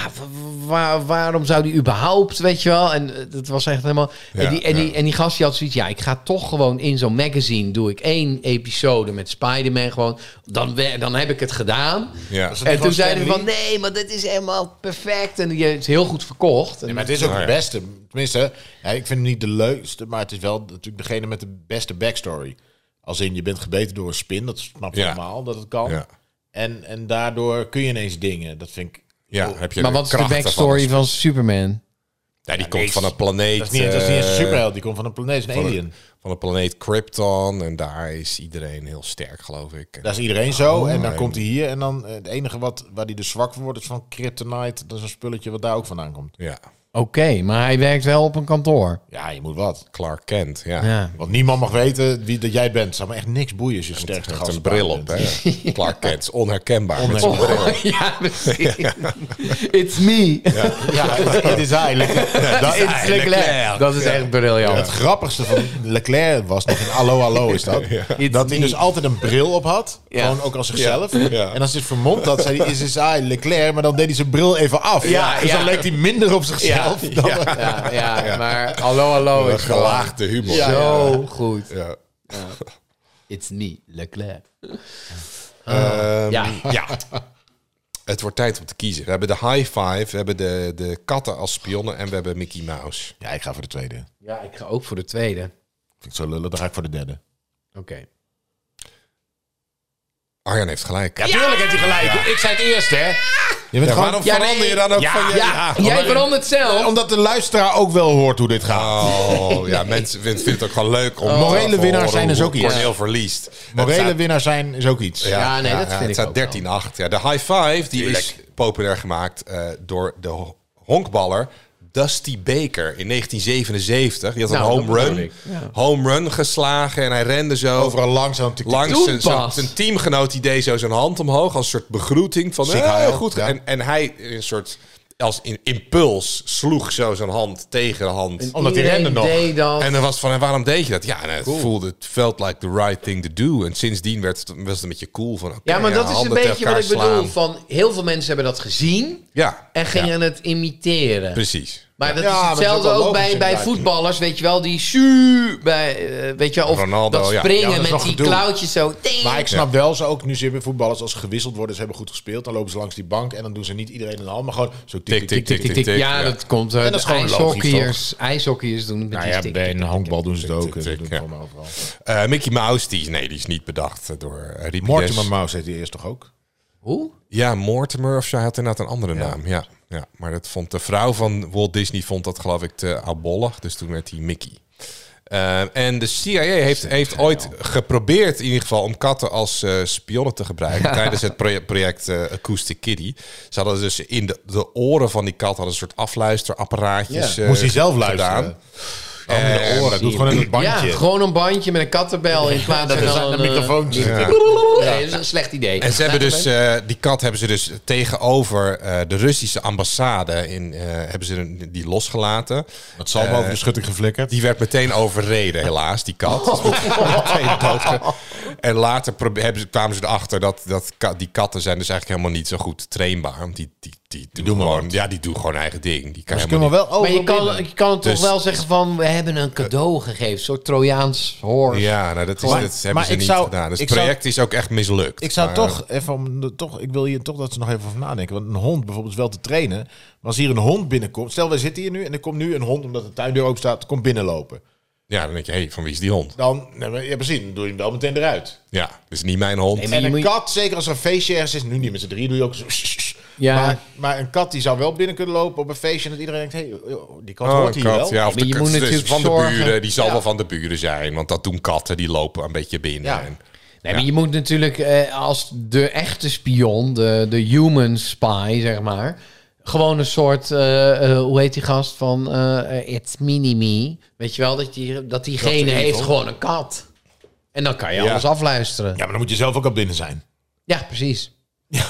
Speaker 3: wa- wa- waarom zou die überhaupt, weet je wel? En eh, dat was echt helemaal...
Speaker 2: Ja,
Speaker 3: en, die, en,
Speaker 2: ja.
Speaker 3: die, en die gast die had zoiets, ja, ik ga toch gewoon in zo'n magazine... doe ik één episode met Spider-Man gewoon. Dan, we- dan heb ik het gedaan.
Speaker 2: ja.
Speaker 5: Dat is
Speaker 3: En
Speaker 5: gewoon
Speaker 3: toen zeiden we
Speaker 5: Stan
Speaker 3: van, nee, maar dit is helemaal perfect. En je is heel goed verkocht. En-
Speaker 5: Nee, maar het is ook
Speaker 2: Nou
Speaker 5: de
Speaker 2: ja.
Speaker 5: beste. Tenminste, ja, ik vind hem niet de leukste, maar het is wel natuurlijk degene met de beste backstory. Als in je bent gebeten door een spin, dat snap je
Speaker 2: Ja.
Speaker 5: allemaal dat het kan.
Speaker 2: Ja.
Speaker 5: En, en daardoor kun je ineens dingen. Dat vind ik.
Speaker 2: Ja, heb je
Speaker 3: maar wat is de
Speaker 2: krachten
Speaker 3: backstory van,
Speaker 2: Van,
Speaker 3: Superman?
Speaker 2: ja, die
Speaker 5: nee,
Speaker 2: komt van een planeet...
Speaker 5: Dat is niet, dat is niet eens
Speaker 2: eh,
Speaker 5: een superheld, die komt van een planeet, is een
Speaker 2: van
Speaker 5: alien.
Speaker 2: een, van een planeet Krypton. En daar is iedereen heel sterk, geloof ik. En-
Speaker 5: Daar is iedereen zo.
Speaker 2: Oh,
Speaker 5: en dan komt hij hier. En dan eh, het enige wat, waar hij dus zwak voor wordt, is van Kryptonite. Dat is een spulletje wat daar ook vandaan komt.
Speaker 2: Ja.
Speaker 3: maar hij werkt wel op een kantoor.
Speaker 5: Ja, je moet wat.
Speaker 2: Clark Kent, ja.
Speaker 3: Ja.
Speaker 5: Want niemand mag weten wie dat jij bent. Het zou me echt niks boeien als je sterkste
Speaker 2: Met
Speaker 5: gast
Speaker 2: een bril op,
Speaker 5: bent.
Speaker 2: hè. Clark Kent, is onherkenbaar. Met zijn bril.
Speaker 3: ja, precies. It's me.
Speaker 5: Ja, het is hij. Leclerc. Dat,
Speaker 3: It's Leclerc. Dat is echt
Speaker 5: Het
Speaker 3: briljant.
Speaker 5: grappigste van Leclerc was nog in Allo Allo is dat. Dat hij
Speaker 3: me.
Speaker 5: dus altijd een bril op had.
Speaker 3: Ja.
Speaker 5: Gewoon ook als zichzelf.
Speaker 2: Ja.
Speaker 5: En als hij het vermomd had, zei hij, is is hij Leclerc. Maar dan deed hij zijn bril even af.
Speaker 3: Ja,
Speaker 5: dus
Speaker 3: ja.
Speaker 5: dan leek hij minder op zichzelf. Dan,
Speaker 3: Ja, ja, maar hallo, hallo.
Speaker 2: Een
Speaker 3: is gewoon
Speaker 2: gelaagde humor. Ja.
Speaker 3: Zo goed.
Speaker 2: Ja.
Speaker 3: It's me, Leclerc.
Speaker 2: Ehm,
Speaker 3: Ja.
Speaker 2: ja. Het wordt tijd om te kiezen. We hebben de high five, we hebben de, de katten als spionnen en we hebben Mickey Mouse.
Speaker 5: ja, ik ga voor de tweede. Vind
Speaker 3: Ja, ik ga ook voor de tweede. Oké.
Speaker 5: ik zo lullen, dan ga ik voor de derde.
Speaker 2: Arjan heeft gelijk. Ja,
Speaker 5: Tuurlijk heeft hij gelijk. Ik zei het eerst, hè. Je bent gewoon...
Speaker 2: waarom verander je dan ook van je...
Speaker 3: Ja,
Speaker 2: Ja.
Speaker 3: jij verandert zelf.
Speaker 5: Omdat de luisteraar ook wel hoort hoe dit gaat.
Speaker 2: Oh, ja, mensen vind- vinden het ook gewoon leuk
Speaker 3: Oh,
Speaker 2: om...
Speaker 5: Morele
Speaker 2: te horen
Speaker 5: winnaars zijn
Speaker 2: hoe
Speaker 5: dus ook iets.
Speaker 2: Cornel verliest. Het
Speaker 5: Morele
Speaker 2: staat-
Speaker 5: winnaar zijn is ook iets.
Speaker 3: Ja, nee, dat vind ik
Speaker 2: Het staat
Speaker 3: ook wel.
Speaker 2: 13-8. Ja, de high five die is populair gemaakt eh, door de ho- honkballer Dusty Baker in 1977. Die had
Speaker 3: Nou,
Speaker 2: een
Speaker 3: dat
Speaker 2: home
Speaker 3: bedoel
Speaker 2: run,
Speaker 3: ik, ja.
Speaker 2: home run geslagen en hij rende zo...
Speaker 5: Overal langzaam. tik, tik,
Speaker 2: Langs
Speaker 3: Toen
Speaker 2: zijn, zo'n-
Speaker 3: pas.
Speaker 2: zijn teamgenoot die deed zo zijn hand omhoog als soort begroeting van
Speaker 5: Sick
Speaker 2: eh,
Speaker 5: heil,
Speaker 2: goed.
Speaker 5: ja.
Speaker 2: En, en hij een soort als in, impuls sloeg zo zijn hand tegen de hand.
Speaker 5: Omdat die
Speaker 3: Iedereen
Speaker 5: renden nog.
Speaker 3: deed dat.
Speaker 2: En dan was het van, en waarom deed je dat? Ja, nou, het voelde, het felt like the right thing to do. En sindsdien werd het, was het een beetje cool van, oké,
Speaker 3: Ja, maar dat is een
Speaker 2: handen tegen
Speaker 3: beetje wat ik
Speaker 2: elkaar
Speaker 3: bedoel.
Speaker 2: slaan.
Speaker 3: Van heel veel mensen hebben dat gezien
Speaker 2: Ja,
Speaker 3: en gingen het imiteren.
Speaker 2: precies.
Speaker 3: Maar dat
Speaker 5: Ja, maar
Speaker 3: is
Speaker 5: dat is
Speaker 3: hetzelfde
Speaker 5: ook wel
Speaker 3: ook bij,
Speaker 5: logisch
Speaker 3: bij
Speaker 5: inderdaad.
Speaker 3: voetballers, weet je wel, die su bij, eh, weet je wel, of
Speaker 2: Ronaldo,
Speaker 3: dat
Speaker 2: ja.
Speaker 3: springen
Speaker 5: Ja, dat is
Speaker 3: met
Speaker 5: nog
Speaker 3: die
Speaker 5: gedoe.
Speaker 3: klauwtjes zo. Ding.
Speaker 5: Maar ik snap wel, ze ook nu zitten voetballers als ze gewisseld worden, ze hebben goed gespeeld, dan lopen ze langs die bank en dan doen ze niet iedereen een hand, maar gewoon zo tik tik tik tik. tik.
Speaker 3: Tik, tik,
Speaker 2: tik,
Speaker 3: ja,
Speaker 2: ja.
Speaker 3: dat komt uit.
Speaker 5: En dat eh, is gewoon logisch,
Speaker 3: ijshockeyers, ijshockeyers doen het met
Speaker 5: Nou
Speaker 3: die
Speaker 5: ja,
Speaker 3: stick.
Speaker 5: bij een honkbal doen ze het ook.
Speaker 2: tik,
Speaker 5: Ze
Speaker 2: tik,
Speaker 5: doen
Speaker 2: ja.
Speaker 5: het gewoon overal.
Speaker 2: Eh, Mickey Mouse, die, is- nee, die is niet bedacht eh, door eh, Ribides.
Speaker 5: Mortimer Mouse heet die eerst toch ook?
Speaker 3: Hoe?
Speaker 2: Ja, Mortimer of zo. Hij had inderdaad een andere naam. Ja. ja, maar dat vond de vrouw van Walt Disney vond dat geloof ik te abollig. Dus toen werd hij Mickey. Eh, en de CIA heeft, heeft ooit geprobeerd in ieder geval om katten als eh, spionnen te gebruiken tijdens het proje- project eh, Acoustic Kitty. Ze hadden dus in de, de oren van die kat hadden een soort afluisterapparaatjes.
Speaker 5: Ja.
Speaker 2: eh,
Speaker 5: Moest hij zelf luisteren?
Speaker 2: gedaan. Eh,
Speaker 5: Oh, met de oren. Doet gewoon in het
Speaker 3: Ja,
Speaker 5: bandje.
Speaker 3: gewoon een bandje met een kattenbel in plaats
Speaker 5: dat
Speaker 3: van
Speaker 5: is aan
Speaker 3: een eh,
Speaker 5: een microfoontje.
Speaker 3: Nee, dat is een slecht idee.
Speaker 2: En ze hebben dus, eh, die kat hebben ze dus tegenover eh, de Russische ambassade in, eh, hebben ze een- die losgelaten.
Speaker 5: Het zal boven de schutting geflikkerd.
Speaker 2: Die werd meteen overreden, helaas, die kat. Meteen doodge- en later probe- hebben ze, kwamen ze erachter dat, dat ka- die katten zijn dus eigenlijk helemaal niet zo goed trainbaar. Want die, die, die, doen, gewoon, ja, die doen gewoon eigen ding. Die kan
Speaker 5: Ze
Speaker 2: helemaal
Speaker 5: kunnen wel
Speaker 3: Maar je
Speaker 5: overal
Speaker 3: kan,
Speaker 5: binnen.
Speaker 3: je kan het
Speaker 2: eh, Dus-
Speaker 3: toch wel zeggen van, we hebben een cadeau gegeven. Een soort Trojaans hoor.
Speaker 2: niet- Ja, nou, dat, is,
Speaker 5: Maar-
Speaker 2: dat hebben
Speaker 5: maar
Speaker 2: ze
Speaker 5: ik
Speaker 2: niet
Speaker 5: zou-
Speaker 2: gedaan. Dus het
Speaker 5: ik zou-
Speaker 2: project is ook echt mislukt.
Speaker 5: Ik zou
Speaker 2: Maar-
Speaker 5: toch even om de- toch, ik wil hier toch dat ze nog even over nadenken. Want een hond bijvoorbeeld is wel te trainen. Maar als hier een hond binnenkomt, stel wij zitten hier nu en er komt nu een hond omdat de tuindeur open staat, komt binnenlopen.
Speaker 2: Ja, dan denk je, hé, hey, van wie is die hond?
Speaker 5: Dan, nee, maar- ja precies, dan doe je hem wel meteen eruit.
Speaker 2: Ja, dat is niet mijn hond.
Speaker 3: Nee, maar
Speaker 5: En
Speaker 3: je
Speaker 5: een
Speaker 3: moet-
Speaker 5: kat, zeker als er een feestje ergens is, nu niet met z'n drie, doe je ook zo.
Speaker 3: Ja.
Speaker 5: Maar, maar een kat die zou wel binnen kunnen lopen op een feestje en dat iedereen denkt, hé, hey, die kat
Speaker 2: Oh,
Speaker 5: hoort
Speaker 2: een
Speaker 5: hier
Speaker 2: kat,
Speaker 5: wel.
Speaker 2: ja, of
Speaker 3: maar
Speaker 2: de
Speaker 3: je
Speaker 2: kat
Speaker 3: moet
Speaker 2: is
Speaker 3: natuurlijk
Speaker 2: van
Speaker 3: zorgen-
Speaker 2: de buren. Die zal wel van de buren zijn, want dat doen katten. Die lopen een beetje binnen.
Speaker 5: Ja.
Speaker 2: En-
Speaker 3: Nee, maar je moet natuurlijk eh, als de echte spion, de, de human spy, zeg maar. Gewoon een soort, eh, eh, hoe heet die gast van eh, eh, It's Mini Me. Weet je wel, dat, die, dat diegene
Speaker 5: evil.
Speaker 3: heeft gewoon een kat. En dan kan je alles afluisteren.
Speaker 5: Ja, maar dan moet je zelf ook al binnen zijn.
Speaker 3: Ja, precies.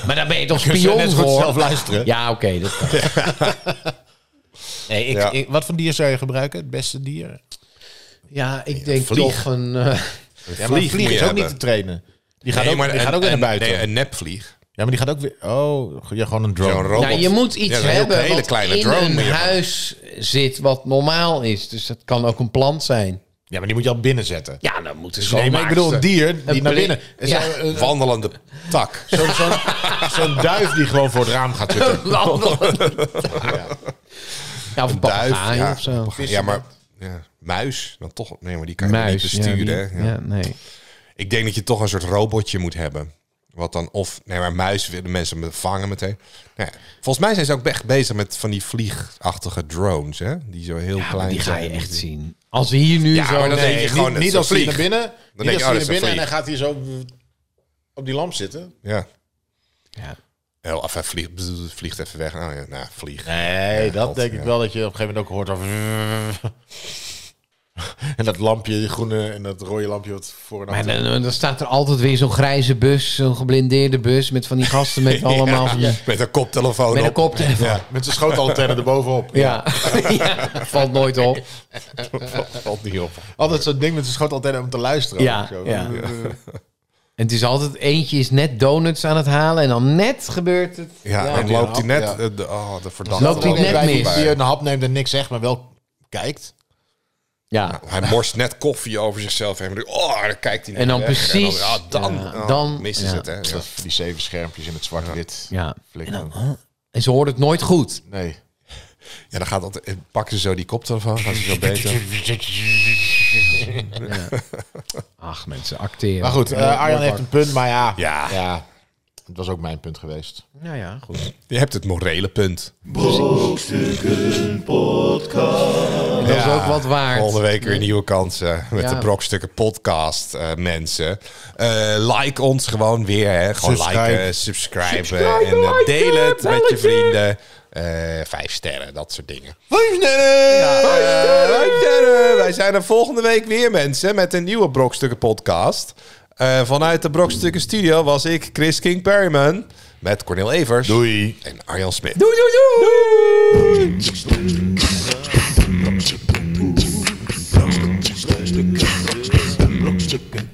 Speaker 3: Maar dan ben je toch
Speaker 5: Kun je
Speaker 3: spion
Speaker 5: net zo goed zelf
Speaker 3: voor.
Speaker 5: luisteren.
Speaker 3: Ja, oké. dat kan.
Speaker 5: Nee, ik,
Speaker 2: Ja.
Speaker 5: ik- wat voor dier zou je gebruiken? Het beste dier?
Speaker 3: ja, ik denk
Speaker 2: vlieg.
Speaker 3: toch een... eh,
Speaker 5: Ja, maar
Speaker 2: vlieg
Speaker 5: een vlieg
Speaker 2: moet
Speaker 5: is
Speaker 2: je
Speaker 5: ook
Speaker 2: hebben.
Speaker 5: niet te trainen. Die gaat
Speaker 2: Nee,
Speaker 5: ook,
Speaker 2: maar
Speaker 5: die
Speaker 2: een-
Speaker 5: gaat ook weer naar
Speaker 2: een-
Speaker 5: buiten.
Speaker 2: Nee, een nepvlieg.
Speaker 5: Ja, maar die gaat ook weer. Oh, ja, gewoon een drone.
Speaker 2: Zo'n robot.
Speaker 3: Nou, je moet iets
Speaker 2: Ja, een heel-
Speaker 3: hebben
Speaker 2: hele
Speaker 3: wat
Speaker 2: kleine
Speaker 3: in
Speaker 2: drone
Speaker 3: een
Speaker 2: moet je
Speaker 3: huis zit wat normaal is. Dus dat kan ook een plant zijn.
Speaker 5: Ja, maar die moet je al binnen zetten.
Speaker 3: Ja, dan moeten ze
Speaker 5: Dus nee, maar ik bedoel een dier die
Speaker 3: Een
Speaker 5: naar
Speaker 3: blik.
Speaker 5: binnen. Er
Speaker 3: Ja.
Speaker 5: zou-
Speaker 2: Een wandelende tak.
Speaker 5: Zo'n zo'n zo'n duif die gewoon voor het raam gaat zitten.
Speaker 3: Ja, of een papegaai
Speaker 2: ja.
Speaker 3: of zo.
Speaker 2: Ja, maar ja, muis, dan toch. Nee, maar die kan je
Speaker 3: Muis.
Speaker 2: niet besturen.
Speaker 3: ja,
Speaker 2: hè?
Speaker 3: die-
Speaker 2: Ja.
Speaker 3: ja, nee.
Speaker 2: Ik denk dat je toch een soort robotje moet hebben. Wat dan of, nee, maar muis willen mensen me- vangen meteen. Nee, volgens mij zijn ze ook echt bezig met van die vliegachtige drones, hè? Die zo heel
Speaker 3: Ja, maar
Speaker 2: klein
Speaker 3: die ga je
Speaker 2: zijn.
Speaker 3: echt zien. Als hier nu
Speaker 2: Ja,
Speaker 3: zo...
Speaker 2: maar dan
Speaker 3: nee.
Speaker 2: denk je
Speaker 5: niet,
Speaker 2: gewoon
Speaker 5: niet
Speaker 2: zo'n
Speaker 5: als hij
Speaker 2: vlieg.
Speaker 5: naar binnen.
Speaker 2: denk
Speaker 5: niet
Speaker 2: je, oh,
Speaker 5: als hij
Speaker 2: dat
Speaker 5: naar
Speaker 2: is een
Speaker 5: binnen en
Speaker 2: vlieg.
Speaker 5: dan gaat hij zo op die lamp zitten.
Speaker 2: Ja.
Speaker 3: Ja.
Speaker 2: Heel af, hij vliegt, bzz, vliegt even weg. Nou ja, nou, vlieg.
Speaker 5: Nee,
Speaker 2: Ja,
Speaker 5: dat
Speaker 2: god,
Speaker 5: denk ik
Speaker 2: ja.
Speaker 5: wel dat je op een gegeven moment ook hoort. Of... en dat lampje, die groene en dat rode lampje wat voor en
Speaker 3: Maar
Speaker 5: achter.
Speaker 3: dan, dan staat er altijd weer zo'n grijze bus, zo'n geblindeerde bus met van die gasten met allemaal van die-
Speaker 2: Met een koptelefoon
Speaker 3: met een
Speaker 2: op.
Speaker 3: koptelefoon. Ja.
Speaker 2: Ja,
Speaker 5: Met zijn schootantenne erbovenop.
Speaker 3: Ja. valt nooit op.
Speaker 2: valt niet op.
Speaker 5: Altijd zo'n ding met zijn schootantenne om te luisteren.
Speaker 3: Ja,
Speaker 5: ook zo. eh,
Speaker 3: ja. En het is altijd eentje is net donuts aan het halen en dan net gebeurt het.
Speaker 2: Ja, en
Speaker 5: die
Speaker 2: loopt hij net...
Speaker 5: hap, ja.
Speaker 2: eh, de- oh, de verdachte.
Speaker 3: Loopt hij
Speaker 5: Iedereen
Speaker 3: net
Speaker 5: bij die-
Speaker 3: mis.
Speaker 5: Die een hap neemt en niks zegt, maar wel kijkt.
Speaker 3: Ja.
Speaker 2: Hij morst net koffie over zichzelf heen. Oh, dan kijkt hij
Speaker 3: En dan
Speaker 2: naar weg.
Speaker 3: precies.
Speaker 2: En dan, ja, dan,
Speaker 3: Ja,
Speaker 2: oh,
Speaker 3: dan-
Speaker 2: missen
Speaker 3: ja.
Speaker 2: ze het, hè. Ja.
Speaker 5: Dus Dat- Die zeven schermpjes in het zwart-wit.
Speaker 3: ja.
Speaker 5: flikken.
Speaker 3: En ze hoort het nooit goed.
Speaker 5: Nee.
Speaker 2: Ja, dan gaat altijd, eh, pakken ze zo die koptelefoon, gaan ze zo beter.
Speaker 3: Ach, mensen acteren.
Speaker 5: Maar goed, eh Arjan heeft een punt, maar ja,
Speaker 2: Ja.
Speaker 5: ja. Het was ook mijn punt geweest.
Speaker 3: Nou ja, goed.
Speaker 2: Je hebt het morele punt.
Speaker 1: Brokstukken Podcast.
Speaker 3: Dat is ook wat waard.
Speaker 2: Volgende week weer nieuwe kansen met
Speaker 3: Ja.
Speaker 2: de Brokstukken podcast, eh, mensen. Eh, like ons gewoon weer, hè. Gewoon
Speaker 5: Subscribe.
Speaker 2: liken, subscriben en eh, deel het met je vrienden. Eh, vijf sterren, dat soort dingen. Vijf sterren! vijf sterren! Wij zijn er volgende week weer, mensen, met een nieuwe Brokstukken podcast. Eh, vanuit de Brokstukken studio was ik, Chris King Perryman, met Cornel Evers
Speaker 5: Doei.
Speaker 2: en Arjan Smit.
Speaker 1: Brokstukken. Brokstukken.